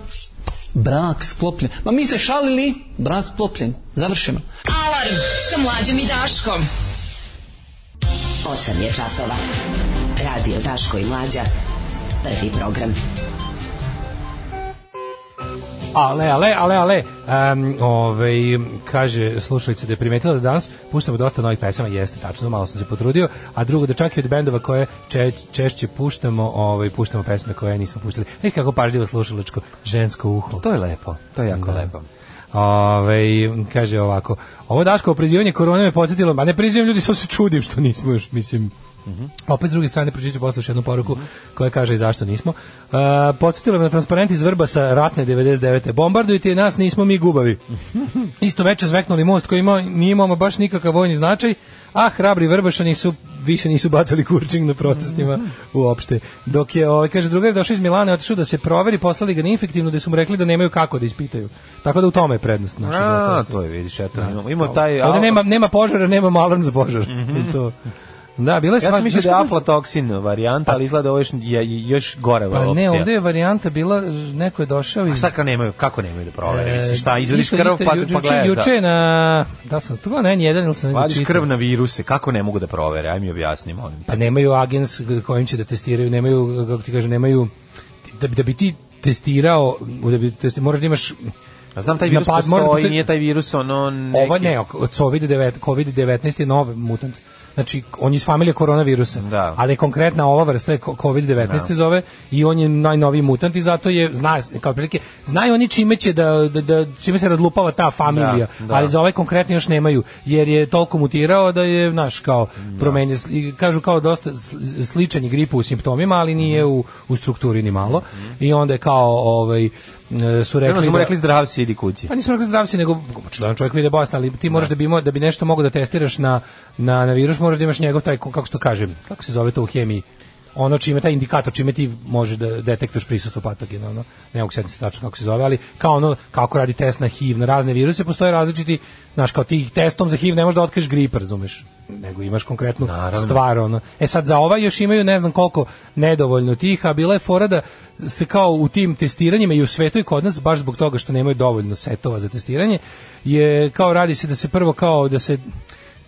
S11: brak sklopljen. Ma mi se šalili, brak sklopljen, završeno.
S5: Alarm sa mlađom i Daškom.
S12: 8 je časova. Radio Daško i Mlađa. Prvi program.
S7: Ale, ale, ale, ale. Um, ovaj, kaže slušalica da je primetila da danas puštamo dosta novih pesama, jeste tačno, malo sam se potrudio, a drugo da čak i od bendova koje če, češće puštamo, ovaj, puštamo pesme koje nismo puštali. Nek kako pažljivo slušalačko žensko uho.
S8: To je lepo, to je jako
S7: Da.
S8: lepo.
S7: Ove, kaže ovako, ovo Daško oprezivanje korone me podsjetilo, ma ne prizivam ljudi, samo se čudim što nismo još, mislim, Opet s druge strane pročiću posle još jednu poruku koja kaže i zašto nismo. E, podsjetilo me na transparent iz Vrba sa ratne 99. Bombardujte i nas, nismo mi gubavi. Isto veče zveknuli most koji imao, nije imao ama baš nikakav vojni značaj, a hrabri Vrbašani su više nisu bacali kurčing na protestima uopšte. Dok je, ovaj, kaže, drugar je došao iz Milana, otišao da se proveri, poslali ga neinfektivno, da su mu rekli da nemaju kako da ispitaju. Tako da u tome je prednost naša
S8: A,
S7: zaostavka.
S8: to je, vidiš, eto, imamo, imamo taj... Mhm.
S7: Ovde nema, nema požara, nema alarm za požar. to. Da, bila je
S8: Ja
S7: sva-
S8: sam mislio da je
S7: znaš kako-
S8: aflatoksin varijanta, ali izgleda ovo još, je, još gore
S7: Pa ne,
S8: opcija.
S7: ovde je varijanta bila, neko je došao
S8: A
S7: iz...
S8: šta ka nemaju, kako nemaju da provere? Misliš, šta,
S7: E,
S8: izvadiš
S7: isto,
S8: krv
S7: isto,
S8: pa,
S7: juče-
S8: pa gledaš
S7: Juče
S8: da...
S7: je na... Da sam, to ne, jedan ili sam... negdje
S8: Vadiš
S7: čitao.
S8: krv na viruse, kako ne mogu da provere? Aj mi objasni, molim. te.
S7: Pa nemaju agens kojim će da testiraju, nemaju, kako ti kažem, nemaju... Da, bi- da bi ti testirao, da bi testi, moraš da imaš
S8: Ja znam, taj virus
S7: Napad- mora da
S8: postoji,
S7: postoji-
S8: nije taj virus ono... Neki...
S7: Ovo ne, ok- COVID-19 COVID-19 je nov mutant. Znači, on je iz familije koronavirusa,
S8: Da.
S7: ali konkretna ova vrsta je ko- COVID-19 se zove i on je najnoviji mutant i zato je, zna, se, kao prilike, znaju oni čime će da, da, da- čime se razlupava ta familija,
S8: Da, da.
S7: ali za ovaj konkretni još nemaju, jer je toliko mutirao da je, znaš, kao, promenio, sli- i kažu kao dosta s- sličan je gripu u simptomima, ali
S8: Mhm.
S7: nije u, u strukturi ni malo, i onda je kao, ovaj, e, su
S8: Ono
S7: rekli
S8: su mu
S7: da-
S8: rekli zdrav si, idi kući.
S7: pa nisam rekao zdrav si, nego očigledno čovjek vide bolestan, ali ti moraš da bi, mo- da bi nešto mogo da testiraš na, na, na virus, moraš da imaš njegov taj, kako se to kaže, kako se zove to u hemiji, ono čime taj indikator, čime ti možeš da detektuješ prisustvo patogena, ono, ne mogu sjetiti se tačno kako se zove, ali kao ono, kako radi test na HIV, na razne viruse, postoje različiti, znaš, kao ti testom za HIV ne možeš da otkriješ grip, razumeš, nego imaš konkretnu stvar, ono. E sad, za ovaj još imaju ne znam koliko nedovoljno tih, a bila je fora da se kao u tim testiranjima i u svetu i kod nas, baš zbog toga što nemaju dovoljno setova za testiranje, je kao radi se da se prvo kao da se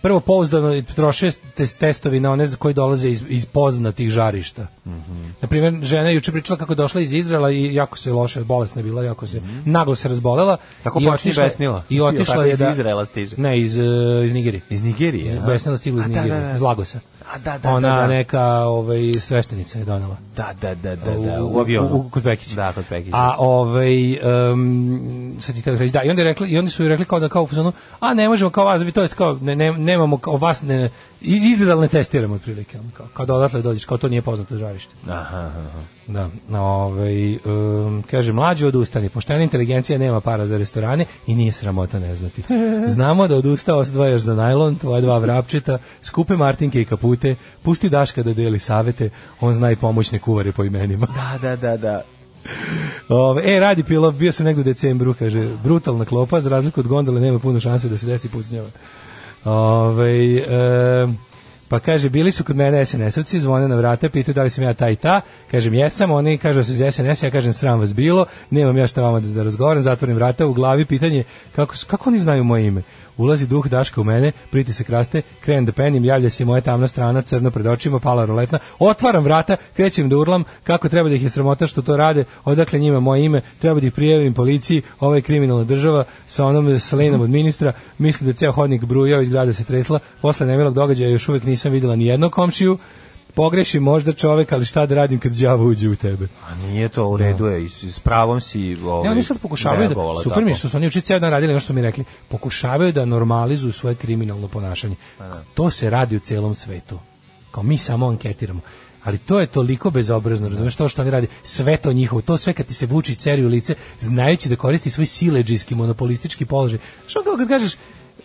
S7: prvo pouzdano troše tes- testovi na one za koji dolaze iz, iz poznatih žarišta.
S8: Mhm.
S7: Na primjer, žena je juče pričala kako je došla iz Izraela i jako se loše, bolesna je bila, jako se naglo se razbolela.
S8: Tako
S7: i
S8: počne i
S7: otišla-
S8: besnila.
S7: I otišla
S8: Tako
S7: je
S8: iz
S7: da...
S8: Izraela stiže.
S7: Ne, iz, e, iz Nigerije.
S8: Iz Nigerije,
S7: Iz
S8: a?
S7: Besnila stigla iz
S8: A, da, da,
S7: Nigerije,
S8: da.
S7: iz Lagosa.
S8: A, da, da,
S7: Ona
S8: da, da.
S7: neka ovaj, sveštenica je donela.
S8: Da, da, da, da, da,
S7: U-
S8: u avionu.
S7: u- u- kod Pekića.
S8: Da, kod Pekića.
S7: A ovaj um, sad ti htio reći, da, i onda je rekli i oni su joj rekli kao da kao u fazonu, a ne možemo kao vas, vi to je kao ne, ne- nemamo kao vas ne iz Izrael ne testiramo otprilike, ono, kao kao da odatle dođeš, kao to nije poznato žarište.
S8: Aha, aha, aha.
S7: Da, ovaj um, kaže mlađi odustani, poštena inteligencija nema para za restorane i nije sramota ne znati. Znamo da odustao odvajaš za najlon, tvoja dva vrapčeta, skupe Martinke i kapute, pusti Daška da deli savete, on zna i pomoćne kuvare po imenima.
S8: Da, da, da, da.
S7: Ove, e, radi pilov, bio sam negdje u decembru, kaže, brutalna klopa, za razliku od gondole nema puno šanse da se desi pucnjava. Ove, e, Pa kaže, bili su kod mene SNS-ovci, zvone na vrata, pitaju da li sam ja taj i ta. Kažem, jesam, oni kažu da su iz SNS, ja kažem, sram vas bilo, nemam ja šta vama da, da razgovaram, zatvorim vrata, u glavi pitanje, kako, su- kako oni znaju moje ime? Ulazi duh Daška u mene, pritisak raste, krenem da penim, javlja se moja tamna strana, crno pred očima, pala roletna, otvaram vrata, krećem da urlam, kako treba da ih je sramota što to rade, odakle njima moje ime, treba da ih prijavim policiji, ovo je kriminalna država, sa onom Selenom od ministra, mislim da je ceo hodnik brujao, iz grada se tresla, posle nemilog događaja još uvek nisam videla ni jednog komšiju, pogreši možda čovek, ali šta da radim kad đavo uđe u tebe.
S8: A nije to u redu, je, i s s pravom si... Ovaj,
S7: Ne, oni sad pokušavaju da,
S8: reagovala
S7: super
S8: tako.
S7: mi je što su oni juče ceo dan radili, ono što su mi rekli, pokušavaju da normalizuju svoje kriminalno ponašanje. To se radi u celom svetu. Kao mi samo anketiramo. Ali to je toliko bezobrazno, razumeš, to što oni radi, sve to njihovo, to sve kad ti se vuči ceri u lice, znajući da koristi svoj sileđijski, monopolistički položaj. Što kao kad kažeš,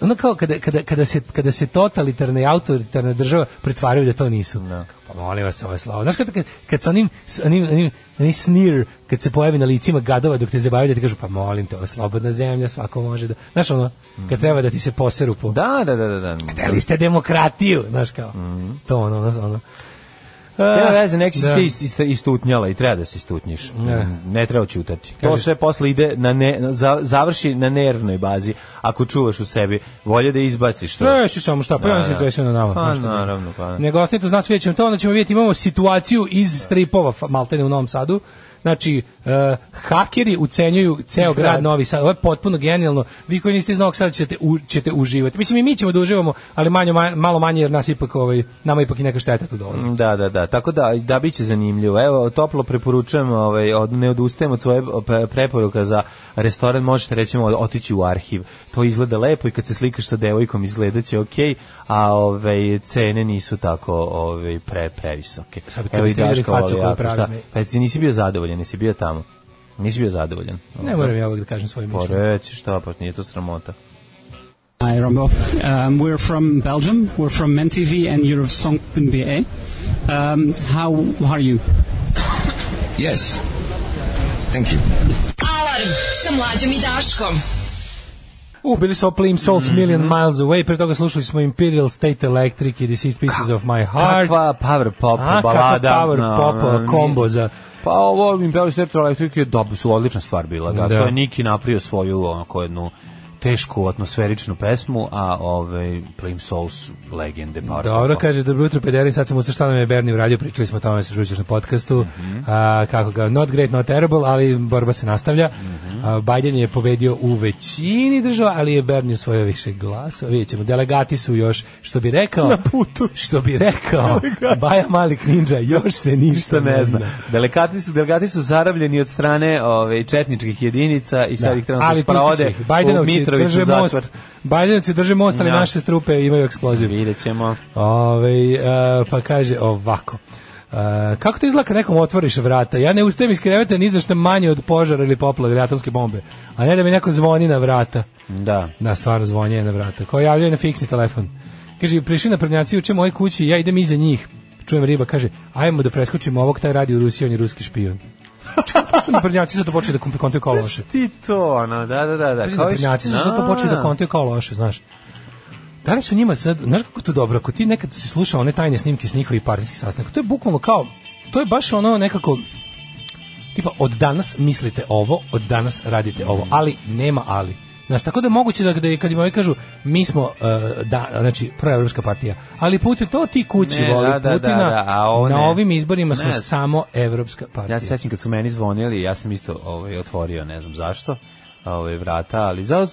S7: ono kao kada, kada, kada, se, kada se totalitarna i autoritarna država pretvaraju da to nisu. Pa molim vas, ovo je slavo. Znaš kad, kad, kad sa onim, s onim, onim, onim sneer, kad se pojavi na licima gadova dok te zabavljaju, da ti kažu, pa molim te, ovo je slobodna zemlja, svako može da... Znaš ono, kad treba da ti se poseru po...
S8: Da, da, da, da. da.
S7: Hteli ste demokratiju, znaš kao. To ono, ono, ono.
S8: Mhm. Nema
S7: A,
S8: veze, nek si
S7: da.
S8: ti ist- ist- istutnjala i treba da se istutnjiš. Mm,
S7: Ne.
S8: Ne, treba ćutati. To
S7: Kažeš-
S8: sve posle ide na ne, na- za- završi na nervnoj bazi. Ako čuvaš u sebi, volje da izbaciš to.
S7: Ne, si samo šta, pa
S8: Da,
S7: ja se
S8: da.
S7: desio na nama.
S8: Pa
S7: znaš šta bi.
S8: naravno, pa da.
S7: Nego ostanite uz nas, vidjet ćemo to, onda ćemo vidjeti, imamo situaciju iz stripova, fa- maltene u Novom Sadu, Znači, eh, hakeri ucenjuju ceo grad,
S8: Grad.
S7: Novi Sad. Ovo je potpuno genijalno. Vi koji niste iz Novog Sada ćete, u- ćete uživati. Mislim, i mi ćemo da uživamo, ali manje, ma- malo manje jer nas ipak, ovaj, nama ipak i neka šteta tu dolazi.
S8: Mm, Da, da, da. Tako da da biće zanimljivo. Evo, toplo preporučujem, ovaj od ne odustajem od svoje pre- preporuka za restoran, možete recimo otići u arhiv. To izgleda lepo i kad se slikaš sa devojkom izgledaće okej, a ovaj cene nisu tako ovaj pre previsoke.
S7: Sad bi kad biste videli facu
S8: voli
S7: koju
S8: jako,
S7: pravim,
S8: šta?
S7: ne.
S8: Pa jesi- nisi bio zadovoljan, nisi bio tamo. Nisi bio zadovoljan.
S7: Ne moram ja uvek da kažem svoje
S8: Pa
S7: mišljenje.
S8: reci šta, pa nije to sramota.
S13: Hi, Rambo. Um, we're from Belgium. We're from MenTV and you're of Song.be. Um, how are you?
S4: Yes. Thank you.
S5: Alarm sa mlađom i Daškom.
S7: U, bili su Oplim Souls
S8: Mhm.
S7: Million Miles Away, pre toga slušali smo Imperial State Electric i Deceased Pieces of My Heart.
S8: Kakva power pop
S7: A, kakva
S8: balada. ono,
S7: power
S8: na-
S7: pop,
S8: na-
S7: kombo za-
S8: Pa ovo Imperial State Electric je dobro, su odlična stvar bila. Da.
S7: Da.
S8: To je Niki napravio svoju onako jednu tešku atmosferičnu pesmu, a ovaj Plim Souls legende power
S7: Dobro,
S8: popa.
S7: kaže, dobro jutro, pederi, sad sam ustao šta nam je Berni uradio, pričali smo o tome, se čućeš na podcastu,
S8: Mhm.
S7: a, kako ga, not great, not terrible, ali borba se nastavlja.
S8: Mhm.
S7: A, Biden je pobedio u većini država, ali je Berni osvojio više glasa, vidjet ćemo, delegati su još, što bi rekao, na putu, što bi rekao, Baja Malik Ninja, još se
S8: Ništa
S7: ništa
S8: ne zna. Delegati su, delegati su zarabljeni od strane ove, četničkih jedinica i sad ih trenutno
S7: ali pustit će
S8: sprovode
S7: ih.
S8: u
S7: Bajdenovci
S8: Mitroviću
S7: drže most.
S8: zatvor.
S7: Bajdenovci drže most, ali
S8: Ja.
S7: naše strupe imaju eksploziv.
S8: Vidjet ćemo.
S7: Ove, pa kaže ovako. E, kako to izgleda kad nekom otvoriš vrata? Ja ne ustajem iz kreveta ni za šta manje od požara ili poplave ili atomske bombe. A ne da mi neko zvoni na vrata.
S8: Da.
S7: Da, stvarno zvonjenje na vrata. Ko javljaju na fiksni telefon. Kaže, prišli na prnjaci uče moje kući, ja idem iza njih. Čujem riba, kaže, ajmo da preskočimo ovog, taj radi u Rusiji, on je ruski špion. Čekaj, to su naprednjaci sad počeli da kom- kontuju kao loše.
S8: Ti to, ono, da, da, da. da.
S7: Pazi,
S8: kao iš-
S7: naprednjaci su zato počeli da kontaju kao loše, znaš. Da li su njima sad, znaš kako je to dobro, ako ti nekad si slušao one tajne snimke s njihovih partijskih sastanaka, to je bukvalno kao, to je baš ono nekako, tipa od danas mislite ovo, od danas radite ovo, ali nema ali. Znaš, tako da je moguće da, da je, kad im ovi kažu mi smo, e, da, znači, proevropska partija, ali Putin, to ti kući
S8: Ne,
S7: voli
S8: da, da, da,
S7: Putina,
S8: da, a ovo
S7: na
S8: ne.
S7: ovim izborima smo
S8: Ne.
S7: samo evropska partija.
S8: Ja se sećam kad su meni zvonili, ja sam isto ovaj otvorio, ne znam zašto, ovaj vrata, ali za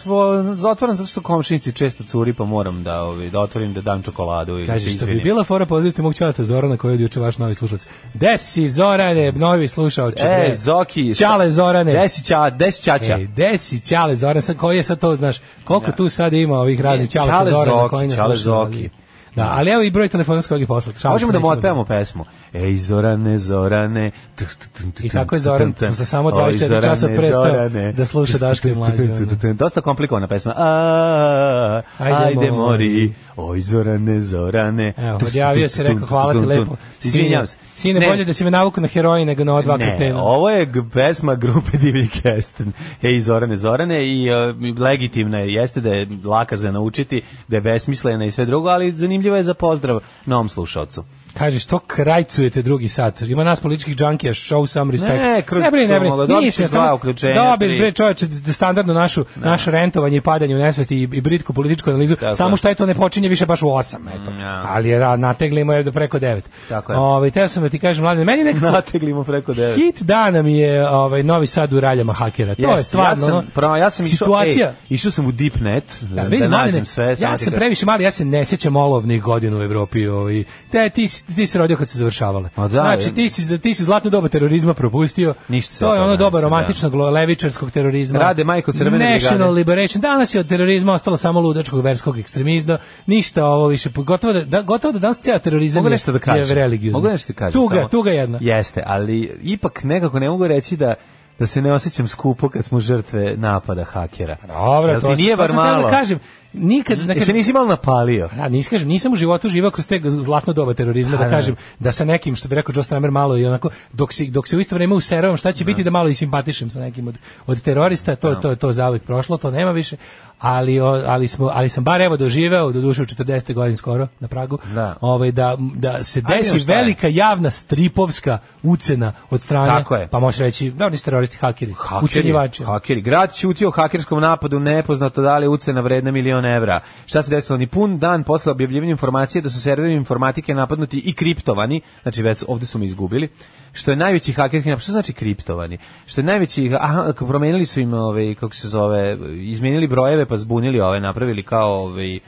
S8: zatvaram zato što komšinici često curi, pa moram da ovaj da otvorim da dam čokoladu i
S7: Kaže, što bi bila fora pozdraviti mog čalata Zorana koji je od juče vaš novi slušalac. Desi Zorane, novi slušalac.
S8: E, Zoki.
S7: Ćale Zorane. E,
S8: Desi ća, desi ćaća.
S7: Ej, desi Ćale Zoran, sad koji je sad to, znaš, koliko tu sad ima ovih raznih
S8: E,
S7: Ćalaca
S8: Ćale
S7: Zorana
S8: Zoki,
S7: koji nas
S8: Ćale
S7: slušaju, ali-
S8: Zoki.
S7: Da, ali evo i broj telefona s kojeg je poslat. Šalim
S8: Možemo
S7: se,
S8: da
S7: nećemo
S8: motamo pesmu. Ej, Zorane, Zorane.
S7: I kako je Zoran, posle samo 24 časa prestao da sluša Daška i Mlađe. ono.
S8: Dosta komplikovana pesma. A, ajde mori. Oj, Zorane, Zorane.
S7: Evo, odjavio se, rekao, hvala ti lepo.
S8: Izvinjam se.
S7: Sine, bolje da si me navuku na heroji nego na ova dva
S8: Ne, ovo je pesma grupe Divlji Kesten. Ej, Zorane, Zorane. I legitimna je, jeste da je laka za naučiti, da je besmislena i sve drugo, ali zanimljivo je za pozdrav novom slušalcu.
S7: Kaže što krajcujete drugi sat. Ima nas političkih džankija, show some respect.
S8: Ne, kroz, ne
S7: brini, ne brini.
S8: Dobiješ dva uključenja.
S7: Dobiješ bre čoveče standardno našu ne. naše rentovanje i padanje u nesvesti i, i britku političku analizu. Tako Samo što je to ne počinje više baš u 8, eto. Ja. Ali je nateglimo je do preko 9.
S8: Mm, Tako je.
S7: Ovaj teo sam da ti kažem mlade, meni nekako
S8: nateglimo preko 9.
S7: Hit dana mi je ovaj Novi Sad u raljama hakera. To yes, je stvarno. ono
S8: Ja sam, pravo, ja sam išao, situacija. Ej, išao sam u deepnet, da, da, vidi, da nađem mali, sve.
S7: Ja sam previše mali, ja se ne sećam olovnih godina u Evropi, ovaj. Te ti ti se rodio kad se završavale.
S8: Da,
S7: znači ti si ti si zlatno doba terorizma propustio.
S8: Ništa
S7: to je ono doba romantičnog da. levičarskog terorizma.
S8: Rade majko crvene
S7: National Liberation. Danas je od terorizma ostalo samo ludačkog verskog ekstremizma. Ništa ovo više. Gotovo da, da gotovo da danas ceo terorizam
S8: mogu nešto da
S7: kažem. je religiozni.
S8: Mogu nešto da kažem.
S7: Tuga,
S8: samo.
S7: tuga jedna.
S8: Jeste, ali ipak nekako ne mogu reći da da se ne osjećam skupo kad smo žrtve napada hakera.
S7: Dobro,
S8: Jel
S7: to
S8: ti nije bar malo.
S7: Da kažem, nikad da
S8: kažem, se nisi malo napalio.
S7: Da, nisi kažem, nisam u životu živao kroz te zlatno doba terorizma da, da kažem da sa nekim što bi rekao Joe Stramer malo i onako dok se dok se u isto vrijeme useravam šta će da. biti da malo i simpatišem sa nekim od, od terorista, to da. to to zauvek prošlo, to nema više. Ali, ali, smo, ali sam bar evo doživeo do duše u 40. godin skoro na Pragu
S8: da.
S7: Ovaj, da, da se desi velika je. javna stripovska ucena od strane
S8: Tako je.
S7: pa možeš reći da oni su teroristi hakeri,
S8: hakeri
S7: ucenjivači
S8: hakeri grad ćutio o hakerskom napadu nepoznato da li ucena vredna milion evra šta se desilo ni pun dan posle objavljivanja informacije da su serveri informatike napadnuti i kriptovani znači već ovdje su me izgubili što je najveći hakerski napad što znači kriptovani što je najveći aha promijenili su im ovaj kako se zove izmijenili brojeve pa zbunili ove napravili kao ovaj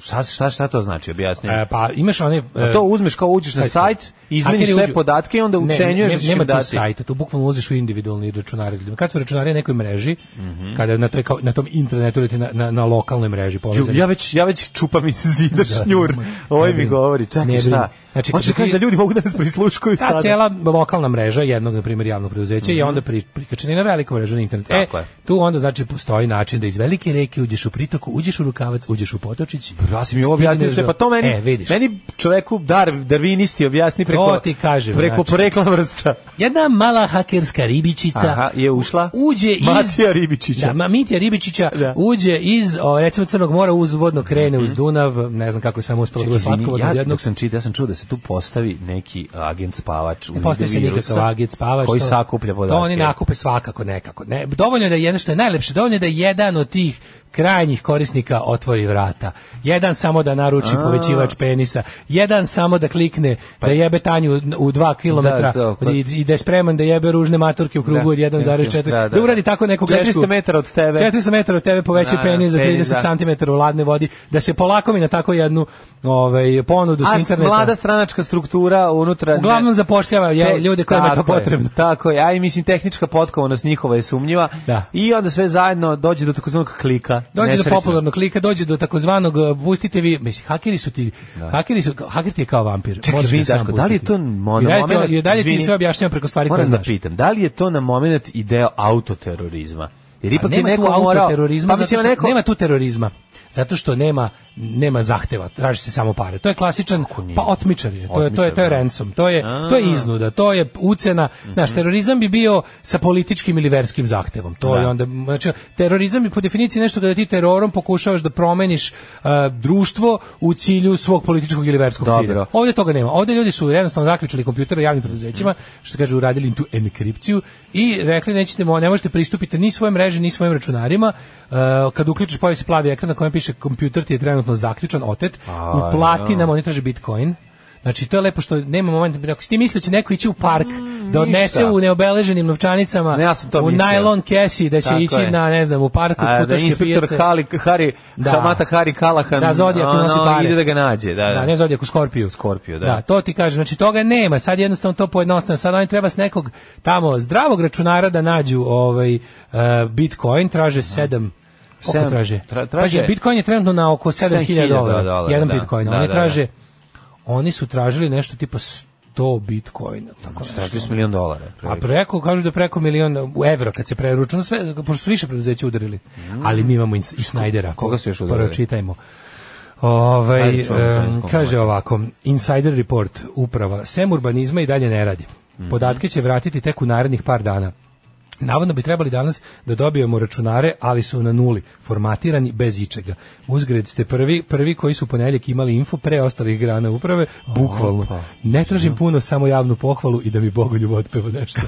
S8: šta, šta, šta to znači, objasni.
S7: E, pa imaš one...
S8: E, to uzmeš kao uđeš na sajt,
S7: pa,
S8: izmeniš sve uđu. podatke i onda ucenjuješ ne, ne,
S7: nema
S8: da
S7: tu sajta, tu bukvalno ulaziš u individualni računari. Kad su računari na nekoj mreži, mm
S8: Mhm.
S7: -hmm. kada na, toj, na tom internetu ili na, na, na lokalnoj mreži povezani.
S8: Ja već, ja već čupam iz zida šnjur. Ovo mi govori, čekaj šta. Znači, Hoće kaže da ljudi mogu da nas prisluškuju
S7: ta
S8: sada.
S7: Ta cijela lokalna mreža jednog, na primjer, javnog preduzeća mm -hmm. je onda pri, prikačena na veliku mrežu na internetu.
S8: Mhm. Tako e, je.
S7: tu onda, znači, postoji način da iz velike reke uđeš u pritoku, uđeš u rukavac, uđeš u potočić.
S8: Ja sam mi ovo objasnio sve, pa to meni,
S7: e, vidiš.
S8: meni čoveku dar, darvinisti objasni preko,
S7: to ti kažem,
S8: preko znači, porekla vrsta.
S7: Jedna mala hakerska ribičica
S8: Aha, je ušla.
S7: Uđe iz...
S8: Matija Ribičića.
S7: Da, ma, Mitija Ribičića da. uđe iz, o, recimo, Crnog mora uzvodno krene mm -hmm. uz Dunav, ne znam kako je samo uspjelo da slatko.
S8: Ja, dok sam čitao, ja sam čuo da se tu postavi neki agent spavač u
S7: ne postavi se nikakav agent spavač
S8: koji sakuplja podatke.
S7: To oni nakupe svakako nekako. Ne, dovoljno je da jedan što je najlepše, dovoljno je da jedan od tih krajnjih korisnika otvori vrata. Jedan samo da naruči A. povećivač penisa, jedan samo da klikne pa. da jebe Tanju u 2 km
S8: da, to, pa-
S7: i, i da je spreman da jebe ružne matorke u krugu od 1,4. Da, da, da, uradi tako neku grešku.
S8: 400 metara od tebe.
S7: 400 metara od tebe poveća penis za 30 cm u ladne vodi, da se polakomi na tako jednu ovaj, ponudu s interneta.
S8: A mlada stranačka struktura unutra...
S7: Uglavnom zapošljava je, ljude kojima je to potrebno.
S8: Je, tako je, a i mislim tehnička potkovanost njihova je sumnjiva
S7: da.
S8: i onda sve zajedno dođe do takozvanog klika.
S7: Dođe do popularnog klika, dođe do takozvanog e, pustite vi, mislim, hakeri su ti, da. hakeri su, haker ti je kao vampir.
S8: Čekaj, izvini, Daško, da li je to
S7: mono, I dalje, ti, dalje ti sve objašnjam preko stvari koje
S8: znaš.
S7: Moram
S8: da pitam, da li je to na moment i deo autoterorizma? Jer ipak je neko
S7: morao...
S8: Pa mislim,
S7: neko... Nema tu terorizma zato što nema nema zahteva, traži se samo pare. To je klasičan pa otmičar je. To je to je to je ransom, to je to je iznuda, to je ucena.
S8: Mhm.
S7: Naš terorizam bi bio sa političkim ili verskim zahtevom. To je onda znači terorizam je po definiciji nešto kada ti terorom pokušavaš da promeniš uh, društvo u cilju svog političkog ili verskog cilja. Ovdje toga nema. Ovdje ljudi su jednostavno zaključili kompjutere u javnim preduzećima, što kaže uradili im tu enkripciju i rekli nećete ne možete pristupiti ni svojoj mreži ni svojim računarima. Uh, kad uključiš pojavi se plavi ekran na kojem piše kompjuter ti je trenutno zaključan, otet,
S8: A,
S7: uplati nam, oni traže bitcoin. Znači, to je lepo što nema momenta, ako si ti mislio će neko ići u park, mm, da odnese ništa. u neobeleženim novčanicama,
S8: ne, ja sam to
S7: u
S8: mislio.
S7: najlon kesi, da će
S8: Tako
S7: ići
S8: je.
S7: na, ne znam, u parku,
S8: A, da
S7: futaške
S8: inspektor
S7: pijace.
S8: Hali, Hari,
S7: Da.
S8: Hamata Hari Kalahan,
S7: Da, Zodijak
S8: ono,
S7: nosi pare.
S8: ide da ga nađe. Da,
S7: Da,
S8: da.
S7: ne Zodijaku, Skorpiju.
S8: Skorpiju, da.
S7: Da, to ti kažem, znači toga nema, sad jednostavno to pojednostavno, sad oni treba s nekog tamo zdravog računara da nađu ovaj, e, bitcoin, traže sedam koliko
S8: Sedam-
S7: traže?
S8: tra- traže-
S7: Pazi, Bitcoin je trenutno na oko 7000
S8: 7000
S7: dolara.
S8: dolara,
S7: jedan
S8: da.
S7: Bitcoin.
S8: Da,
S7: oni
S8: da,
S7: traže oni su tražili nešto tipa 100 100 bitcoina. Tako
S8: 40 milion dolara.
S7: A preko, kažu da preko milion evra kad se preručeno, sve, pošto su više preduzeća udarili. Mm. Ali mi imamo i Snydera.
S8: Koga su još udarili?
S7: Prvo čitajmo. Ovaj um, kaže ovako, Insider Report, uprava, sem urbanizma i dalje ne radi.
S8: Mhm.
S7: Podatke će vratiti tek u narednih par dana. Navodno bi trebali danas da dobijemo računare, ali su na nuli, formatirani bez ičega. Uzgred ste prvi, prvi koji su ponedjeljak imali info pre ostalih grana uprave, bukvalno. Ne tražim puno, samo javnu pohvalu i da mi Bogoljubo otpeva nešto.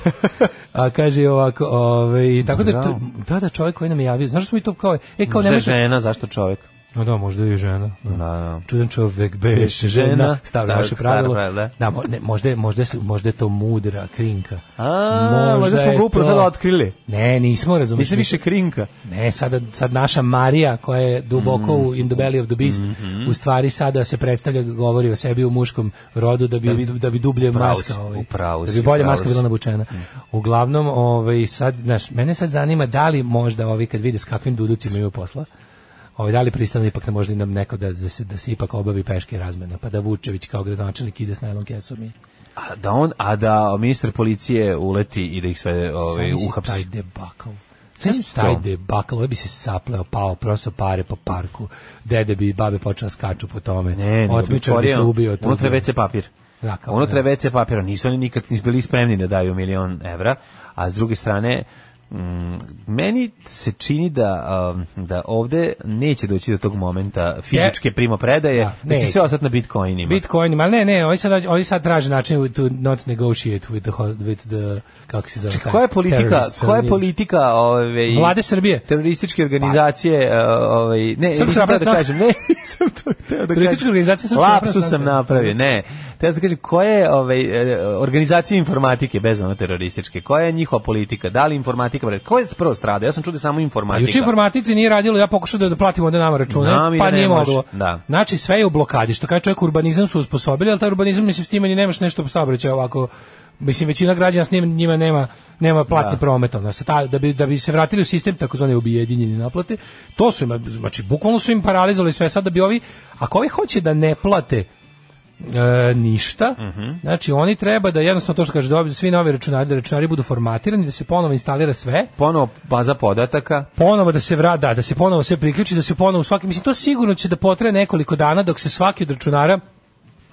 S7: A kaže ovako, ovaj, tako da, to- da, da, čovjek koji nam je javio, znaš što mi to kao, e, kao
S8: Možda je
S7: nemojte-
S8: žena, zašto čovjek?
S7: No da, možda i žena. Da,
S8: da.
S7: Čudan čovjek beše žena,
S8: žena,
S7: staro
S8: staro-
S7: naše
S8: staro
S7: pravilo.
S8: pravilo, da.
S7: Da, mo- ne, možda, je- možda, su- možda je to mudra krinka.
S8: A, možda smo
S7: je
S8: ga upravo
S7: to-
S8: sada otkrili.
S7: Ne, nismo, razumiješ.
S8: Nisam više Mm, krinka.
S7: Ne, sada, sad naša Marija, koja je duboko u In the Belly of the Beast,
S8: mm,
S7: u stvari sada se predstavlja, govori o sebi u muškom rodu, da bi, da bi, dublje
S8: pravu si,
S7: maska. Ovaj,
S8: u pravu
S7: da
S8: si,
S7: bi
S8: u
S7: bolje
S8: pravu
S7: maska
S8: si. Mm.
S7: bila nabučena. Uglavnom, ovaj, sad, znaš, mene sad zanima da li možda ovi kad vide s kakvim duducima imaju posla, Ovaj da li pristanu ipak da možda nam neko da, da se da se ipak obavi peške razmena, pa da Vučević kao gradonačelnik ide s najlon kesom i
S8: A da on, a da ministar policije uleti i da ih sve ovaj,
S7: Sam misli Taj
S8: uhapsi.
S7: debakl.
S8: Sam
S7: Sam
S8: misli
S7: taj
S8: to.
S7: debakl, ovaj bi se sapleo, pao, proso pare po parku, dede bi i babe počela skaču po tome,
S8: Ne, nego bi
S7: otmičar bi se
S8: otvorio
S7: ubio. tu.
S8: Unutra je WC papir.
S7: Da, kao
S8: Unutra
S7: da.
S8: je WC papira. Nisu oni nikad nisu bili spremni da daju milion evra, a s druge strane, mm, meni se čini da, um, da ovde neće doći do tog momenta fizičke primopredaje,
S7: Da,
S8: da, će
S7: neće.
S8: sve ostati na bitcoinima.
S7: Bitcoin, ali ne, ne, ovi sad, ovi sad traže način to not negotiate with the, ho- with the kako se zove, taj
S8: Znači, Koja je politika,
S7: terrorist,
S8: koja je
S7: ne,
S8: politika ovaj
S7: Vlade Srbije. Pa.
S8: terorističke organizacije eh, ovaj ne,
S7: Srpska
S8: nisam hteo
S7: napredna
S8: da kažem, ne, sam to hteo da
S7: Teroristička
S8: kažem.
S7: organizacija Srpska
S8: Lapsu
S7: napredna
S8: sam
S7: stranka.
S8: napravio, ne. Te da kažem koja je ovaj eh, organizacija informatike bez ono terorističke, koja je njihova politika? Da li informatika, bre, ko je prvo strada? Ja sam čuo da je samo
S7: A
S8: informatika.
S7: Pa juče informatici nije radilo, ja pokušao da, da platim onda nama račune,
S8: Nam je
S7: pa
S8: da
S7: nije
S8: ne može,
S7: moglo.
S8: da.
S7: Znači sve je u blokadi, što kaže čovjek urbanizam su usposobili, ali taj urbanizam mislim s time ni nemaš nešto saobraćaja ovako Mislim većina građana s njima, njima nema nema platni
S8: Da.
S7: promet onda se ta da bi da bi se vratili u sistem takozvane objedinjene naplate to su im znači bukvalno su im paralizovali sve sad da bi ovi ako ovi hoće da ne plate e, ništa.
S8: Mhm.
S7: Znači oni treba da jednostavno to što kaže dobiju svi novi računari, da računari budu formatirani, da se ponovo instalira sve
S8: Ponovo baza podataka.
S7: ponovo da se vrada, da se ponovo sve priključi, da se ponovo svaki, mislim to sigurno će da potraje nekoliko dana dok se svaki od računara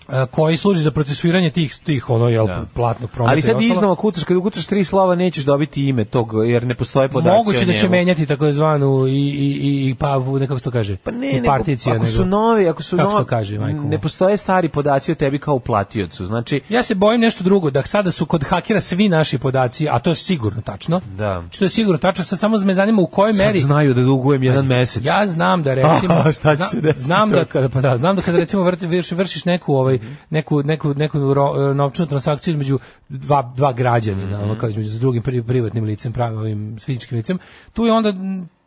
S7: e, koji služi za procesuiranje tih tih ono jel platnog prometa.
S8: Ali
S7: i
S8: sad
S7: ostalo,
S8: iznova kucaš, kad ukucaš tri slova nećeš dobiti ime tog, jer ne postoje podaci
S7: moguće
S8: o
S7: da će
S8: njemu.
S7: menjati takozvanu i i i, i pa nekako se to kaže.
S8: Pa ne,
S7: i
S8: nego,
S7: particija
S8: ako
S7: nego-
S8: su novi, ako su
S7: Kako se
S8: novi,
S7: to kaže, majko moja?
S8: ne postoje stari podaci o tebi kao uplatiocu. Znači,
S7: Ja se bojim nešto drugo, da sada su kod hakera svi naši podaci, a to je sigurno tačno.
S8: Da.
S7: Što je sigurno tačno, sad samo me zanima u kojoj
S8: sad
S7: meri
S8: znaju da dugujem jedan mesec.
S7: Ja znam da recimo
S8: A, šta će
S7: zna-
S8: se desiti
S7: znam
S8: s toga?
S7: da kada pa da, znam da kada recimo vrti- vrši, vršiš neku ovaj neku neku neku ro- novčanu transakciju između dva dva građanina,
S8: Mhm.
S7: ono kao između s drugim pri- privatnim licem, pravim ovim fizičkim licem, tu je onda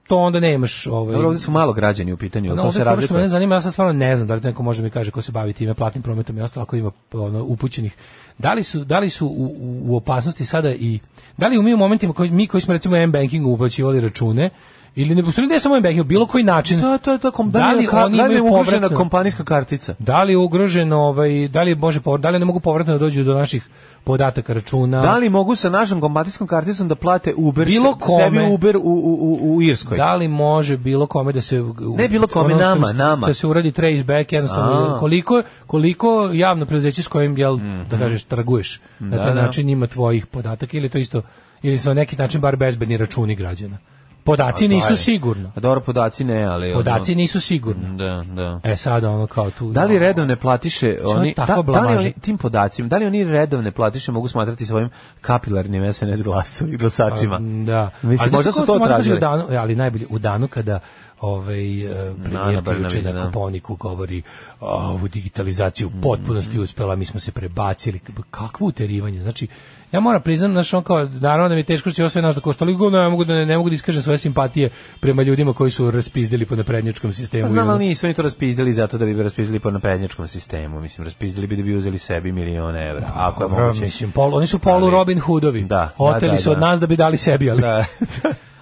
S7: to onda nemaš ovaj
S8: Dobro, ovdje su malo građani u pitanju,
S7: No,
S8: to
S7: ovdje
S8: se
S7: je fora što
S8: razlikuje.
S7: mene zanima, ja sad stvarno ne znam da li to neko može mi kaže ko se bavi time platnim prometom i ostalo ako ima ono, upućenih. Da li su, da li su u, u- u opasnosti sada i da li mi u momentima koji mi koji smo recimo M bankingu uplaćivali račune ili ne, u stvari ne samo M banking, bilo koji način.
S8: To, to, to, kom, da,
S7: Da
S8: li
S7: li
S8: je ka-
S7: oni
S8: da li je
S7: imaju
S8: ugrožena
S7: povratno?
S8: kompanijska kartica?
S7: Da li je ugroženo, ovaj, da li može povr- da li ne mogu povratno da dođu do naših podataka računa?
S8: Da li mogu sa našom kompanijskom karticom da plate Uber,
S7: Bilo
S8: se- sebi
S7: kome.
S8: Uber u, u, u, u Irskoj?
S7: Da li može bilo kome da se
S8: Ne bilo kome,
S7: što
S8: nama,
S7: se-
S8: nama.
S7: da se uradi trace back jednostavno
S8: A. Mhm.
S7: koliko koliko javno preduzeće s kojim jel da kažeš traguješ na
S8: Da,
S7: taj
S8: da.
S7: način ima tvojih podataka ili to isto ili su na neki način bar bezbedni računi građana. Podaci nisu sigurno.
S8: A dobro, podaci ne, ali...
S7: Podaci nisu
S8: Ono,
S7: sigurno.
S8: da, da.
S7: E sad ono kao tu.
S8: Da li redovne platiše
S7: ono
S8: oni
S7: tako
S8: da, da li
S7: blamaže.
S8: oni tim podacima, da li oni redovne platiše mogu smatrati svojim kapilarnim SNS glasom i glasačima?
S7: Pa, Da.
S8: Pa, Mislim,
S7: Ali
S8: možda
S7: znaš
S8: su
S7: kako
S8: to
S7: smo odmazili
S8: tražili.
S7: U danu, e, ali najbolje, u danu kada ovaj e,
S8: Ana
S7: premijerka
S8: Brnabić,
S7: juče na
S8: da. Mm.
S7: Kuponiku govori a, ovu digitalizaciju u potpunosti uspela, mi smo se prebacili. Kakvo uterivanje? Znači, ja moram priznam, znaš, on kao, naravno da mi je teško što će ovo sve naš da košta, ali govno, ja mogu da ne, ne mogu da iskažem svoje simpatije prema ljudima koji su raspizdili po naprednjačkom sistemu.
S8: Pa znam,
S7: i ono.
S8: ali nisu oni to raspizdili zato da bi ga raspizdili po naprednjačkom sistemu. Mislim, raspizdili bi da bi uzeli sebi milione evra. ako je
S7: Dobro,
S8: moguće.
S7: mislim, polu, oni su polu
S8: Ali-
S7: Robin Hoodovi.
S8: Da, da,
S7: Oteli
S8: da,
S7: su od
S8: da.
S7: nas da bi dali sebi, ali...
S8: Da.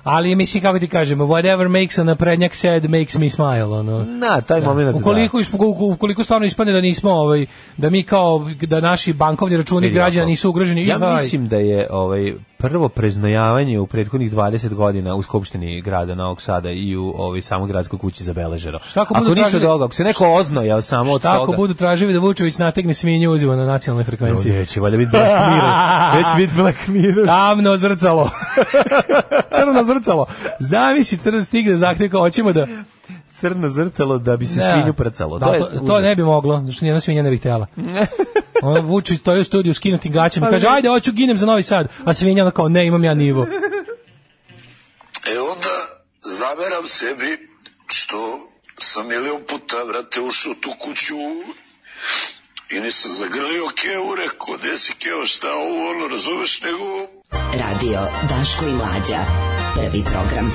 S7: Ali mislim kako ti kažemo, whatever makes a naprednjak sad makes me smile, ono.
S8: Na, taj da. moment.
S7: Ukoliko, da. ispo- ukoliko stvarno ispane da nismo, ovaj, da mi kao, da naši bankovni računi
S8: Vidi
S7: građana
S8: ovako.
S7: nisu ugroženi.
S8: Ja
S7: jaj.
S8: mislim da je ovaj prvo preznajavanje u prethodnih 20 godina u skupštini grada Novog Sada i u ovaj samo gradskoj kući zabeleženo.
S7: Šta ako
S8: ako
S7: budu
S8: ništa
S7: tražili-
S8: drugo, ako se neko oznojao samo od
S7: Šta ako
S8: toga.
S7: budu tražili da Vučević nategne svinje uzivo na nacionalnoj frekvenciji?
S8: No, neće, valjda biti Black Mirror. Neće biti Black Mirror.
S7: Tamno zrcalo. Crno zrcalo. Zamisli, crno stigne zahtjev kao hoćemo da...
S8: Crno zrcalo da bi se svinju prcalo.
S7: Da,
S8: To
S7: to,
S8: je
S7: to,
S8: užas.
S7: ne bi moglo, zato što nijedna svinja ne bi htjela. Ona vuče stoji u studiju skinutim gaćama i
S8: Ali
S7: kaže,
S8: Pa ne.
S7: ajde, hoću ginem za Novi Sad. A svinja ona kao, ne, imam ja nivo.
S14: E onda zameram sebi što sam milion puta, vrate, ušao u tu kuću i nisam zagrlio Kevu, rekao, gde si Keo, šta ovo, ono, razumeš, nego
S12: Radio Daško i Mlađa. Prvi program.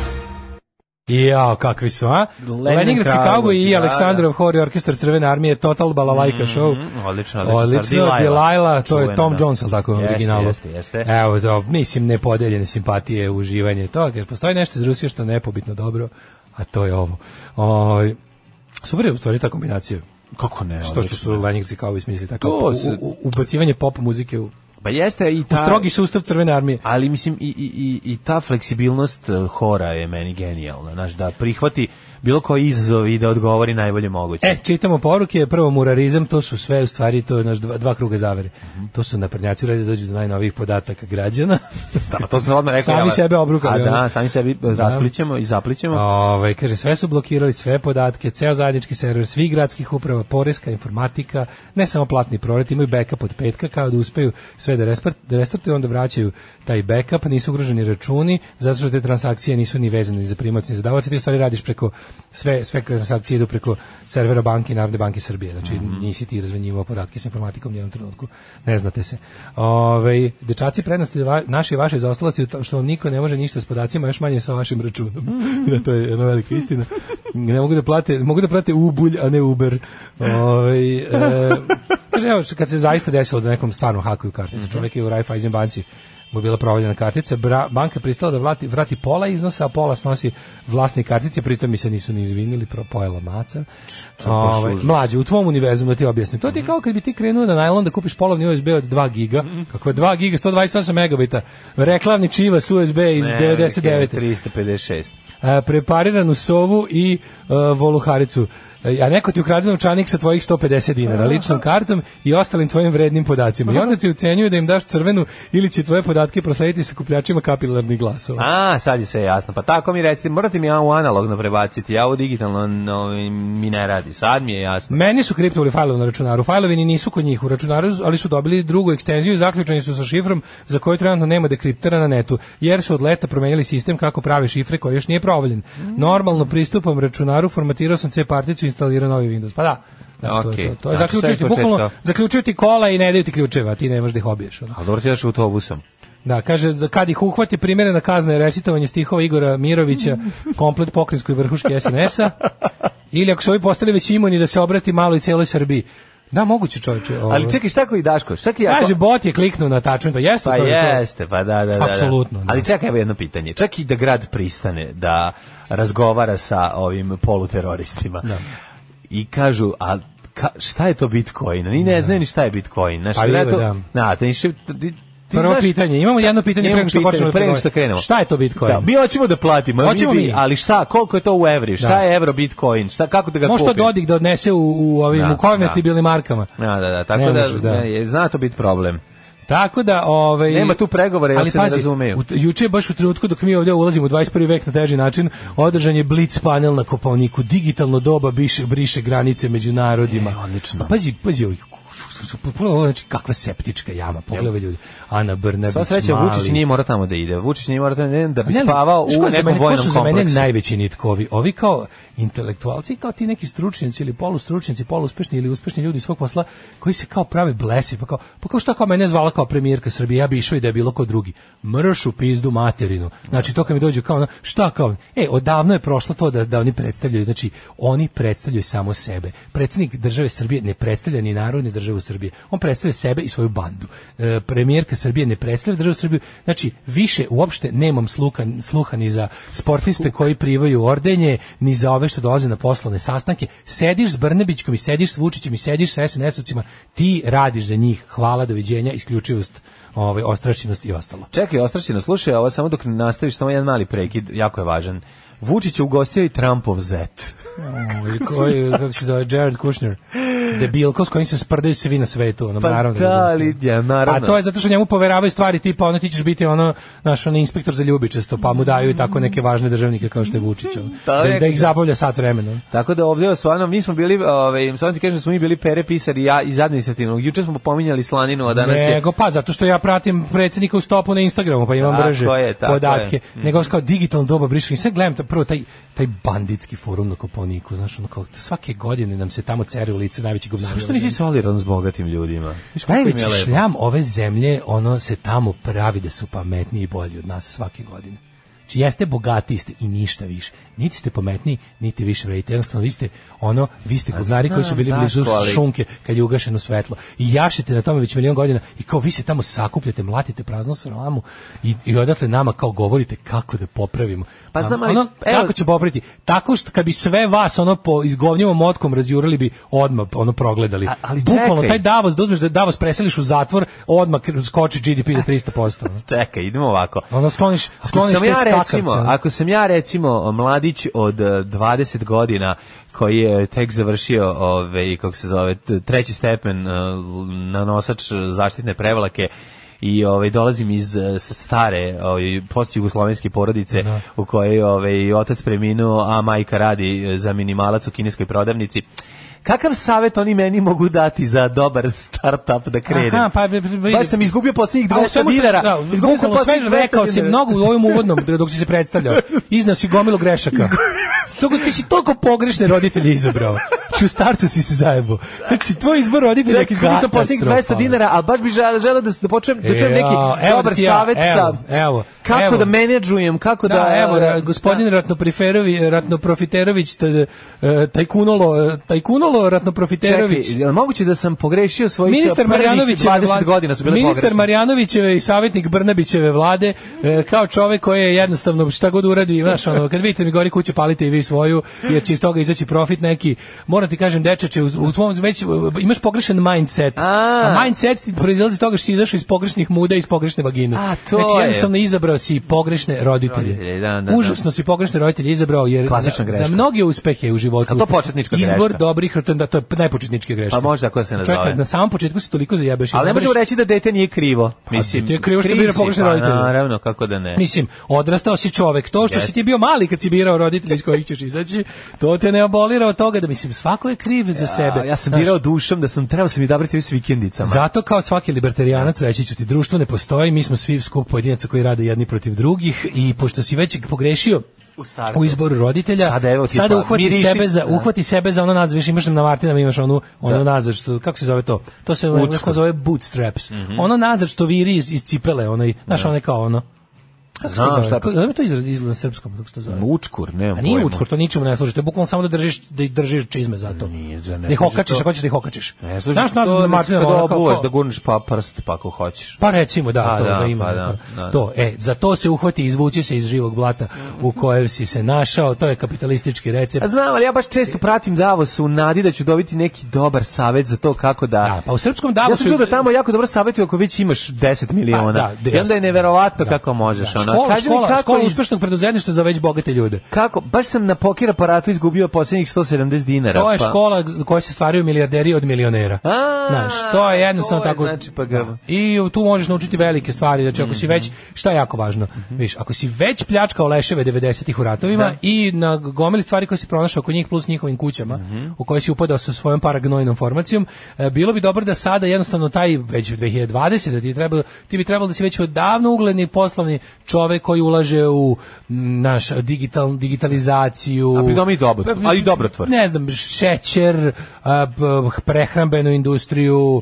S7: Jao, kakvi su, a?
S8: Leningrad
S7: Leningradski
S8: Cowboy,
S7: kauboj i
S8: da,
S7: Aleksandrov Hori Orkestar Crvene armije, Total Balalajka Show.
S8: Mm, odlično, odlično.
S7: Odlično,
S8: Stvar,
S7: Delilah, to je
S8: Čuvena,
S7: Tom
S8: da.
S7: Jones, ali tako, u
S8: Jeste,
S7: originalu. E.
S8: Jeste, jeste.
S7: Evo, to, mislim, nepodeljene simpatije, uživanje, to, jer postoji nešto iz Rusije što je nepobitno dobro, a to je ovo. Oj, super je u stvari ta kombinacija.
S8: Kako ne?
S7: Što što su Leningradski kauboj smislili, tako,
S8: To
S7: u,
S8: se-
S7: u, ubacivanje pop muzike u,
S8: Pa jeste i
S7: u
S8: ta...
S7: strogi sustav Crvene armije.
S8: Ali mislim i, i, i, i ta fleksibilnost eh, hora je meni genijalna, znaš, da prihvati bilo koji izazov i da odgovori najbolje moguće.
S7: E, čitamo poruke, prvo murarizam, to su sve u stvari to je naš dva, dva kruga zavere. To su naprednjaci uradi da dođu do najnovijih podataka građana.
S8: Da, to sam odmah rekao.
S7: Sami
S8: jel?
S7: sebe obrukali,
S8: A da,
S7: ono.
S8: sami sebi rasplićemo i zaplićemo.
S7: Ovaj kaže sve su blokirali sve podatke, ceo zajednički server svih gradskih uprava, poreska, informatika, ne samo platni prolet, imaju backup od petka kao da uspeju sve da, respart, da restartuju, onda vraćaju taj backup, nisu ugroženi računi, zato što te transakcije nisu ni vezane ni za primac, ni za davac, ti u stvari radiš preko sve sve transakcije idu preko servera banke i Narodne banke Srbije. Znači nisi ti razmenjivao podatke s informatikom ni u jednom trenutku. Ne znate se. Ovaj dečaci prednosti va- naše i vaše zaostalosti u to što vam niko ne može ništa s podacima, još manje sa vašim računom. da, to je jedna velika istina. Ne mogu da plate, mogu da plate ubulj, a ne Uber. Ovaj e, kaže, evo, kad se zaista desilo da nekom stvarno hakuju
S8: Mhm.
S7: kartice, čovjek je u Raiffeisen banci mu je bila provaljena kartica, bra- banka je pristala da vrati, vrati pola iznosa, a pola snosi vlasnik kartice, pritom mi se nisu ni izvinili, pro, pojela maca.
S8: baš
S7: Ovaj,
S8: užas. Mhm.
S7: mlađe, u tvom univerzumu da ti objasnim. To ti je kao kad bi ti krenuo na najlon da kupiš polovni USB od 2 giga, kako je 2 giga, 128 megabita, reklamni čiva s USB iz
S8: Ne,
S7: 99.
S8: 356.
S7: E, prepariranu sovu i e, voluharicu. E, a neko ti ukrade novčanik sa tvojih 150 dinara, ličnom kartom i ostalim tvojim vrednim podacima. I onda ti ucenjuju da im daš crvenu ili će tvoje podatke proslediti sakupljačima kapilarnih glasova.
S8: A, sad je sve jasno. Pa tako mi recite, morate mi ja u analogno prebaciti, ja u digitalno no, mi ne radi. Sad mi je jasno.
S7: Meni su kriptovali fajlove na računaru. Fajlovi ni nisu kod njih u računaru, ali su dobili drugu ekstenziju i zaključeni su sa šifrom za koju trenutno nema dekriptera na netu, jer su od leta promenili sistem kako prave šifre koji još nije provaljen. Normalno pristupam računaru, formatirao sam C particu i instalirao novi Windows. Pa da, da to, je
S8: Okej.
S7: to, to je
S8: Znači,
S7: zaključuju
S8: sve
S7: ti,
S8: iz početka.
S7: bukvalno, zaključuju ti kola i ne daju ti ključeva, a ti ne možeš da ih obiješ. ono.
S8: A dobro ti daš autobusom.
S7: Da, kaže da kad ih uhvati primjerena kazna je recitovanje stihova Igora Mirovića, komplet pokrinjskoj vrhuške SNS-a, ili ako su ovi postali već imuni da se obrati malo i cijeloj Srbiji. Da, moguće čovječe. Ovo.
S8: Ali čekaj, šta koji Daško? Šta ki ako-
S7: Kaže, bot je kliknuo na tačan, pa jeste
S8: Pa
S7: to je to.
S8: jeste, pa da, da, da, da.
S7: Apsolutno, da.
S8: Ali čekaj, evo jedno pitanje. Čak i da grad pristane da razgovara sa ovim poluteroristima. I kažu, a ka, šta je to Bitcoin? Ni ne znaju ni šta je Bitcoin. Znaš,
S7: Pa
S8: šta je
S7: je,
S8: to,
S7: da.
S8: Na, ti, ti, ti
S7: Prvo
S8: znaš-
S7: pitanje, imamo jedno pitanje
S8: Imamo
S7: pre nego što
S8: pitanje,
S7: počnemo da
S8: pre nego
S7: pregovaramo.
S8: što krenemo.
S7: Šta je to Bitcoin?
S8: Da, mi hoćemo da platimo, mi
S7: Hoćemo
S8: bi-
S7: mi.
S8: ali šta, koliko je to u evri, šta
S7: Da.
S8: je evro Bitcoin, šta, kako da ga
S7: Možda
S8: kupiš?
S7: Dodik da odnese u, u ovim
S8: Da,
S7: da, u konvertibilnim markama.
S8: Da, da, da, tako
S7: Ne
S8: da,
S7: može, da.
S8: ne, je, zna to biti problem.
S7: Tako da, ovaj
S8: Nema tu pregovora, jel
S7: ali
S8: se ne
S7: pazi,
S8: razumeju?
S7: u- Juče baš u trenutku dok mi ovdje ulazimo u 21. vek na teži način, održan je Blitz panel na Koponiku, digitalno doba biše, briše granice među narodima.
S8: E,
S7: Pa pazi, pazi, ovaj, pogledaj, ovo, znači kakva septička jama, pogledaj ljudi. Ana Brnabić,
S8: Sva sreća,
S7: Mali.
S8: Vučić nije morao tamo da ide. Vučić nije morao tamo da ide da bi
S7: Ne, ne,
S8: spavao
S7: znaš ko
S8: u
S7: je za
S8: nekom
S7: mene- ko
S8: vojnom
S7: su za mene
S8: kompleksu.
S7: najveći nitkovi. Ovi kao intelektualci, kao ti neki stručnjaci ili polustručnjaci, poluspešni ili uspešni ljudi iz svog posla, koji se kao prave blesi, pa kao, pa kao šta kao mene zvala kao premijerka Srbije, ja bi išao i da je bilo ko drugi. Mršu pizdu materinu. Znači, to kad mi dođu kao, ono, šta kao, e, odavno je prošlo to da, da oni predstavljaju, znači, oni predstavljaju samo sebe. Predsjednik države Srbije ne predstavlja ni narod, ni državu, državu Srbije. On predstavlja sebe i svoju bandu. E, premijerka Srbije ne predstavlja državu Srbiju. Znači, više uopšte nemam sluha, sluha ni za sportiste koji privaju ordenje, ni za ove što dolaze na poslovne sastanke. Sediš s Brnebićkom i sediš s Vučićem i sediš sa SNS-ovcima, ti radiš za njih. Hvala, doviđenja, isključivost, ovaj, ostrašćenost i ostalo.
S8: Čekaj, ostrašćeno, slušaj, ovo samo dok ne nastaviš, samo jedan mali prekid, jako je važan. Vučić je ugostio i Trumpov zet.
S7: Ili koji, kako se zove, Jared Kushner. Debilko s kojim se sprdaju svi na svetu. Ono,
S8: Pa da,
S7: naravno, ga ugostio.
S8: ali, ja, naravno.
S7: A to je zato što njemu poveravaju stvari tipa, ono, ti ćeš biti ono, naš ono, inspektor za ljubičesto, pa mu daju i tako neke važne državnike kao što je Vučić. ono.
S8: Da,
S7: da, da
S8: nekako.
S7: ih zabavlja sat vremena.
S8: Tako da ovdje stvarno mi smo bili, ovaj samo ti kažem da smo mi bili pere pisari ja iz administrativnog. Juče smo pominjali slaninu, a danas je
S7: Nego, pa, zato što ja pratim predsjednika u stopu na Instagramu, pa imam
S8: Tako
S7: brže
S8: je, tako
S7: podatke.
S8: je. Mm.
S7: Nego, ono, kao digitalno doba briše. I sad gledam, to, prvo, taj, taj banditski forum na Koponiku, znaš, ono, kao, svake godine nam se tamo cere u lice najveći gubnari.
S8: Zašto nisi solidaran s bogatim ljudima? Viš koliko im je
S7: Najveći
S8: lepo?
S7: šljam ove zemlje, ono se tamo pravi da su pametniji i bolji od nas svake godine. Znači jeste bogatiji ste i ništa više. Niti ste pametniji, niti više vredite. Jednostavno vi ste ono, vi ste
S8: Pa
S7: govnari koji su
S8: znam,
S7: bili
S8: Daško,
S7: blizu
S8: ali-
S7: šunke kad je ugašeno svetlo. I jašete na tome već milion godina i kao vi se tamo sakupljate, mlatite praznu sralamu i, i odatle nama kao govorite kako da popravimo.
S8: Pa
S7: Nam-
S8: znam, ali,
S7: ono,
S8: evo-
S7: kako će popraviti? Tako što kad bi sve vas ono po izgovnjivom otkom razjurili bi odmah ono progledali.
S8: ali
S7: Bukvalno
S8: čekaj.
S7: taj Davos, da uzmeš da Davos preseliš u zatvor, odmah kr- skoči GDP za 300%. ono.
S8: Čekaj, idemo ovako.
S7: Ono skloniš,
S8: Ako
S7: skloniš
S8: sam
S7: te
S8: ja
S7: skakavce.
S8: recimo,
S7: ono.
S8: ako sam ja recimo mladić od eh, 20 godina koji je tek završio ove kako se zove t- treći stepen eh, na nosač zaštitne prevalake i ovaj dolazim iz eh, s- stare ovaj postjugoslovenske porodice u kojoj ovaj otac preminuo, a majka radi eh, za minimalac u kineskoj prodavnici. Kakav savet oni meni mogu dati za dobar startup da krenem?
S7: Aha, pa, bi- bi- bi-
S8: Baš sam izgubio posljednjih
S7: A u
S8: 200
S7: svemu što-
S8: dinara.
S7: Da,
S8: izgubio sam
S7: bukvalno sve
S8: posljednjih 200
S7: rekao si
S8: dinara.
S7: mnogo u ovom uvodnom dok si se predstavljao. Iznao si gomilu grešaka. Toga ti si toliko pogrešne roditelje izabrao. Znači, u startu si se zajebao. Znači, tvoj izbor roditelja je
S8: Čekaj, izgubio sam posljednjih 200
S7: katastrofalan.
S8: dinara, ali baš bi želeo želeo da, se- da počujem, da čujem
S7: E,
S8: neki
S7: a, evo
S8: dobar
S7: ti ja,
S8: savjet sa
S7: evo, evo,
S8: kako
S7: evo.
S8: da menedžujem, kako da... e,
S7: Da, evo, e, ra- gospodin Ratnopriferovi, Ratnoprofiterović, t- e, tajkunolo, e, tajkunolo Ratnoprofiterović.
S8: Čekaj, je li moguće da sam pogrešio svojih
S7: Ministar
S8: prvih
S7: Marjanovićeve
S8: 20
S7: vlade-
S8: godina su bile
S7: Ministar
S8: pogrešne?
S7: Marjanovićeve i savjetnik Brnabićeve vlade, e, kao čovek koji je jednostavno šta god uradi, znaš, ono, kad vidite mi gori kuće, palite i vi svoju, jer će iz toga izaći profit neki. Moram ti kažem, dečeče, u, u tvom već e, imaš pogrešan mindset. A, mindset ti proizlazi iz toga što si izašao iz pogrešnih muda i iz pogrešne vagine.
S8: A, to
S7: znači,
S8: je.
S7: jednostavno izabrao si pogrešne roditelje.
S8: Roditelje, da, da, da.
S7: Užasno si pogrešne roditelje izabrao, jer
S8: Klasična
S7: za,
S8: greška.
S7: za mnoge uspehe u životu.
S8: A to početnička
S7: Izbor
S8: greška.
S7: dobrih, to je, da, to je najpočetnička greška.
S8: Pa možda ako se nazove.
S7: Čekaj, na samom početku se toliko zajebeš. i
S8: Ali ne
S7: nemaš-
S8: možemo reći da dete nije krivo. Mislim,
S7: ti Pa, je krivo što
S8: kriv
S7: bira
S8: si,
S7: pogrešne
S8: pa
S7: roditelje.
S8: Naravno, kako da ne.
S7: Mislim, odrastao si čovek. To što
S8: Jeste.
S7: si ti bio mali kad si birao roditelje iz kojih ćeš izaći, to te ne abolira od toga da, mislim, svako je kriv za sebe.
S8: A, ja sam
S7: Znaš,
S8: birao dušom da sam trebao sam i dabrati s vikendicama.
S7: Zato kao svaki libertarianac reći ću ti društvo ne postoji, mi smo svi skup pojedinaca koji rade jedni protiv drugih i pošto si već pogrešio
S8: U startu.
S7: u izboru roditelja,
S8: Sada evo ti
S7: sada
S8: pa,
S7: uhvati
S8: miriši
S7: sebe za
S8: se, da.
S7: uhvati sebe za ono nazad, više imaš na Martinama imaš onu ono nazad što kako se zove to? To se u
S8: Bucku.
S7: engleskom zove bootstraps.
S8: Mhm.
S7: Ono nazad što viri iz, iz cipele, onaj, znaš, onaj kao ono. Kako se to
S8: Znam
S7: zove?
S8: šta pa, je to.
S7: Kako- zove to izraz izgleda na srpskom, kako se to zove?
S8: Učkur, nemam
S7: A nije
S8: pojma.
S7: učkur, to ničemu ne služi. To je bukvalno samo da držiš da ih držiš čizme za to.
S8: Nije, za ne
S7: da ih
S8: služi
S7: okačiš,
S8: to.
S7: ako hoćeš da ih okačiš.
S8: Ne služi
S7: Znaš,
S8: to
S7: nas na
S8: da se
S7: Martinama
S8: kada
S7: ono kao-
S8: obuješ,
S7: kao-
S8: da gurneš pa prst pa ako hoćeš.
S7: pa recimo da,
S8: Pa
S7: to
S8: da,
S7: da, ima.
S8: pa
S7: neko.
S8: da, da, da.
S7: To, e, za to se uhvati i izvući se iz živog blata u kojem si se našao, to je kapitalistički recept.
S8: A znam, ali ja baš
S7: E.
S8: često pratim Davos u nadi da ću dobiti neki dobar savet za to kako da...
S7: Da, pa u srpskom
S8: ja
S7: Davosu...
S8: sam čuo da tamo jako dobro savjetuju ako već imaš 10 miliona.
S7: Pa, da,
S8: I onda je neverovatno kako možeš.
S7: Da,
S8: ono.
S7: škola,
S8: Kaži mi
S7: škola,
S8: kako
S7: škola
S8: iz-
S7: uspešnog preduzetništva za već bogate ljude.
S8: Kako? Baš sam na pokir aparatu izgubio posljednjih 170 dinara.
S7: To je
S8: pa-
S7: škola za koju se stvaraju milijarderi od milionera.
S8: A,
S7: Znaš, to je jednostavno
S8: to je,
S7: tako.
S8: znači, pa Mhm. grbo.
S7: Da. I tu možeš naučiti velike stvari, znači ako si već, šta je jako važno, viš, ako si već pljačkao leševe 90-ih u ratovima
S8: Mhm. Da.
S7: i na gomili stvari koje si pronašao oko njih plus njihovim kućama,
S8: Mhm.
S7: u koje si upadao sa svojom paragnojnom formacijom, e, bilo bi dobro da sada jednostavno taj, već 2020, da ti, je trebalo, ti bi trebalo da si već odavno ugledni poslovni čovek koji ulaže u m, naš digital, digitalizaciju.
S8: A pridom i dobro, ali i dobrotvor.
S7: Ne znam, šećer, a, b- prehrambenu industriju,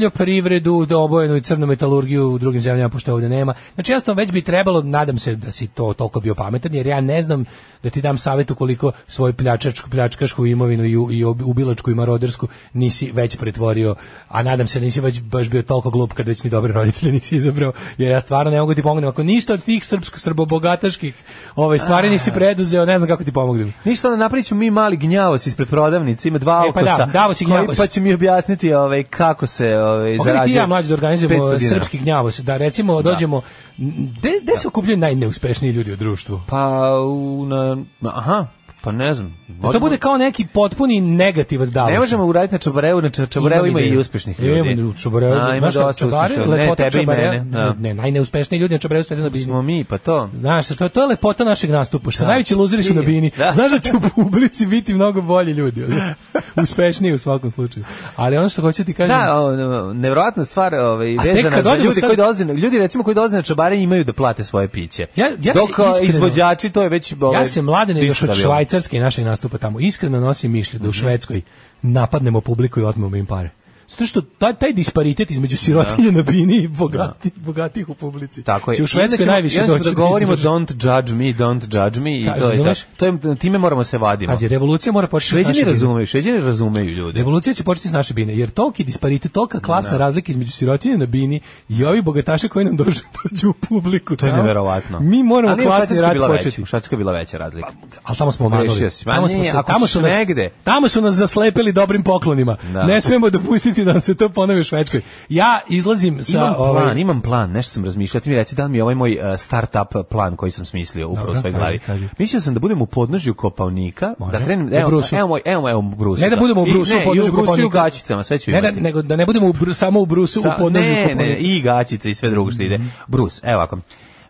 S7: poljoprivredu, obojenu i crnu metalurgiju u drugim zemljama, pošto ovde nema. Znači, jednostavno već bi trebalo, nadam se da si to toliko bio pametan, jer ja ne znam da ti dam savjet ukoliko svoju pljačačku, pljačkašku imovinu i, u- i ob- ubilačku i marodersku nisi već pretvorio, a nadam se da nisi već baš bio toliko glup kad već ni dobre roditelje nisi izabrao, jer ja stvarno ne mogu ti pomognem. Ako ništa od tih srpsko-srbobogataških ove, stvari nisi preduzeo, ne znam kako ti pomognem.
S8: Ništa ono napravit ćemo mi mali gnjavos ispred prodavnice, ima dva
S7: E, pa
S8: alkosa.
S7: da, Davos i
S8: koji-
S7: Gnjavos.
S8: Pa će mi objasniti ovaj, kako se ovaj,
S7: Mogu li ti i
S8: zarađuje.
S7: ja mlađi da organizujemo eh,
S8: 500 dinara?
S7: srpski gnjavos, da recimo dođemo, gde gde se okupljaju najneuspešniji ljudi u društvu?
S8: Pa, u, na, aha, pa ne znam.
S7: Da to
S8: Možemo-
S7: bude kao neki potpuni negativan Davos.
S8: Ne možemo uraditi na Čabarevu, na Ča- Čabarevu ima i uspešnih ljudi.
S7: Ima čobareu,
S8: A, ima
S7: znaš šta,
S8: dosta
S7: čobare,
S8: uspešnih ljudi. Ne,
S7: lepota
S8: tebi i
S7: čobare,
S8: mene. da.
S7: ne, najneuspešniji ljudi na čobareu sede na bini.
S8: Smo mi, pa to.
S7: Znaš, to, to je lepota našeg nastupa, što
S8: Da.
S7: najveći luzeri su na bini.
S8: Da.
S7: Znaš da će u publici biti mnogo bolji ljudi, ono? uspešniji u svakom slučaju. Ali ono što hoću ti kažem,
S8: Da, o, nevjerojatna stvar ovaj,
S7: A tek
S8: vezana
S7: kad
S8: za
S7: odemo
S8: ljudi
S7: sad-
S8: koji dolaze, na- ljudi recimo koji dolaze na čabare imaju da plate svoje piće.
S7: Ja- ja se
S8: Dok o,
S7: iskreno-
S8: izvođači to je već... ovaj,
S7: ja se mladen još od
S8: diskutabilno.
S7: Švajcarske i našeg nastupa tamo iskreno nosim mišlje
S8: Mhm.
S7: da u Švedskoj napadnemo publiku i otmemo im pare. Zato što taj, taj disparitet između sirotinje na bini i bogati, bogatih u publici.
S8: Tako je.
S7: Će Znači, u
S8: Inače
S7: Švedskoj
S8: ćemo-
S7: najviše
S8: inače ćemo
S7: doći
S8: da
S7: do
S8: govorimo
S7: izražaja.
S8: don't judge me, don't judge me i
S7: Kaže,
S8: to je
S7: razumeš?
S8: to. To je, time moramo se vadimo.
S7: Pazi, revolucija mora početi s naše
S8: Šveđani
S7: bine.
S8: razumeju, šveđani razumeju ljude.
S7: Revolucija će početi s naše bine, jer toliki disparitet, tolika klasna razlika između sirotinje na bini i ovi bogataši koji nam dođu, dođu u publiku.
S8: To je
S7: tamo,
S8: neverovatno.
S7: Mi moramo
S8: Ali u Švajcarskoj
S7: klasni
S8: je
S7: rat
S8: bila
S7: početi.
S8: veća, U Švedskoj je bila veća razlika.
S7: Ali tamo smo
S8: Pogrešio
S7: omanuli.
S8: si. Ma
S7: Tamo, smo
S8: nije,
S7: se,
S8: ako
S7: tamo,
S8: ćeš
S7: su nas,
S8: negde.
S7: tamo su nas zaslepili dobrim poklonima.
S8: Da.
S7: Ne smemo dopustiti da nam se to ponovi u Švedskoj. Ja izlazim sa...
S8: imam plan,
S7: ovaj,
S8: imam plan, nešto sam razmišljao, ti mi reci da li mi je ovaj moj uh, start-up plan koji sam smislio upravo u
S7: Dobro,
S8: svojoj
S7: kaži,
S8: glavi.
S7: kaži.
S8: Mislio sam da budem u podnožju kopavnika, da krenem,
S7: U
S8: evo,
S7: brusu.
S8: evo, moj, evo, evo, u brusu.
S7: Ne da budemo u
S8: I-
S7: brusu,
S8: ne,
S7: u podnožju
S8: i u brusu i u
S7: Kopaonika.
S8: gaćicama, sve ću
S7: ne da,
S8: imati.
S7: nego da ne budemo u bru- samo u brusu,
S8: Sa-
S7: u podnožju Mhm.
S8: ne, ne,
S7: Kopaonika.
S8: i gaćice i sve drugo što ide. Brus, evo ovako.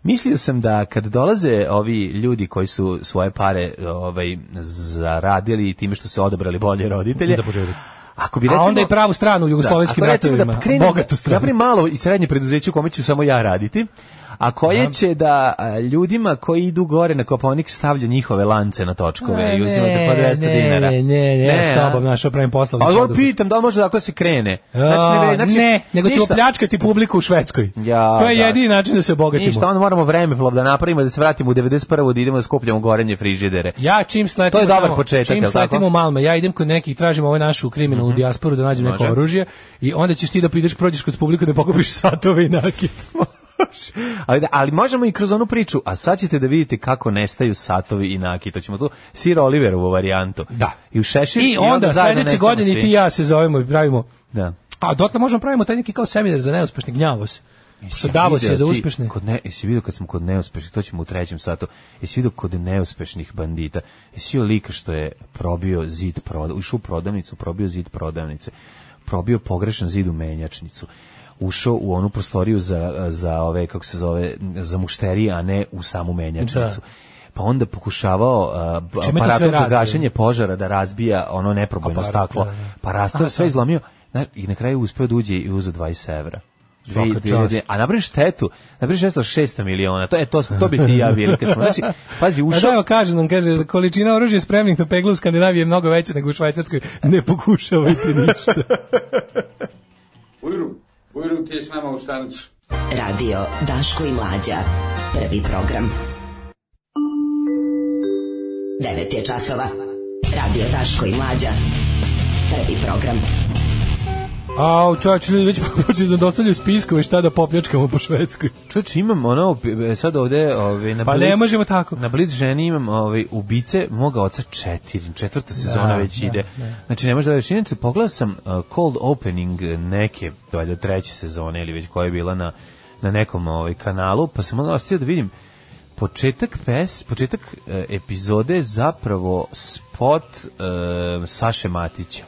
S8: Mislio sam da kad dolaze ovi ljudi koji su svoje pare ovaj, zaradili time što su odabrali bolje roditelje,
S7: Da poželi.
S8: Ako bi
S7: A
S8: recimo,
S7: onda i pravu stranu u jugoslovenskim
S8: ako recimo
S7: ratovima, bogatu stranu.
S8: napravim malo i srednje preduzeće u kome ću samo ja raditi, a koje će da a, ljudima koji idu gore na kopovnik stavlju njihove lance na točkove
S7: Ne,
S8: i uzimate
S7: ne,
S8: po 200
S7: ne,
S8: dinara.
S7: ne, ne, ja s
S8: a?
S7: tobom, znaš, opravim poslovni
S8: A dobro
S7: poduhvat.
S8: pitam, da li može tako da se krene?
S7: A,
S8: znači, vre-
S7: ne, nego ćemo
S8: ništa.
S7: pljačkati publiku u Švedskoj.
S8: Ja,
S7: to je
S8: da.
S7: jedini način da se obogatimo.
S8: Ništa, onda moramo vremeplov da napravimo, da se vratimo u 91. da idemo da skupljamo gorenje frižidere.
S7: Ja čim sletimo
S8: To je dobar
S7: tamo-
S8: početak,
S7: čim
S8: jel tako? Mhm.
S7: sletimo u Malme, ja idem kod nekih, tražim ovaj našu kriminalnu dijasporu da nađem neko
S8: Može.
S7: oružje i onda ćeš ti da pideš, prođeš kod publiku da pokupiš satove i nakit.
S8: Ali, da- ali možemo i kroz onu priču, a sad ćete da vidite kako nestaju satovi i naki. To ćemo tu Sir Oliverovu varijantu. Da. I u šešir.
S7: I onda,
S8: zajedno
S7: sledeće
S8: nestamo
S7: godine i
S8: svi.
S7: ti i ja se zovemo i pravimo.
S8: Da.
S7: A dotle možemo pravimo taj neki kao seminar za neuspešni gnjavos. Sa Davos je
S8: Video
S7: za
S8: ti
S7: uspešne.
S8: Kod ne, jesi vidio kad smo kod neuspešnih, to ćemo u trećem satu. Jesi vidio kod neuspešnih bandita. Jesi vidio lika što je probio zid prodavnice, ušao u prodavnicu, probio zid prodavnice. Probio pogrešan zid u menjačnicu ušao u onu prostoriju za, za ove kako se zove za mušterije a ne u samu menjačnicu pa onda pokušavao a, b-
S7: Čime to sve
S8: aparatom za
S7: radi?
S8: gašenje požara da razbija ono neprobojno
S7: Aparat,
S8: staklo
S7: da, da.
S8: pa rastao
S7: Aha,
S8: sve
S7: da.
S8: izlomio na- i na kraju uspeo da uđe i uzeo 20 evra Dve-
S7: Svaka
S8: dve-
S7: čast.
S8: dve- a napraviš štetu, napraviš štetu od 600 miliona, to, e, to, to bi ti i ja bili kad smo, znači, pazi,
S7: A E, da,
S8: ušao,
S7: evo kaže nam, kaže, količina oružja spremnih na peglu u Skandinaviji je mnogo veća nego u Švajcarskoj. Ne pokušavajte ništa.
S15: Ujru, Ujru, ti je s nama u stanicu.
S12: Radio Daško i Mlađa. Prvi program. 9 je časova. Radio Daško i Mlađa. Prvi program.
S7: A, čovječ, ljudi već počeli da dostavljaju spiskove šta da popljačkamo po Švedskoj.
S8: čovječ, imam ono, e, sad ovde, ove, na
S7: Pa ne
S8: Blitz-
S7: možemo tako.
S8: Na Blitz ženi imam ove, ubice moga oca četiri, četvrta sezona već
S7: da,
S8: ide. Znači, ne možda da činjenicu, pogledao sam uh, cold opening neke, valjda treće sezone ili već koja je bila na, na nekom ovaj, kanalu, pa sam onda ostio da vidim početak pes, početak e, epizode je zapravo spot e, Saše Matića.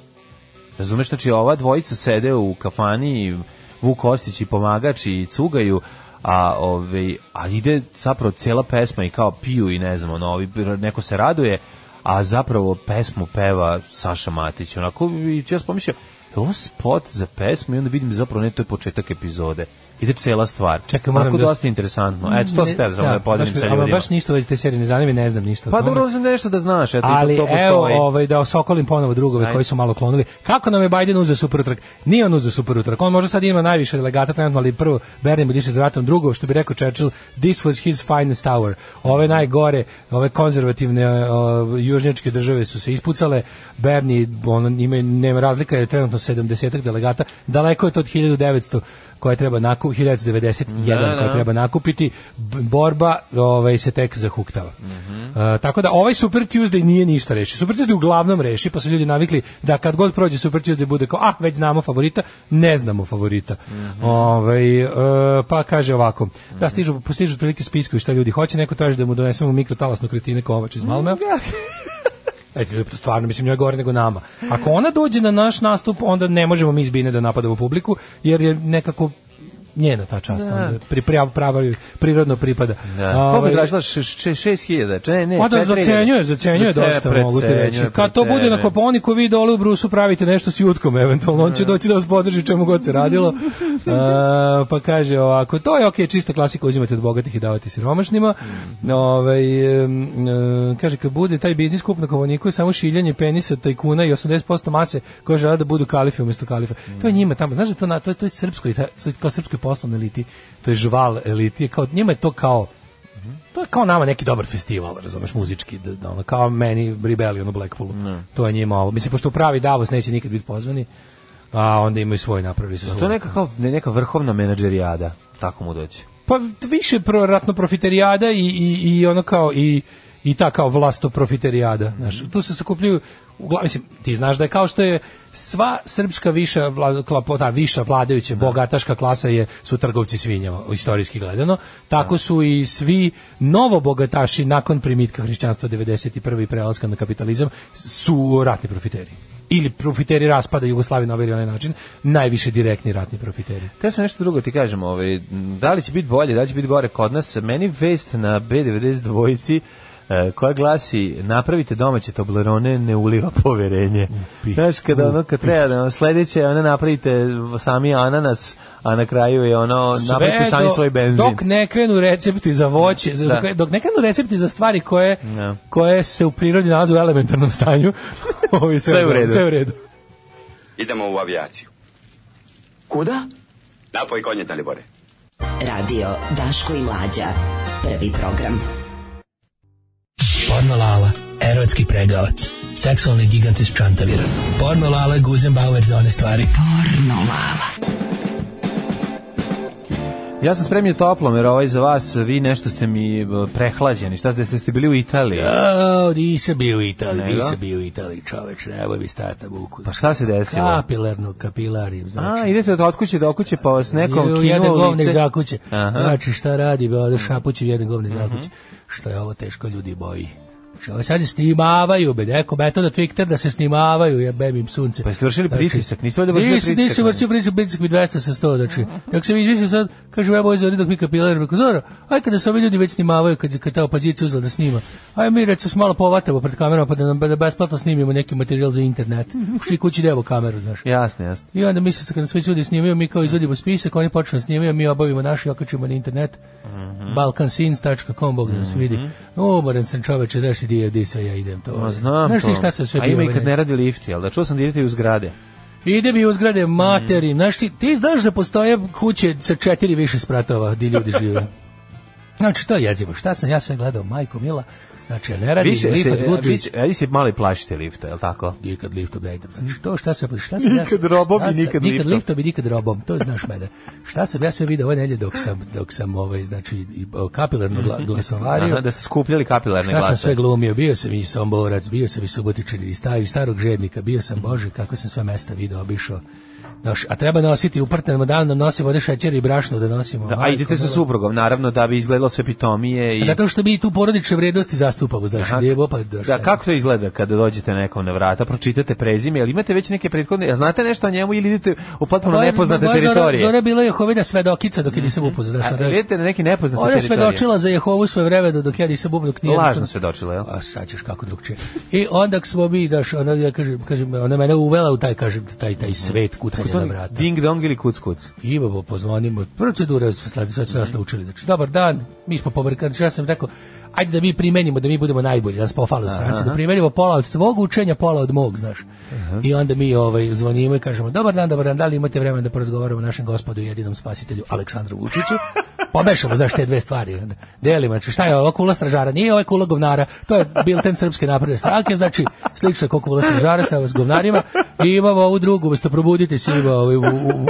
S8: Razumeš, znači ova dvojica sede u kafani, Vuk Kostić i pomagač i cugaju, a, ovaj, a ide zapravo cijela pesma i kao piju i ne znam, ono, ovi, neko se raduje, a zapravo pesmu peva Saša Matić. Onako, i ja sam pomislio, ovo spot za pesmu i onda vidim zapravo ne, to je početak epizode. Ide cela stvar.
S7: Čekaj, moram
S8: Onako
S7: da-
S8: dosta interesantno. Eto, to
S7: Ne-
S8: ste za
S7: da,
S8: da, podelim
S7: baš-
S8: sa
S7: ama
S8: ljudima.
S7: Baš ništa u vezi te serije ne zanima, i ne znam ništa. o
S8: Pa
S7: tome.
S8: dobro, znam nešto da znaš, eto,
S7: Ali
S8: ipak to
S7: evo,
S8: postoji.
S7: ovaj, da osokolim ponovo drugove
S8: Ajde.
S7: koji su malo klonuli. Kako nam je Biden uzeo super utrak? Nije on uzeo super utrak. On možda sad ima najviše delegata trenutno, ali prvo Bernie mu diše za vratom. Drugo, što bi rekao Churchill, this was his finest hour. Ove najgore, ove konzervativne o, južnjačke države su se ispucale. Bernie, on, ima, nema razlika, jer je trenutno 70 delegata. Daleko je to od 1900 koje treba nakupiti, 1991
S8: Da, da.
S7: koje treba nakupiti. B- Borba ovaj, se tek zahuktava. E, tako da ovaj Super Tuesday nije ništa reši. Super Tuesday uglavnom reši, pa su ljudi navikli da kad god prođe Super Tuesday bude kao, a, već znamo favorita, ne znamo favorita. Ovaj, e, pa kaže ovako, da stižu, postižu prilike spiskovi šta ljudi hoće, neko traži da mu donesemo mikrotalasnu Kristine Kovač iz Malmea. E, ljudi, stvarno, mislim, njoj je gore nego nama. Ako ona dođe na naš nastup, onda ne možemo mi izbine da napadamo publiku, jer je nekako njena ta čast.
S8: Da.
S7: onda pri, pri- prava joj prirodno pripada.
S8: Da. Koliko
S7: Ovaj,
S8: je tražila? Š- š- šest hiljada? Če- ne,
S7: Pa da
S8: četiri
S7: zacenjuje,
S8: hiljade.
S7: zacenjuje
S8: Zace-
S7: dosta, mogu ti reći.
S8: precenjuje,
S7: Kad to bude na
S8: precenjuje.
S7: koponi ko vi dole u Brusu pravite nešto s jutkom eventualno, on će doći da vas podrži čemu god se radilo. E, pa kaže ovako, to je okej, čista klasika, uzimate od bogatih i davate siromašnima.
S8: Mhm.
S7: Ovaj, em, e, kaže, kad bude taj biznis kup na kovoniku je samo šiljanje penisa tajkuna i 80% mase koja žele da budu kalifi umjesto kalifa. To
S8: Mhm.
S7: je njima tamo, znaš da to, na, to, je- to je srpskoj, ta- kao srpskoj poslovnoj eliti, to je žval eliti, kao, njima je to kao to je kao nama neki dobar festival, razumeš, muzički, da, da ono, kao meni Rebellion u Blackpoolu. To je njima ovo. Mislim, pošto u pravi Davos neće nikad biti pozvani, a onda imaju svoj napravili su
S8: Pa To je
S7: svoj.
S8: neka, kao, ne, neka vrhovna menadžerijada. Tako mu doći.
S7: Pa više pro, ratno profiterijada i, i, i ono kao i i ta kao vlasto profiterijada. Znaš, tu se sakupljuju uglavnom mislim, ti znaš da je kao što je sva srpska viša vla, kla- ta viša vladajuća bogataška klasa je su trgovci svinjama istorijski gledano, tako su i svi novo bogataši nakon primitka hrišćanstva 91. i prelaska na kapitalizam su ratni profiteri ili profiteri raspada Jugoslavije na ovaj ili onaj način, najviše direktni ratni profiteri.
S8: Te sam nešto drugo ti kažem, ovaj, m, da li će biti bolje, da li će biti gore kod nas, meni vest na B92 dvojici e, koja glasi napravite domaće Toblerone ne uliva poverenje. Znaš, kada ono, kad treba, da ono, sledeće, ono, napravite sami ananas, a na kraju je ono, napravite
S7: Sve
S8: sami
S7: do-
S8: svoj benzin.
S7: Dok ne krenu recepti za voće, za,
S8: Da.
S7: dok, ne- dok ne krenu recepti za stvari koje,
S8: Da.
S7: koje se u prirodi nalaze u elementarnom stanju, ovi sve,
S8: Sve
S7: je
S8: u
S7: dobro,
S8: redu.
S7: Sve je u redu.
S16: Idemo u avijaciju. Kuda? Napoj konje, Dalibore.
S12: Radio Daško i Mlađa. Prvi program.
S17: Porno Lala, erotski pregavac, seksualni gigant iz Čantavira. Porno Lala, Guzenbauer za one stvari. Porno Lala.
S8: Ja sam spremio toplom, jer ovaj za vas, vi nešto ste mi e, prehlađeni. Šta ste, ste bili u Italiji?
S17: Ja, nisam bio u Italiji,
S8: Nego?
S17: nisam bio u Italiji, čoveč, nemoj mi stata buku.
S8: Pa šta se desilo?
S17: Kapilarno, kapilarim, znači.
S8: A, idete od otkuće do okuće, pa vas nekom
S17: Ju,
S8: kinuo
S17: jedan
S8: u
S17: govnik
S8: lice.
S17: za kuće.
S8: Aha. Mhm.
S17: Znači šta radi, be, ode šapućev jedan govnik za kuće. Što je ovo teško ljudi boji. Što ovo sad snimavaju, be, neko metoda Twitter da se snimavaju, ja bebim sunce. Pa
S8: jeste vršili pritisak? Niste valjda vršili pritisak? Mhm.
S17: Nisam vršio pritisak, pritisak mi 200 sa 100, znači. Kako se mi izmislio sad, kažem, evo ovdje dok mi kapilar, reko, Zoro, aj kada se ovi ljudi već snimavaju, kad, kad ta opozicija uzela da snima, aj mi recimo se malo povatamo pred kamerom, pa da nam da besplatno snimimo neki materijal za internet. Ušli kući devo kameru, znaš.
S8: Jasno, jasno.
S17: I onda misle se kada svi ljudi snimaju, mi kao izvodimo spisak, oni počnu da snimaju, mi obavimo naš i okačimo na internet.
S8: Mhm.
S17: balkansins.com, Bog da nas vidi. Umoran sam čoveče, znaš ti di je, di sve ja idem. To,
S8: Ma
S17: Pa
S8: znam
S17: znaš ti
S8: to.
S17: šta sam sve
S8: A ima
S17: bio, ovaj
S8: i kad
S17: ne?
S8: ne radi lift, jel da? Čuo sam da idete i u zgrade.
S17: Ide mi u zgrade materi.
S8: Mhm.
S17: Znaš ti, ti znaš da postoje kuće sa četiri više spratova di ljudi žive. Znači, to je jezivo. Šta sam ja sve gledao, majko mila? Znači, ne radi
S8: Više
S17: lift
S8: se, e,
S17: od Goodrich.
S8: više, a vi se mali plašite lifta, jel tako?
S17: Nikad liftom ne idem. Znači, to šta sam, šta sam ja
S8: Mm. Nikad
S17: sve-
S8: robom
S17: šta
S8: i
S17: sam-
S8: nikad
S17: nikad
S8: liftom.
S17: liftom i nikad robom, to znaš mene. Šta sam ja sve video ove nelje dok sam, dok sam ovaj, znači, i, o, kapilarno gla, glasovario.
S8: Mhm. Aha, da ste skupljali kapilarne
S17: Šta sam
S8: glase.
S17: sve glumio, bio sam i Somborac, bio sam i Subotičan i stav, i starog žednika, bio
S8: Mhm.
S17: sam Bože, kako sam sve mesta video, obišao. Noš, a treba nositi uprtan dan nam nosimo ovde šećer i brašno da nosimo.
S8: Da, a
S17: Majko
S8: idete sa
S17: mila.
S8: suprugom, naravno, da bi izgledalo sve pitomije i...
S17: Zato što mi tu porodične vrednosti
S7: stupa guzdaš lijevo, pa doš.
S8: Da, kako to izgleda kada dođete nekom na vrata, pročitate prezime, ali imate već neke prethodne, a znate nešto o njemu ili idete u potpuno
S17: Pa,
S7: Moja-
S8: nepoznate
S7: moja Zora-
S8: teritorije?
S7: Zora je bila Jehovina svedokica dok je nisam upoznao. znaš,
S8: A,
S7: ona je-
S8: idete na neke nepoznate
S7: Ona je
S8: teritorije.
S7: svedočila za Jehovu sve vreme dok ja nisam upoznao. dok nije-
S8: Lažno svedočila, jel?
S7: A sad ćeš kako drugčije. I onda smo mi, daš, ona, ja kažem, kažem, ona je mene uvela u taj, kažem, taj, taj svet kucanja na
S8: Pozvani
S7: vrata.
S8: Ding dong ili kuc kuc.
S7: Imamo, pozvonimo, procedura, sladi, sve su nas naučili. Znači, dobar dan, mi smo pobrkani, znači, ja sam rekao, ajde da mi primenimo, da mi budemo najbolji, da nas pofali u stranci,
S8: Aha.
S7: Znači, da primenimo pola od tvog učenja, pola od mog, znaš. I onda mi ovaj, zvonimo i kažemo, dobar dan, dobar dan, da li imate vremena da porazgovaramo o našem gospodu i jedinom spasitelju Aleksandru Vučiću? Pomešamo, znaš, te dve stvari. onda Delimo, znači, šta je ova kula stražara? Nije ova kula govnara, to je bilten srpske napredne stranke, znači, slično je kao kula stražara sa govnarima. I imamo ovu drugu, umesto probudite se, ima ovaj, u, u,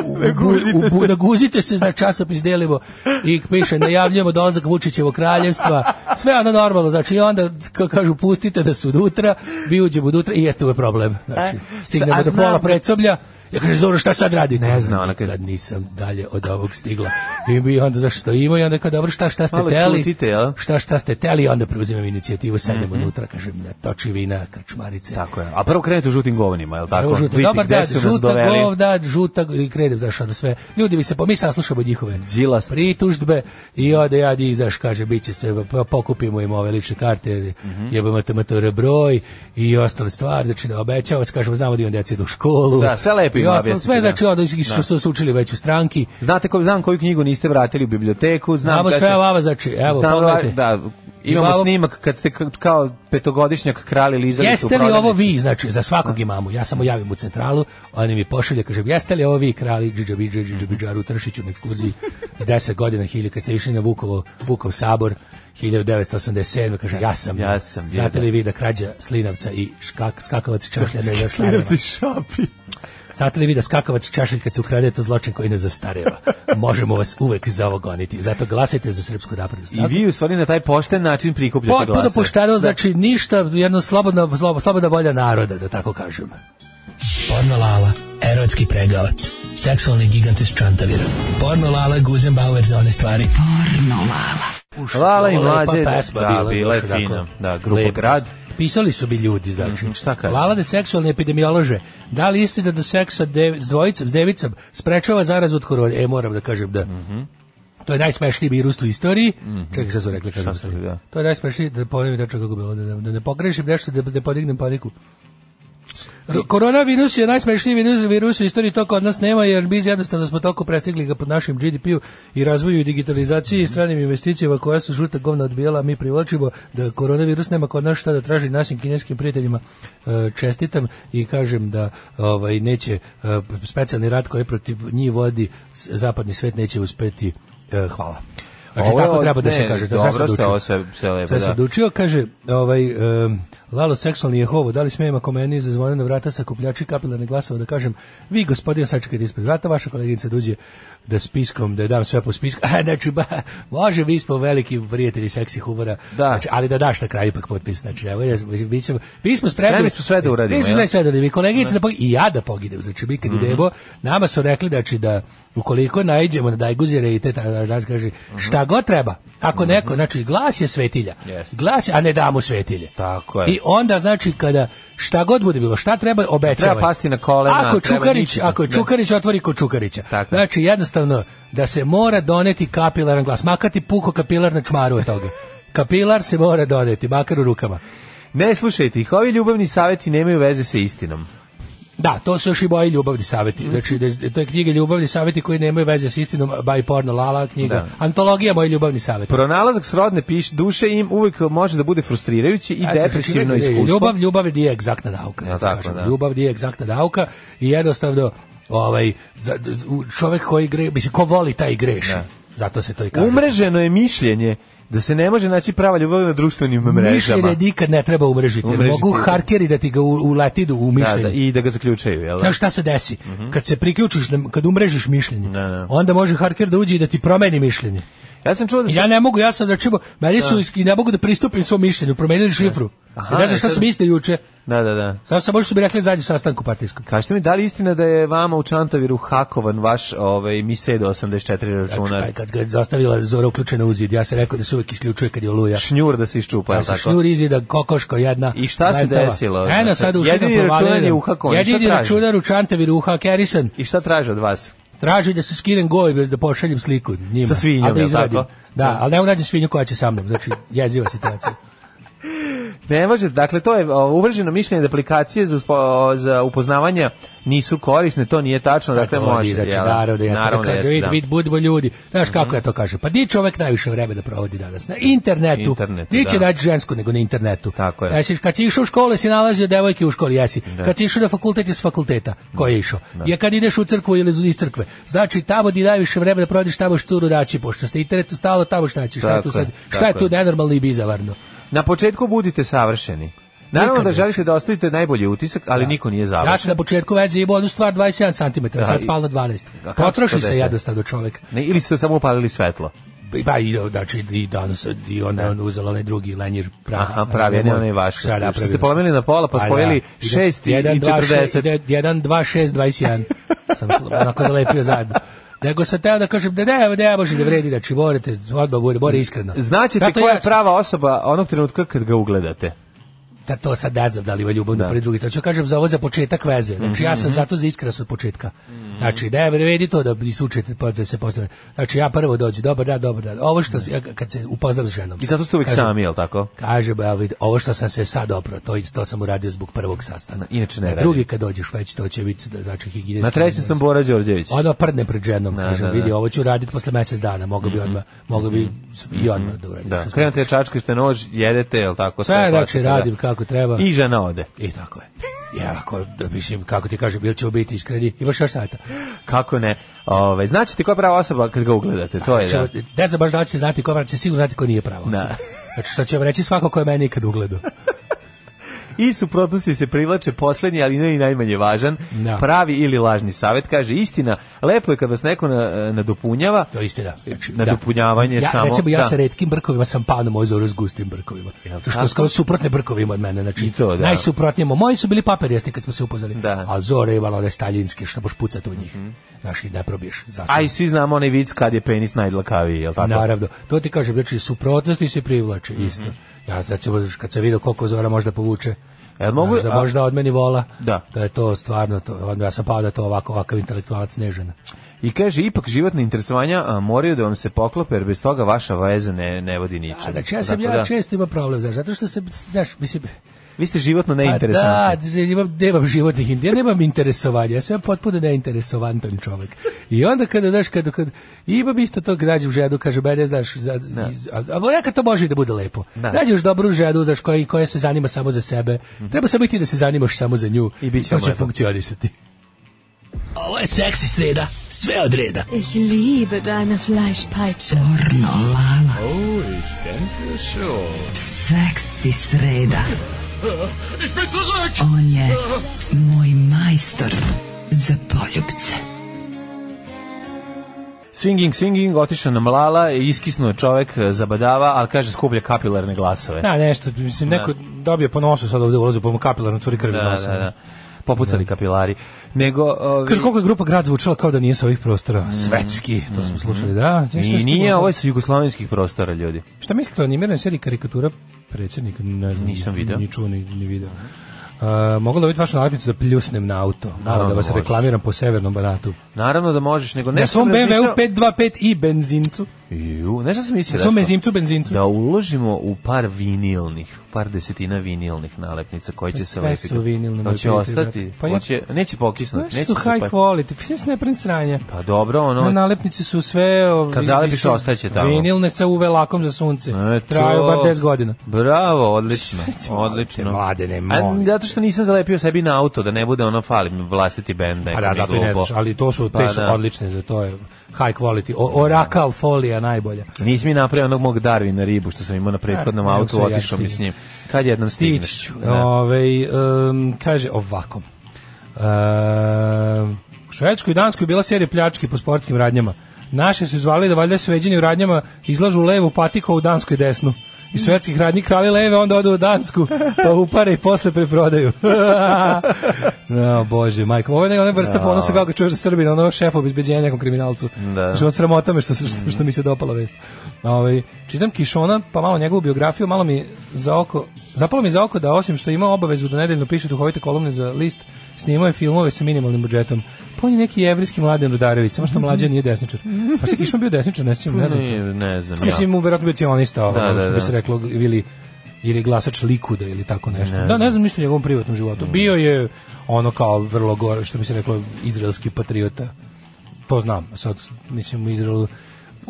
S7: u,
S8: Naguzite
S7: u, u,
S8: se.
S7: naguzite se, znači časopis delimo i piše, najavljujemo dolazak Vučićevo kraljevstva, sve ono normalno, znači i onda ka- kažu pustite da su unutra, mi uđemo unutra i eto je problem, znači stignemo
S8: E, a
S7: do
S8: znam
S7: pola
S8: da-
S7: predsoblja, ja kažem, Zoro, šta sad radite?
S8: Ne zna ona
S7: kad nisam dalje od ovog stigla. I mi onda zašto ima i onda kao dobro šta šta ste
S8: Malo
S7: teli?
S8: ćutite, jel?
S7: Šta šta ste teli? I Onda preuzimam inicijativu, sedem unutra, kažem na toči vina, krčmarice.
S8: Mhm. Tako je. A prvo krenete u žutim govnima, je li tako?
S7: Evo žuta,
S8: Vidite
S7: dobar
S8: gde
S7: dan,
S8: su nas
S7: žuta
S8: doveli.
S7: govda, žuta i kredem, znaš, ono sve. Ljudi mi se, po, mi saslušamo njihove
S8: Đilas.
S7: pritužbe i onda ja di izaš, kaže, bit će sve, pa pokupimo im ove lične karte,
S8: Mhm.
S7: jebamo TMTR broj i ostale stvari, znači da obećava se, kažemo, znamo da imam djece idu u školu.
S8: Da, sve lepo
S7: I
S8: ima
S7: ostalo,
S8: objasniti,
S7: sve,
S8: da.
S7: znači, ono, iz-
S8: Da.
S7: što, što su učili već u stranki.
S8: Znate ko, znam koju knjigu niste vratili u biblioteku, znam
S7: Znamo
S8: kad
S7: sve
S8: ste-
S7: o Avazači, evo,
S8: Znam,
S7: pogledajte.
S8: Da, imamo
S7: Imamo-
S8: snimak kad ste ka- kao petogodišnjak krali lizalicu
S7: Jeste li ovo vi, znači, za svakog imamu, ja samo javim u centralu, oni mi pošalje, kažem, jeste li ovo vi krali Džidžabidža, Džidžabidžaru, Tršiću na ekskurziji s 10 godina, hilje, kad ste išli na Vukovo, Vukov sabor, 1987. Kaže, ja sam.
S8: Ja sam bio, da.
S7: Znate li vi da krađa Slinavca i škak, skakavac čašlja ne zastareva?
S8: Slinavci šapi.
S7: Znate li vi da skakavac čašlj kad se ukrade to zločin koji ne zastareva? Možemo vas uvek za ovo goniti. Zato glasajte za srpsku naprednu
S8: I
S7: stranku.
S8: vi u stvari na taj pošten način prikupljate
S7: Po,
S8: glasove.
S7: puno pošteno, znači ništa, jedno slobodna, slobo- slobodna volja naroda, da tako kažem. Porno Lala, erotski pregavac, seksualni gigant iz Čantavira. Porno Lala, Guzenbauer za one stvari. Porno Lala.
S8: Lala i mlađe,
S7: pa pesma
S8: da, bila je
S7: znaš, onako,
S8: fina. Da, grupa
S7: lepa.
S8: Grad. Mhm,
S7: Pisali su bi ljudi, znači.
S8: šta kaže?
S7: Lala da seksualni epidemiolože. Da li istina da seks sa dev- s dvojicom, s devicom, sprečava zarazu od korone? E, moram da kažem da. To je najsmešniji virus u istoriji. Čekaj, šta su rekli? Kažem,
S8: Šta su,
S7: sad.
S8: da.
S7: To je najsmešniji, da ponovim tačno kako je bilo, da, da, da ne pogrešim nešto, da, da podignem paniku. R- Koronavirus je najsmešniji virus, virus u istoriji, to kod nas nema, jer mi jednostavno smo toliko prestigli ga pod našim GDP-u i razvoju i digitalizaciji i stranim investicijama koja su žuta govna odbijala, mi privlačimo da koronavirus nema kod nas šta da traži našim kineskim prijateljima. E, Čestitam i kažem da ovaj, neće e, specijalni rat koji protiv njih vodi s- zapadni svet neće uspeti. E, Hvala. Znači,
S8: Ovo je
S7: tako
S8: od-
S7: treba da se
S8: ne,
S7: kaže. Da sve
S8: dobro
S7: sam
S8: ste
S7: dučio.
S8: ovo sve- sve lepo, pa da.
S7: sam dučio, kaže, ovaj, em, Lalo seksualni je hovo, da li smijem ako meni zazvone na vrata sa kupljači kapilarne glasova da kažem, vi gospodin sačekajte ispred vrata, vaša koleginica dođe da spiskom, da je dam sve po spisku, a znači, ba, može vi smo veliki prijatelji seksi humora,
S8: Da.
S7: znači, ali da daš na kraju ipak potpis, znači, evo, ja, mi, ćemo, mi smo spremni.
S8: Spremni smo sve da uradimo,
S7: Mi smo
S8: jel?
S7: spremni sve da uradimo, i koleginica da pog- i ja da pogidem, znači, mi
S8: Mhm.
S7: kad idemo, nama su rekli, znači, da ukoliko najđemo na dajguzire i te, ta- raz kaže,
S8: Mhm.
S7: šta god treba, ako neko, znači, glas je svetilja,
S8: Jeste.
S7: glas, je- a ne damo svetilje.
S8: Tako je.
S7: I onda znači kada šta god bude bilo, šta treba obećavaj.
S8: Treba pasti na kolena,
S7: Ako
S8: treba
S7: Čukarić,
S8: ničica.
S7: ako je
S8: Da.
S7: Čukarić otvori kod Čukarića.
S8: Tako je.
S7: Znači jednostavno da se mora doneti kapilaran glas, makar ti puko kapilar na čmaru od toga. Kapilar se mora doneti, makar u rukama.
S8: Ne slušajte ih, ovi ljubavni savjeti nemaju veze sa istinom.
S7: Da, to su još i moji ljubavni
S8: Mhm.
S7: saveti. Znači, da- to je knjiga Ljubavni saveti koji nemaju veze s istinom, by porno lala knjiga.
S8: Da.
S7: Antologija moji ljubavni saveti.
S8: Pronalazak srodne piš, duše im uvek može da bude frustrirajući i
S7: Ja sam
S8: depresivno
S7: pročitao,
S8: iskustvo.
S7: znači, e, Ljubav, ljubav je egzaktna nauka.
S8: Ja,
S7: da
S8: tako,
S7: kažem.
S8: da.
S7: Ljubav je egzaktna nauka i jednostavno ovaj, za- u- čovek koji gre, mislim, ko voli taj greši. Zato se to i kaže.
S8: Umreženo je mišljenje da se ne može naći prava ljubav na društvenim mrežama.
S7: Mišljenje nikad ne treba umrežiti.
S8: Umrežiti.
S7: Mogu harkeri da ti ga u- uleti do- u
S8: Da,
S7: mišljenje.
S8: da, I da ga zaključaju, jel? da?
S7: Znaš šta se desi? Kad se priključiš, na- kad umrežiš mišljenje,
S8: Da, da.
S7: onda može harker da uđe i da ti promeni mišljenje.
S8: Ja sam čuo da...
S7: I Ja ne mogu, ja znači, sam da čimo, meni su, isk- ne mogu da pristupim svom mišljenju, promenili šifru.
S8: Aha, e
S7: ne znam šta
S8: sad-
S7: sam mislio juče.
S8: Da, da, da.
S7: Samo sam možda su mi rekli zadnju sastanku partijskom.
S8: Kažete mi, da li je istina da je vama u Čantaviru hakovan vaš ovaj, Misedo 84 računar?
S7: Kad, kad ga je zastavila Zora uključena u zid, ja sam rekao da se uvek isključuje kad je oluja.
S8: Šnjur da se iščupa,
S7: Ja
S8: jel
S7: sam
S8: tako?
S7: šnjur izida, kokoško jedna.
S8: I šta se
S7: rajtava.
S8: desilo?
S7: Eno, sad u
S8: Jedini
S7: šutu provalio
S8: računar je
S7: idem.
S8: u Hakonu, šta
S7: Jedini
S8: traži?
S7: računar u Čantaviru u Hakerisan.
S8: I šta traže od vas?
S7: Traži da se skinem gojbe, da pošaljem sliku njima.
S8: Sa svinjom,
S7: ali da
S8: jel
S7: izradim.
S8: tako?
S7: Da, ali ne nađem svinju koja će sa mnom. Znači, jeziva situacija.
S8: Ne može, dakle, to je o, uvrženo mišljenje da aplikacije za, uspo, o, za upoznavanja nisu korisne, to nije tačno, dakle,
S7: Pa to oni
S8: može.
S7: izaći,
S8: jel?
S7: naravno, da ja
S8: Naravno,
S7: naravno,
S8: jeste,
S7: vid,
S8: da.
S7: vid, budimo ljudi. Znaš kako ja to kažem? Pa di čovek najviše vremena provodi danas? Na internetu.
S8: Internetu,
S7: di će
S8: da.
S7: naći žensku nego na internetu.
S8: Tako je.
S7: Jesi, kad si išao u školu, si nalazio devojke u školi, jesi.
S8: Da.
S7: Kad si išao na fakultet, je s fakulteta. Ko je išao? Je kad ideš u crkvu ili iz crkve. Znači, tamo di najviše vremena provodiš, tamo šturu daći, pošto ste internetu stalo, tamo šta naći. Šta je tu
S8: Tako je,
S7: sad? Šta je
S8: tako
S7: tu
S8: je.
S7: nenormalno i bizavarno?
S8: Na početku budite savršeni. Naravno
S7: Nikada.
S8: da želite da ostavite najbolji utisak, ali niko nije
S7: Ja
S8: završen.
S7: sam na početku veze imao jednu stvar 27 cm,
S8: Da,
S7: sad
S8: i-
S7: spal na 12.
S8: A kako
S7: Potroši
S8: se to
S7: se
S8: desi?
S7: jednostavno čovek.
S8: Ne, ili ste samo upalili svetlo.
S7: I ba i znači i danas i ona on uzela onaj drugi lenjer pravi.
S8: Aha, pravi, a ne onaj vaš.
S7: Šta je
S8: Što
S7: napravila?
S8: ste polomili na pola, pa
S7: A da,
S8: spojili
S7: ide-
S8: 6 i
S7: jedan,
S8: i
S7: dva, še-
S8: 40.
S7: ide- jedan, dva, šest, 21. Sam sl- onako zalepio zajedno. Nego sam teo da kažem da ne, ne može da vredi, znači morate, odmah bude, more iskreno.
S8: Znaćete
S7: Zato
S8: ko je
S7: ja-
S8: prava osoba onog trenutka kad ga ugledate.
S7: Da to sad ne znam da li ima ljubavno da. pre drugi, to ću kažem za ovo za početak veze. Znači ja
S8: Mhm.
S7: sam zato za iskrenost od početka. Znači ne vredi to da isučete pa da se postane. Znači ja prvo dođem, dobar dan, dobar dan. Ovo što se- ja kad se upoznam s ženom.
S8: I zato ste uvijek
S7: kažem,
S8: sami, jel tako?
S7: Kaže, ba, vid, ovo što sam se sad oprao, to, to sam uradio zbog prvog sastanka.
S8: Inače ne
S7: Na
S8: radi.
S7: drugi kad dođeš već, to će biti, znači, higijenski.
S8: Na trećem sam Bora Đorđević.
S7: Ono prdne pred ženom,
S8: Da,
S7: kažem,
S8: da, da.
S7: vidi, ovo ću raditi posle mesec dana, mogu bi odmah, mogu bi i odmah da uradim.
S8: Da, krenete čačkaste nož, jedete, jel tako?
S7: Sve,
S8: sve
S7: znači,
S8: klasika, da.
S7: radim kako treba.
S8: I žena ode.
S7: I tako je. Ja, ako, da, mislim, kako ti kažem, ili ćemo biti iskreni, imaš još sajta.
S8: Kako ne? Ove, znaćete ko je prava osoba kad ga ugledate, to je da.
S7: Znači, Ne znam baš da li će znati ko, ali će sigurno znati ko nije pravo.
S8: Da.
S7: Znači, što će vam reći svako ko je meni ikad ugledao.
S8: I suprotnosti se privlače poslednji, ali ne i najmanje važan,
S7: Da.
S8: pravi ili lažni savet, kaže istina, lepo je kad vas neko na, nadopunjava,
S7: To je istina. Znači,
S8: Na dopunjavanje
S7: ja,
S8: samo,
S7: Recimo, ja
S8: da.
S7: sa retkim brkovima sam pao na moj zoru s gustim brkovima. To što
S8: tako?
S7: su kao suprotne brkovima od mene. Znači,
S8: I to, da.
S7: Najsuprotnije. mo- Moji su bili papirjasti kad smo se upoznali.
S8: Da. Mhm.
S7: A zore je imala one staljinske, što boš pucati u njih. Znaš, i ne probiješ. Zato.
S8: a i svi znamo onaj vic kad je penis najlakaviji, jel tako? Mhm.
S7: Naravno. To ti kažem, znači, suprotnosti se privlače. Isto. Ja, znači, kad sam vidio koliko zora možda povuče,
S8: Jel mogu,
S7: Znaš, da
S8: a-
S7: možda od meni vola.
S8: Da.
S7: To je to stvarno to. Onda ja sam pao da to ovako ovakav intelektualac nežena.
S8: I kaže, ipak životne interesovanja a, moraju da vam se poklope, jer bez toga vaša veza ne, ne vodi ničem.
S7: A znači ja sam
S8: Tako
S7: ja
S8: da,
S7: često ima problem, znaš, zato što se znaš, mislim
S8: Vi ste životno
S7: pa da,
S8: neinteresantni.
S7: d- imam, nemam životnih in- ja nemam interesovanja, ja sam potpuno neinteresantan čovjek. I onda kada, znaš, kada, kada imam isto to, kad nađem ženu, kaže, mene, znaš, za, iz- a, a nekad to može i da bude lepo.
S8: Da. Mhm.
S7: Nađeš dobru ženu, znaš, koja, koja se zanima samo za sebe, treba samo i ti da se zanimaš samo za nju,
S8: I bit će
S7: to
S8: vam
S7: će
S8: lepo.
S7: funkcionisati. Ovo je seksi sreda, sve od reda.
S1: Ich liebe deine Fleischpeitsche.
S18: Oh, ich denke schon.
S5: Seksi sreda.
S18: Ich bin zurück!
S5: On je moj majstor za poljubce.
S8: Swinging, swinging, otišao na mlala, iskisnuo je čovek, e, zabadava, ali kaže, skuplja kapilarne glasove.
S7: Da, nešto, mislim, neko dobije po nosu sad ovde ulazu, pa mu kapilarno curi krv iz
S8: da,
S7: nosa.
S8: da, da. Popucali kapilari. Nego, ovi,
S7: Kaže koliko je grupa grad zvučala kao da nije sa ovih prostora. Svetski, to smo slušali, da. Znaš šta
S8: Mhm. I
S7: što
S8: nije,
S7: bilo?
S8: ovo je sa jugoslovenskih prostora, ljudi.
S7: Šta mislite o animiranoj seriji karikatura predsjednika? Ne znam,
S8: Nisam video.
S7: Ni čuo, ni, ni video. Uh, mogla biti vaša nalepnicu da pljusnem na auto,
S8: Naravno,
S7: da vas
S8: može.
S7: reklamiram po severnom banatu.
S8: Naravno da možeš, nego
S7: na
S8: nešto
S7: svom
S8: sam
S7: BMW
S8: razmišljao-
S7: 525 i benzincu.
S8: Ju, nešto sam mislio
S7: Na
S8: Daško,
S7: svom benzincu, benzincu.
S8: da uložimo u par vinilnih, par desetina vinilnih nalepnica koje će se
S7: Pa Sve
S8: lepiti.
S7: su vinilne, moj
S8: Hoće
S7: prijatelj,
S8: ostati,
S7: brate. Pa ja-
S8: hoće, neće pokisnuti,
S7: Znaš,
S8: neće
S7: su
S8: se
S7: high
S8: pa-
S7: quality, pa sve ne prem sranje.
S8: Pa dobro,
S7: Na
S8: ono,
S7: nalepnici su sve... Ovi,
S8: Kad zalepiš,
S7: mislim,
S8: ostaće tamo.
S7: Vinilne sa UV lakom za sunce.
S8: Eto.
S7: Traju bar 10 godina.
S8: Bravo, odlično, odlično.
S7: Mlade, ne,
S8: A,
S7: molim.
S8: zato što nisam zalepio sebi na auto, da ne bude ono fali mi vlastiti bend.
S7: Pa da, zato i ne znaš, ali to su, te
S8: Pa
S7: su
S8: da.
S7: odlične za to je high quality. O, orakal folija najbolja.
S8: Nisi mi napravio onog mog Darwina ribu što sam imao na prethodnom
S7: A, evo se
S8: autu,
S7: Pa, ja
S8: otišao mi
S7: stignem.
S8: s njim. Kad jednom
S7: Stići
S8: stigneš?
S7: ću.
S8: Da.
S7: Ovaj, em, kaže ovako. Em, u Švedskoj i Danskoj je bila serija pljački po sportskim radnjama. Naše su zvali da valjda sveđeni u radnjama izlažu levu patiko u Danskoj desnu. i svetskih radnji krali leve, onda odu u Dansku, pa upare i posle preprodaju. no, bože, majko, ovo je ona vrsta
S19: Ja.
S7: ponosa kako čuješ za Srbina, ono šef obizbeđenja nekom kriminalcu.
S19: Da.
S7: Što sramota me što, što, što mi se dopala vest. Ovaj, čitam Kišona, pa malo njegovu biografiju, malo mi za oko, zapalo mi za oko da osim što ima obavezu da nedeljno piše duhovite kolumne za list, snimao je filmove sa minimalnim budžetom. Pa on je neki jevrijski mladen Rudarević, samo što mlađe nije desničar. Pa se Kišon bio desničar, ne sjećam, ne znam.
S8: Nije, ne znam ja.
S7: Mislim, mu verovatno bio cionista, ono,
S8: Da, da,
S7: što bi
S8: da.
S7: se reklo, ili, ili glasač Likuda ili tako nešto.
S8: Ne
S7: da, ne
S8: znam. Mm.
S7: znam ništa o njegovom privatnom životu. Bio je ono kao vrlo gore, što bi se reklo, izraelski patriota. To znam. Sad, mislim, u Izraelu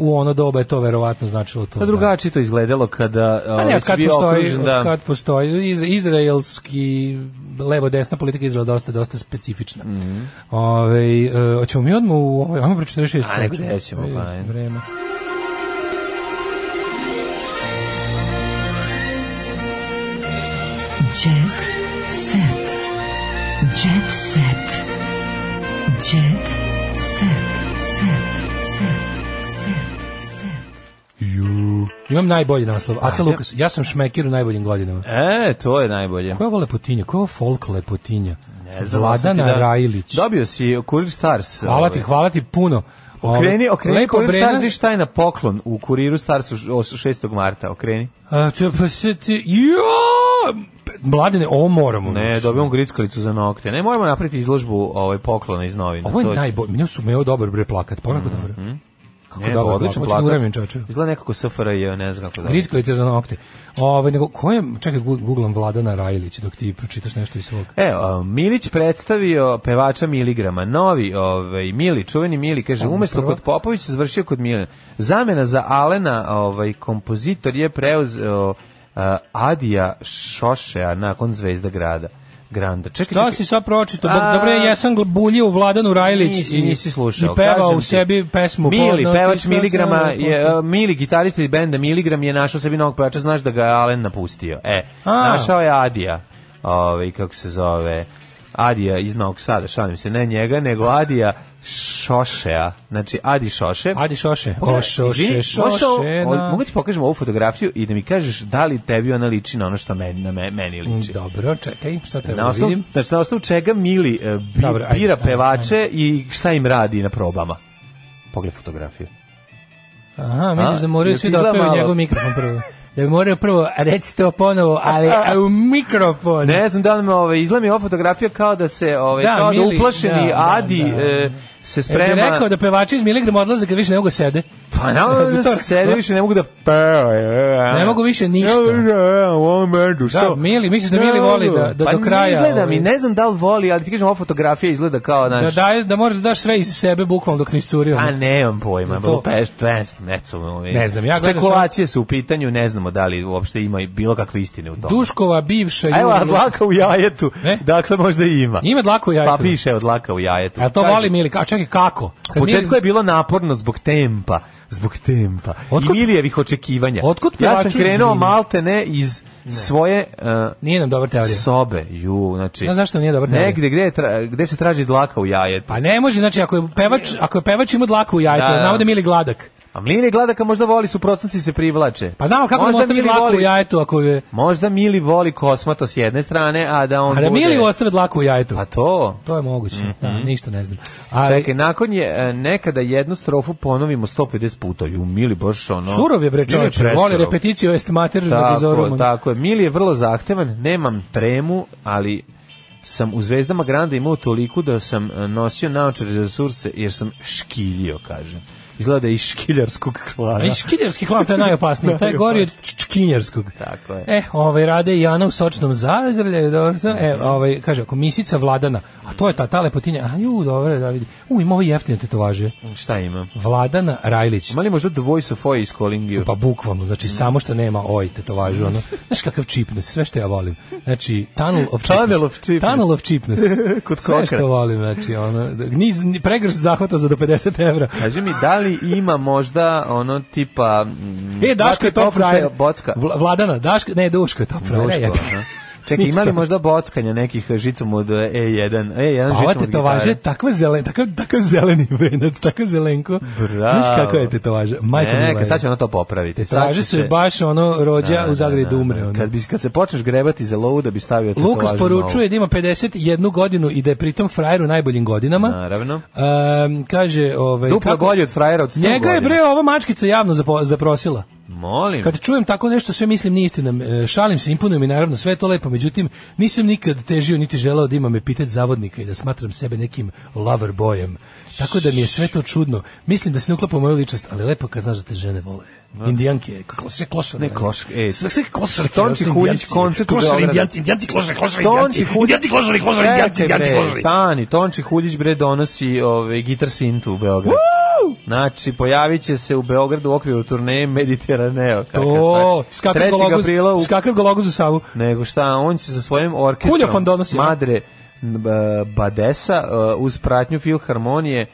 S7: u ono doba je to verovatno značilo to.
S8: Pa drugačije to izgledalo kada
S7: Pa
S8: ovaj,
S7: ne,
S8: si
S7: kad
S8: bio
S7: postoji,
S8: okružen, da.
S7: kad postoji iz, izraelski levo-desna politika Izraela dosta, dosta specifična.
S8: Mhm.
S7: Ovaj, e, hoćemo mi odmah u... ovaj, Ajmo pre 46.
S8: A, nego
S7: čoveče.
S8: gde ćemo, pa, ajde.
S7: Vreme.
S1: Jet set. Jet set. Jet set. Set. Set. Set.
S7: Ju. Imam najbolji naslov. Aca
S8: Ajde.
S7: Lukas, ja sam šmekir u najboljim godinama.
S8: E, to je najbolje.
S7: Koja je ovo lepotinja? Koja je ovo folk lepotinja?
S8: Ne znam, sam ti
S7: Vladana
S8: da-
S7: Rajlić.
S8: Dobio si Kurir Stars.
S7: Hvala ti,
S8: ovaj.
S7: hvala ti puno. Ovaj,
S8: Okreni, okreni
S7: lepo
S8: Kurir Stars,
S7: Brenans-
S8: vidiš šta je na poklon u Kuriru Starsu š- o- 6. marta, okreni.
S7: A, če- pa se ti- Jo! Mladine, ovo moramo.
S8: Ne, dobijemo grickalicu za nokte. Ne, moramo napraviti izložbu ovaj poklona iz novina.
S7: Ovo
S8: To Mhm,
S7: je najbolji. Meni su me ovo dobar bre plakat. Pa onako dobro. Kako
S8: Ne,
S7: dobro.
S8: odličan
S7: Odlično
S8: plakat.
S7: plakat.
S8: Izgleda nekako SFRJ, ne znam kako da.
S7: Grickalice za nokte. Ove, nego, ko je, čekaj, gu- guglam Vladana Rajlić dok ti pročitaš nešto iz svog.
S8: E, a, Milić predstavio pevača Miligrama. Novi, ovaj Mili, čuveni Mili, kaže
S7: Ajmo
S8: umesto
S7: prvo.
S8: kod Popovića završio kod Milena. Zamena za Alena, ovaj kompozitor je preuzeo a, Adija Šošea nakon Zvezda grada. Granda. Čekaj,
S7: Šta
S8: čekaj.
S7: si sad pročito?
S8: A-
S7: Dobro, jesam gl- buljio u Vladanu Rajlić
S8: Nisi,
S7: i-
S8: nisi slušao.
S7: i pevao
S8: kažem
S7: u
S8: ti.
S7: sebi pesmu.
S8: Mili,
S7: Podno-
S8: pevač
S7: Tiška
S8: Miligrama,
S7: snova-
S8: je, e, Mili, gitarista iz benda Miligram je našao sebi novog pevača, znaš da ga je Alen napustio. E,
S7: A.
S8: našao je Adija, ovaj, kako se zove, Adija iz Novog Sada, šalim se, ne njega, nego Adija Šošea, znači Adi Šoše.
S7: Adi Šoše.
S8: Pogledaj,
S7: O, Šoše,
S8: izvini, možeš ovo-
S7: Šošena.
S8: o- Mogu ti pokažem ovu fotografiju i da mi kažeš da li tebi ona liči na ono što meni, na me- meni liči.
S7: Dobro, čekaj, šta te
S8: Na osnovu,
S7: vidim?
S8: znači, na osnovu čega Mili e, bi-
S7: Dobro, ajde,
S8: bira
S7: ajde,
S8: pevače i šta im radi na probama. Pogled fotografiju.
S7: Aha, vidiš da moraju
S8: jel ti
S7: svi da
S8: izgleda
S7: otpevaju
S8: malo?
S7: njegov mikrofon prvo. Da bi morao prvo, a reci to ponovo, ali a, u mikrofon.
S8: Ne znam da li me ovaj, izgleda mi ova fotografija kao da se ovaj,
S7: Da,
S8: kao
S7: Mili,
S8: da uplašeni
S7: da, da,
S8: Adi
S7: da.
S8: e, se
S7: Jel ti
S8: sprema.
S7: rekao da pevači iz Miligram odlaze kad više ne mogu sede?
S8: Pa naravno da
S7: Doktor,
S8: sede više, ne mogu da... e,
S7: Ne mogu više ništa.
S8: Ne mogu da- u ovom bendu, što?
S7: Da, Mili, misliš da
S8: Ne
S7: Mili voli
S8: mogu.
S7: da, da
S8: pa
S7: do
S8: ne
S7: kraja...
S8: izgleda
S7: ovaj,
S8: mi, ne znam da li voli, ali ti kažem, ova fotografija izgleda kao,
S7: Da,
S8: znaš,
S7: daje, da moraš da daš sve iz sebe bukvalno dok ne iscurio.
S8: A nemam pojma,
S7: To-
S8: to... peš, pes, ne, znam, ovaj,
S7: Ne znam, ja gledam
S8: Spekulacije su u pitanju, ne znamo da li uopšte ima i bilo kakve istine u tome.
S7: Duškova bivša...
S8: A Evo,
S7: Jura Lukas-
S8: dlaka u jajetu,
S7: Ne?
S8: dakle možda i ima.
S7: Ima dlaku u jajetu.
S8: Pa piše od dlaka u jajetu.
S7: A to
S8: Kažem,
S7: voli Mili. A čekaj, kako?
S8: U
S7: Kad
S8: početku
S7: Mili-
S8: je bilo naporno zbog tempa, zbog tempa
S7: Otkud-
S8: i Milijevih očekivanja.
S7: Otkud
S8: ja sam
S7: pevaču
S8: krenuo
S7: izvini?
S8: malte ne iz svoje uh,
S7: Nije nam dobra teorija.
S8: sobe. Ju, znači,
S7: Ne znam zašto nije dobra teorija.
S8: negde gde, je tra- gde se traži dlaka u jajetu.
S7: Pa ne može, znači ako je pevač, ako je pevač ima dlaku u jajetu,
S8: Da, da.
S7: znamo da je Mili gladak.
S8: A Mili gladaka možda voli, suprotnosti se privlače.
S7: Pa znamo kako da mu
S8: Možda
S7: ostavi
S8: Mili
S7: dlaku u
S8: voli-
S7: jajetu ako je...
S8: Možda Mili voli kosmato s jedne strane, a da on
S7: A da
S8: bude-
S7: Mili ostave dlaku u jajetu.
S8: Pa to.
S7: To je moguće. Da, ništa ne znam. Ali
S8: Mhm. Čekaj, nakon je e, nekada jednu strofu ponovimo 150 puta. Ju, Mili baš ono...
S7: surov je bre
S8: Mili
S7: čovječe,
S8: presurov.
S7: voli repeticiju est mater na
S8: Tako,
S7: vizorum.
S8: tako je. Mili je vrlo zahtevan, nemam tremu, ali sam u Zvezdama Granda imao toliko da sam e, nosio naočare za surce jer sam škiljio, kažem. Izgleda da je iz škiljarskog klana.
S7: A i škiljerski klan, to je najopasniji, taj je gori od č- čkinjerskog.
S8: Tako je.
S7: E, ovaj, rade i Jana u sočnom zagrljaju, dobro, to, e, ovaj, kaže, ako misica vladana, a to je ta, ta lepotinja, a ju, dobro, da vidi, u, ima ovo jeftine tetovaže,
S8: Šta imam?
S7: vladana Rajlić,
S8: Ima li možda The Voice of Oi iz Calling You?
S7: pa bukvalno, znači, samo što nema oj tetovažu, ono, znaš kakav čipnes, sve što ja volim, znači, tunnel of cheapness,
S8: Tunnel of cheapness.
S7: tunnel of cheapness,
S8: Kod
S7: sve
S8: kokra.
S7: što volim, znači, ono, niz, ni- pregršt zahvata za do 50 evra,
S8: Kaži mi, da li ima možda ono tipa... mm,
S7: E, Daško
S8: Backa
S7: je top frajer.
S8: Bocka.
S7: Vla- Vladana, Daško, ne, Duško je top frajer.
S8: Duško,
S7: E, jebi.
S8: aha. Čekaj, ima li možda bockanja nekih žicom od e, E1? E1 žicom
S7: Pa Ova
S8: od gitare.
S7: tetovaža je takva zelen, takav, takav zeleni venac, takav zelenko.
S8: Bravo.
S7: Znaš kako je tetovaža? Majko
S8: Neka,
S7: Milaje.
S8: sad će ona to popraviti.
S7: Tetovaže
S8: Sad će
S7: su baš ono rođa u Zagradi umre. ono.
S8: Kad, bi, kad se počneš grebati za lovu da bi stavio tetovažu
S7: Lukas poručuje da ima 51 godinu i da je pritom frajer u najboljim godinama.
S8: Naravno.
S7: Ehm, kaže, ovaj
S8: Duplo
S7: kako-
S8: bolje od frajera od 100
S7: Njega je
S8: godina.
S7: bre ova mačkica javno zapo- zaprosila.
S8: Molim.
S7: Kad čujem tako nešto, sve mislim nije istina. E, Šalim se, imponuje mi naravno sve je to lepo, međutim nisam nikad težio niti želeo da imam epitet zavodnika i da smatram sebe nekim lover bojem. Tako da mi je sve to čudno. Mislim da se ne uklapa u moju ličnost, ali lepo kad znaš da te žene vole. Indijanke, kako se klošare.
S8: Ne, klošar, ej.
S7: Sve- sve klošarke,
S8: Tonči
S7: ja sam
S8: Huljić,
S7: indijanci.
S8: koncert u
S7: Klošari,
S8: Beogradu.
S7: indijanci, indijanci, klošari, klošari,
S8: Tonči
S7: indijanci.
S8: Huljić.
S7: Indijanci, klošari, klošari, indijanci,
S8: Čekaj,
S7: indijanci,
S8: bre,
S7: klošari.
S8: Stani, Tonči Huljić bre donosi ovaj gitar sintu u Beograd. Znači, pojavit će se u Beogradu u okviru turneje Mediteraneo. kakav
S7: To,
S8: sad.
S7: skakav
S8: 3.
S7: gologuz,
S8: aprila u
S7: skakav gologuz u Savu.
S8: nego šta, on će sa svojim orkestrom
S7: Kuljofon donosi, a?
S8: Madre n- b- Badesa e, uz pratnju Filharmonije e,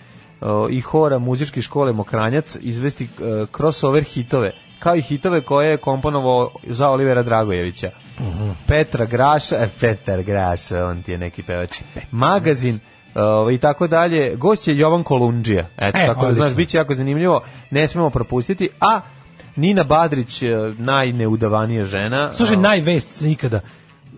S8: i hora muzičke škole Mokranjac izvesti e, crossover hitove kao i hitove koje je komponovao za Olivera Dragojevića.
S7: Mhm.
S8: Petra Graša, e, Petar Graša, on ti je neki pevač. Magazin e, i tako dalje. Gost je Jovan Kolundžija. Eto,
S7: E,
S8: tako da, znaš,
S7: odlično.
S8: bit će jako zanimljivo. Ne smemo propustiti. A Nina Badrić, e, najneudavanija žena.
S7: Slušaj,
S8: e,
S7: najvest ikada.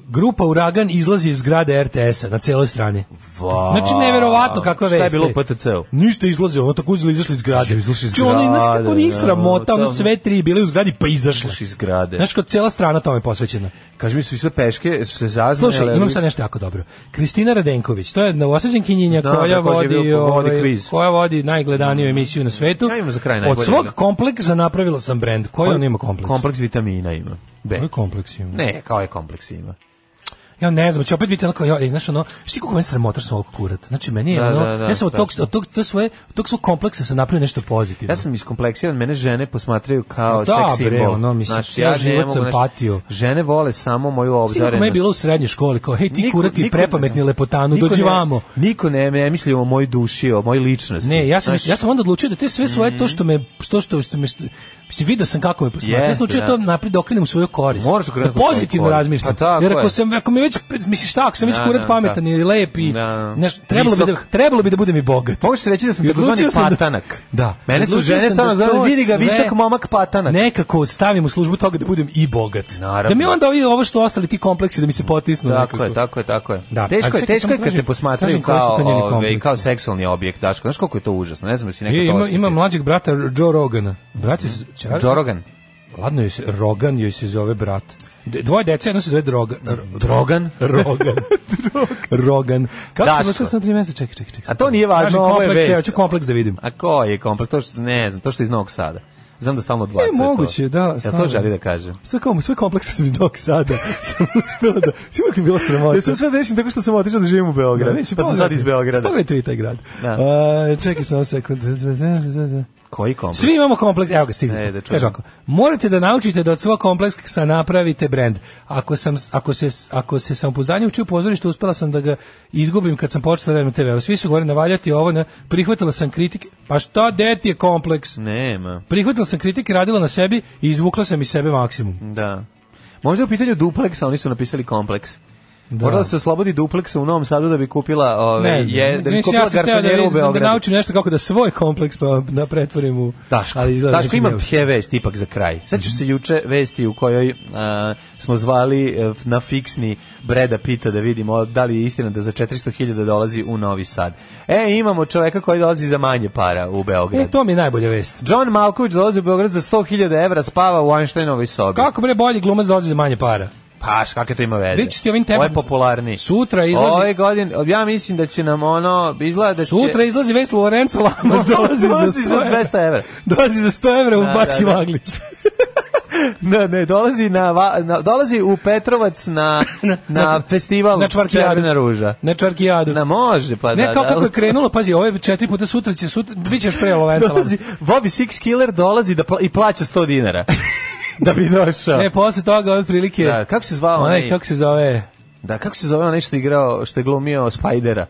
S7: Grupa Uragan izlazi iz zgrade RTS-a na celoj strani.
S8: Va.
S7: Znači, neverovatno kakva vest.
S8: Pa, Šta je bilo pa u PTC-u?
S7: Ništa izlaze, ono tako uzeli, izašli iz grade.
S8: izašli iz
S7: Ču, ono, znaš
S8: zgrade,
S7: kako onih
S8: da,
S7: sramota, ono
S8: tamo.
S7: sve tri bile u zgradi, pa izašle.
S8: Izašli iz grade.
S7: Znaš, kao cela strana tome je posvećena.
S8: Kaži mi su i sve peške, su se zaznale.
S7: Slušaj, imam sad nešto jako dobro. Kristina Radenković, to je novosađen kinjinja
S8: Da,
S7: koja
S8: da, koja je
S7: vodi,
S8: bio- vodi
S7: ovaj,
S8: kviz. Mm.
S7: koja vodi najgledaniju emisiju na svetu.
S8: Ja imam za kraj najbolje,
S7: Od svog
S8: da.
S7: kompleksa napravila sam brend. Koji on ima kompleks?
S8: Kompleks vitamina ima. B.
S7: Koji kompleks ima?
S8: Ne, kao je kompleks ima.
S7: Ja ne znam, će opet biti onako, ja, znaš ono, šti kako meni sramota što sam ovako kurat. Znači, meni je
S8: Da,
S7: ono,
S8: da, da,
S7: ja sam od tog,
S8: tačno.
S7: od tog, to svoje, od tog svog kompleksa sam napravio nešto pozitivno.
S8: Ja sam iskompleksiran, mene žene posmatraju kao
S7: Da,
S8: seks
S7: bre,
S8: simbol.
S7: ono, mislim, ceo
S8: ne
S7: život
S8: mogu,
S7: sam
S8: znaš,
S7: patio.
S8: Žene vole samo moju
S7: Šti kako
S8: obdarenost.
S7: me je bilo u srednjoj školi, kao, hej, ti
S8: Niko-
S7: kurati
S8: niko ne-
S7: prepametni lepotanu,
S8: niko
S7: dođi
S8: ne-
S7: vamo.
S8: Niko ne, ne misli o mojoj duši, o mojoj ličnosti.
S7: Ne, ja sam,
S8: Znaš, Mhm.
S7: ja sam onda odlučio da te sve svoje, to što me, to što, što me, mislim, vidio sam kako me posmatra, ja
S8: Jeste,
S7: sam odlučio
S8: da.
S7: to naprijed da okrenem u svoju korist.
S8: Moraš okrenuti
S7: da
S8: u svoju
S7: pozitivno
S8: korist.
S7: razmišljam.
S8: Pa tako
S7: jer ako,
S8: je.
S7: sam, ako mi već, misliš šta, ako sam već
S8: Da,
S7: kurat
S8: da,
S7: pametan
S8: da.
S7: i lep i,
S8: Da.
S7: znaš, trebalo, bi da,
S8: Visok.
S7: trebalo bi da budem i bogat.
S8: Možeš reći da sam
S7: I
S8: takozvani
S7: odlučio sam da-
S8: patanak.
S7: Da.
S8: Mene su
S7: Odlučio
S8: žene
S7: sam
S8: samo
S7: da
S8: znaju,
S7: to
S8: vidi ga,
S7: sve
S8: visok momak patanak.
S7: Nekako stavim u službu toga da budem i bogat.
S8: Naravno.
S7: Da mi onda ovi- ovo što ostali ti kompleksi da mi se potisnu.
S8: Tako je,
S7: nekako.
S8: tako je, tako je.
S7: Da.
S8: Teško
S7: Ali
S8: je,
S7: čekaj,
S8: teško
S7: samo
S8: je kad te
S7: tražim-
S8: posmatraju
S7: tražim koji su
S8: kao,
S7: to njeni
S8: ove,
S7: kompleksi.
S8: kao seksualni objekt, Daško. Znaš koliko je to užasno? Ne znam da si Mm. nekako
S7: I
S8: to
S7: E, ima,
S8: osjeti.
S7: ima mlađeg brata Joe Rogana. Brat je... Čar-
S8: Joe Rogan.
S7: Ladno joj se, Rogan joj se zove brat. De- Dvoje dece, jedno se zove Droga, R-
S8: Drogan?
S7: Rogan. Rogan. Kako
S8: Daško.
S7: sam došao sam tri meseca? Čekaj, čekaj, čekaj.
S8: A to nije važno,
S7: Kažem,
S8: ovo je
S7: kompleks,
S8: vest.
S7: ja hoću kompleks da vidim.
S8: A ko je kompleks? To što, ne znam, to što je iz Novog Sada. Znam da stalno odbacuje to.
S7: E, moguće, da,
S8: Ja to
S7: stalno.
S8: želi da kažem.
S7: Sve kao, sve komplekse sam iz Novog Sada. sam uspela da... Sve uvijek mi je bila sramota.
S8: Ja sam sve dešen tako što sam otišao da živim u Beograd.
S7: Da, neće,
S8: pa sam sad
S7: pogledaj.
S8: iz Beograda.
S7: Pogledaj tri taj grad.
S8: Da.
S7: A, čekaj samo sekund.
S8: Koji kompleks?
S7: Svi imamo kompleks, evo ga, stigli
S8: E, da
S7: smo.
S8: čujem.
S7: Kaže ovako, morate da naučite da od svog kompleksa napravite brend. Ako, sam, ako se, ako se samopouzdanje uči u pozorištu, uspela sam da ga izgubim kad sam počela da radim na TV-u. Svi su govorili navaljati ovo, ne, prihvatila sam kritike. Pa šta, gde ti je
S8: Mm.
S7: kompleks?
S8: Nema.
S7: Prihvatila sam kritike, radila na sebi i izvukla sam iz sebe maksimum.
S8: Da. Možda je u pitanju dupleksa, oni su napisali kompleks. Morala se oslobodi dupleksa u Novom Sadu da bi kupila, ove,
S7: Ne znam,
S8: je, da bi
S7: mislim,
S8: kupila
S7: ja sam teo da,
S8: garsonjeru u
S7: vidim, da,
S8: Beogradu.
S7: naučim nešto kako da svoj kompleks pa da pretvorim u...
S8: Daško,
S7: ali izgleda da
S8: Daško
S7: će
S8: imam
S7: neuspjeti.
S8: tje vest ipak za kraj. Sećaš se juče vesti u kojoj a, smo zvali e, na fiksni Breda Pita da vidimo da li je istina da za 400.000 dolazi u Novi Sad. E, imamo čoveka koji dolazi za manje para u Beograd.
S7: E, to mi je najbolja vest.
S8: John Malković dolazi u Beograd za 100.000 evra, spava u Einsteinovoj sobi.
S7: Kako bre bolji glumac dolazi za manje para?
S8: Paš, kakve to ima veze?
S7: Vidite ti ovim
S8: Ovo
S7: tempom-
S8: je popularniji.
S7: Sutra izlazi-
S8: Ove godine, ja mislim da će nam ono, izgleda da će...
S7: Sutra izlazi vest Lorenzo Lamas, dolazi,
S8: Dolazi
S7: za 100 evra.
S8: 200 evra.
S7: Dolazi za 100 evra u
S8: Da,
S7: Bački
S8: da, da.
S7: Maglić.
S8: Ne, ne, dolazi na, va- na- dolazi u Petrovac na na, festival
S7: na čvarkijadu.
S8: Červena ruža.
S7: Na Čarkijadu.
S8: Na može, pa da.
S7: ne, kao
S8: da.
S7: kako je krenulo, pazi, ovo je četiri puta sutra će sutra, bit ćeš pre Lorenzo Lamas.
S8: Dolazi, Bobby Six Killer dolazi da pla- i plaća 100 dinara. da bi došao.
S7: Ne, E, posle toga otprilike.
S8: Da, kako se zvao
S7: onaj,
S8: onaj-
S7: kako se zove?
S8: Da, kako se zove onaj što je igrao, što je glumio Spajdera?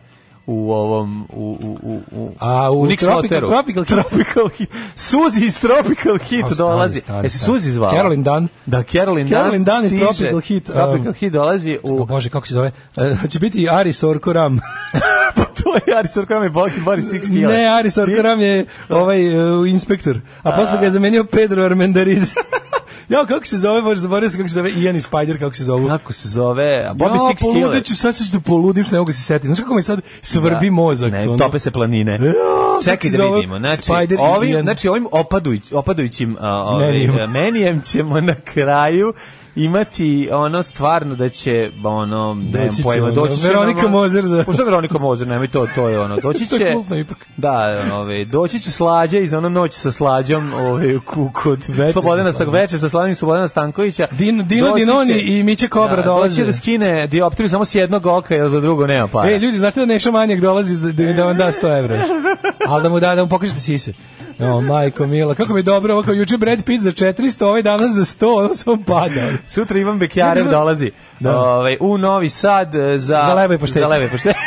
S8: u ovom u u u u
S7: A u,
S8: Nix
S7: Tropical-
S8: Noteru.
S7: Tropical Hit.
S8: Tropical Hit. Suzi iz Tropical Hit
S7: A, stani,
S8: dolazi.
S7: stani,
S8: Jesi
S7: stani.
S8: Suzi zvala?
S7: Caroline Dunn.
S8: Da, Caroline,
S7: Caroline Dunn iz
S8: stiže.
S7: Tropical Hit,
S8: Tropical
S7: um,
S8: Hit dolazi u...
S7: O Bože, kako se zove? E, će biti Ari Sorko Ram.
S8: pa to je Ari Sorkram je Boki Boris Six Killer.
S7: ne, Ari Sorko Ram je ovaj, e, inspektor. A posle ga je zamenio Pedro Armendariz. ja, kako se zove, Bože, zaboravio sam kako se zove Ian i Spider, kako se zove.
S8: Kako se zove? A Bobby
S7: ja,
S8: Six Killer.
S7: poludeću, sad ću da poludim što ne mogu se setiti. Znaš kako mi sad svrbi
S8: Da.
S7: mozak?
S8: Ne,
S7: ono?
S8: tope se planine.
S7: kako
S8: Čekaj
S7: se
S8: da
S7: zove?
S8: vidimo. Znači,
S7: Spider
S8: ovim,
S7: Ian.
S8: znači ovim opadujuć, opadujućim a, ovaj,
S7: Menijem.
S8: menijem. menijem ćemo na kraju imati ono stvarno da će ono
S7: Doći
S8: nemam
S7: će
S8: pojma
S7: ono,
S8: doći će
S7: Veronika
S8: nam,
S7: Mozer za-
S8: Možda Veronika Mozer, nemoj to, to je ono. Doći
S7: To je
S8: će
S7: kultno ipak.
S8: Da, ovaj doći će slađa iz ono noć sa slađom, ovaj ku- kod
S7: Veče
S8: Slobodana
S7: sa Slađom.
S8: Stankovića, veče sa slavnim Slobodana Stankovića.
S7: Din- Dino
S8: Doći
S7: Dinoni
S8: će-
S7: i Miće Kobra
S8: da,
S7: dolaze.
S8: Doći će da skine dioptriju samo s jednog oka, jer za drugo nema para.
S7: E, ljudi, znate da Neša Manjak dolazi da, da, mi- da vam da 100 evra? Ali da mu da, da mu pokažete sise. No, majko mila, kako mi je dobro, ovako juče Brad Pitt za 400, ovaj danas za 100, ono sam pada.
S8: Sutra Ivan Bekjarev dolazi
S7: Da.
S8: ovaj, u Novi Sad e, za...
S7: Za leba i paštete.
S8: Za leba i paštete.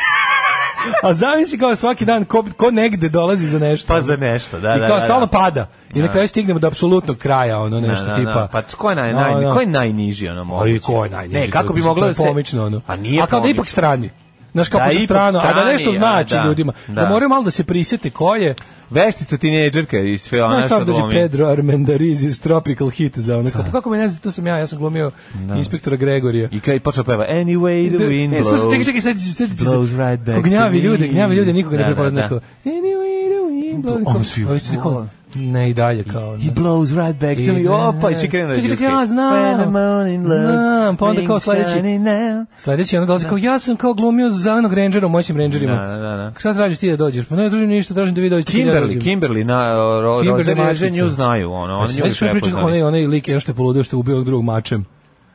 S7: A zamisli kao svaki dan ko, ko negde dolazi za nešto.
S8: pa za nešto, da,
S7: I
S8: da,
S7: kao
S8: da,
S7: stalno
S8: da.
S7: pada. I na kraju stignemo do apsolutnog kraja, ono nešto
S8: Da, da,
S7: tipa.
S8: da. Pa ko je, naj,
S7: No,
S8: naj,
S7: da.
S8: ko je najniži ono moguće?
S7: Ali ko je najniži?
S8: Ne, kako
S7: To
S8: bi
S7: je, mislim,
S8: moglo
S7: to je
S8: da se...
S7: Pomično, ono.
S8: A nije
S7: A kao da
S8: pomično.
S7: ipak strani. Znaš kako
S8: Da,
S7: su
S8: ipak
S7: strano, a da
S8: strani,
S7: nešto
S8: a,
S7: znači
S8: da,
S7: ljudima. Da,
S8: da.
S7: moraju malo da se prisjete ko je.
S8: Veštica tinejdžerka i sve ono
S7: Znaš
S8: što
S7: sam dođe
S8: glumi.
S7: Pedro Armendariz iz Tropical Hit za ono. Kao, pa kako me ne znam, to sam ja, ja sam glumio inspektora Gregorija.
S8: I kada je počeo peva Anyway the wind
S7: E,
S8: blows.
S7: slušaj, čekaj, čekaj, sad sad- sad- sad-
S8: blows right back
S7: ko gnjavi
S8: to me.
S7: ljude, gnjavi ljude, nikoga ne
S8: Da, da,
S7: prepozna.
S8: da.
S7: kao, Anyway, the wind blows.
S8: Ono svi,
S7: Ovi su kao,
S8: wow.
S7: Ne, i dalje kao. ono.
S8: He blows right back to me. Opa, i svi krenu da
S7: Čekaj, čekaj, ja
S8: When the
S7: znam.
S8: morning loves,
S7: Znam, pa onda kao
S8: rings
S7: sledeći.
S8: shining now.
S7: Sledeći ono dolazi kao, ja sam kao glumio zelenog rangera u moćnim rangerima.
S8: Da, da, da.
S7: Šta tražiš ti da dođeš? Pa ne tražim ništa, tražim da vi dođete. ti da
S8: Kimberly,
S7: dođem.
S8: Kimberly na ro,
S7: Kimberly
S8: Kimberly
S7: Markica.
S8: nju znaju, ono,
S7: Pa
S8: oni
S7: se
S8: nju
S7: sećaš one priče kako
S8: prepoznali.
S7: onaj, onaj lik je što je poludeo što je ubio ovog drugog mačem.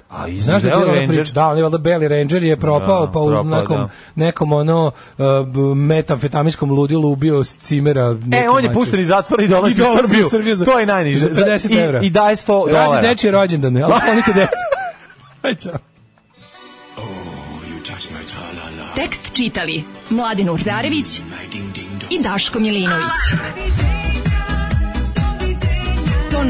S8: A
S7: Znaš da je bila ona
S8: Ranger?
S7: priča, da, on je valjda Beli Ranger je propao,
S8: Da,
S7: pa u
S8: propao,
S7: nekom,
S8: da.
S7: nekom ono uh, b- metamfetaminskom ludilu ubio s cimera. neki
S8: E, on je
S7: mačem.
S8: pušten iz zatvora i dolazi,
S7: I dolazi
S8: u Srbiju.
S7: u Srbiju za-
S8: to je najniže.
S7: za 50
S8: I-
S7: evra.
S8: I, daje 100 dolara.
S7: Radi dečije rođendane, ali sklonite decu. Aj, čao.
S5: Tekst čitali Mladin Urdarević i Daško Milinović. Ton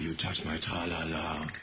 S20: You touch my tra-la-la.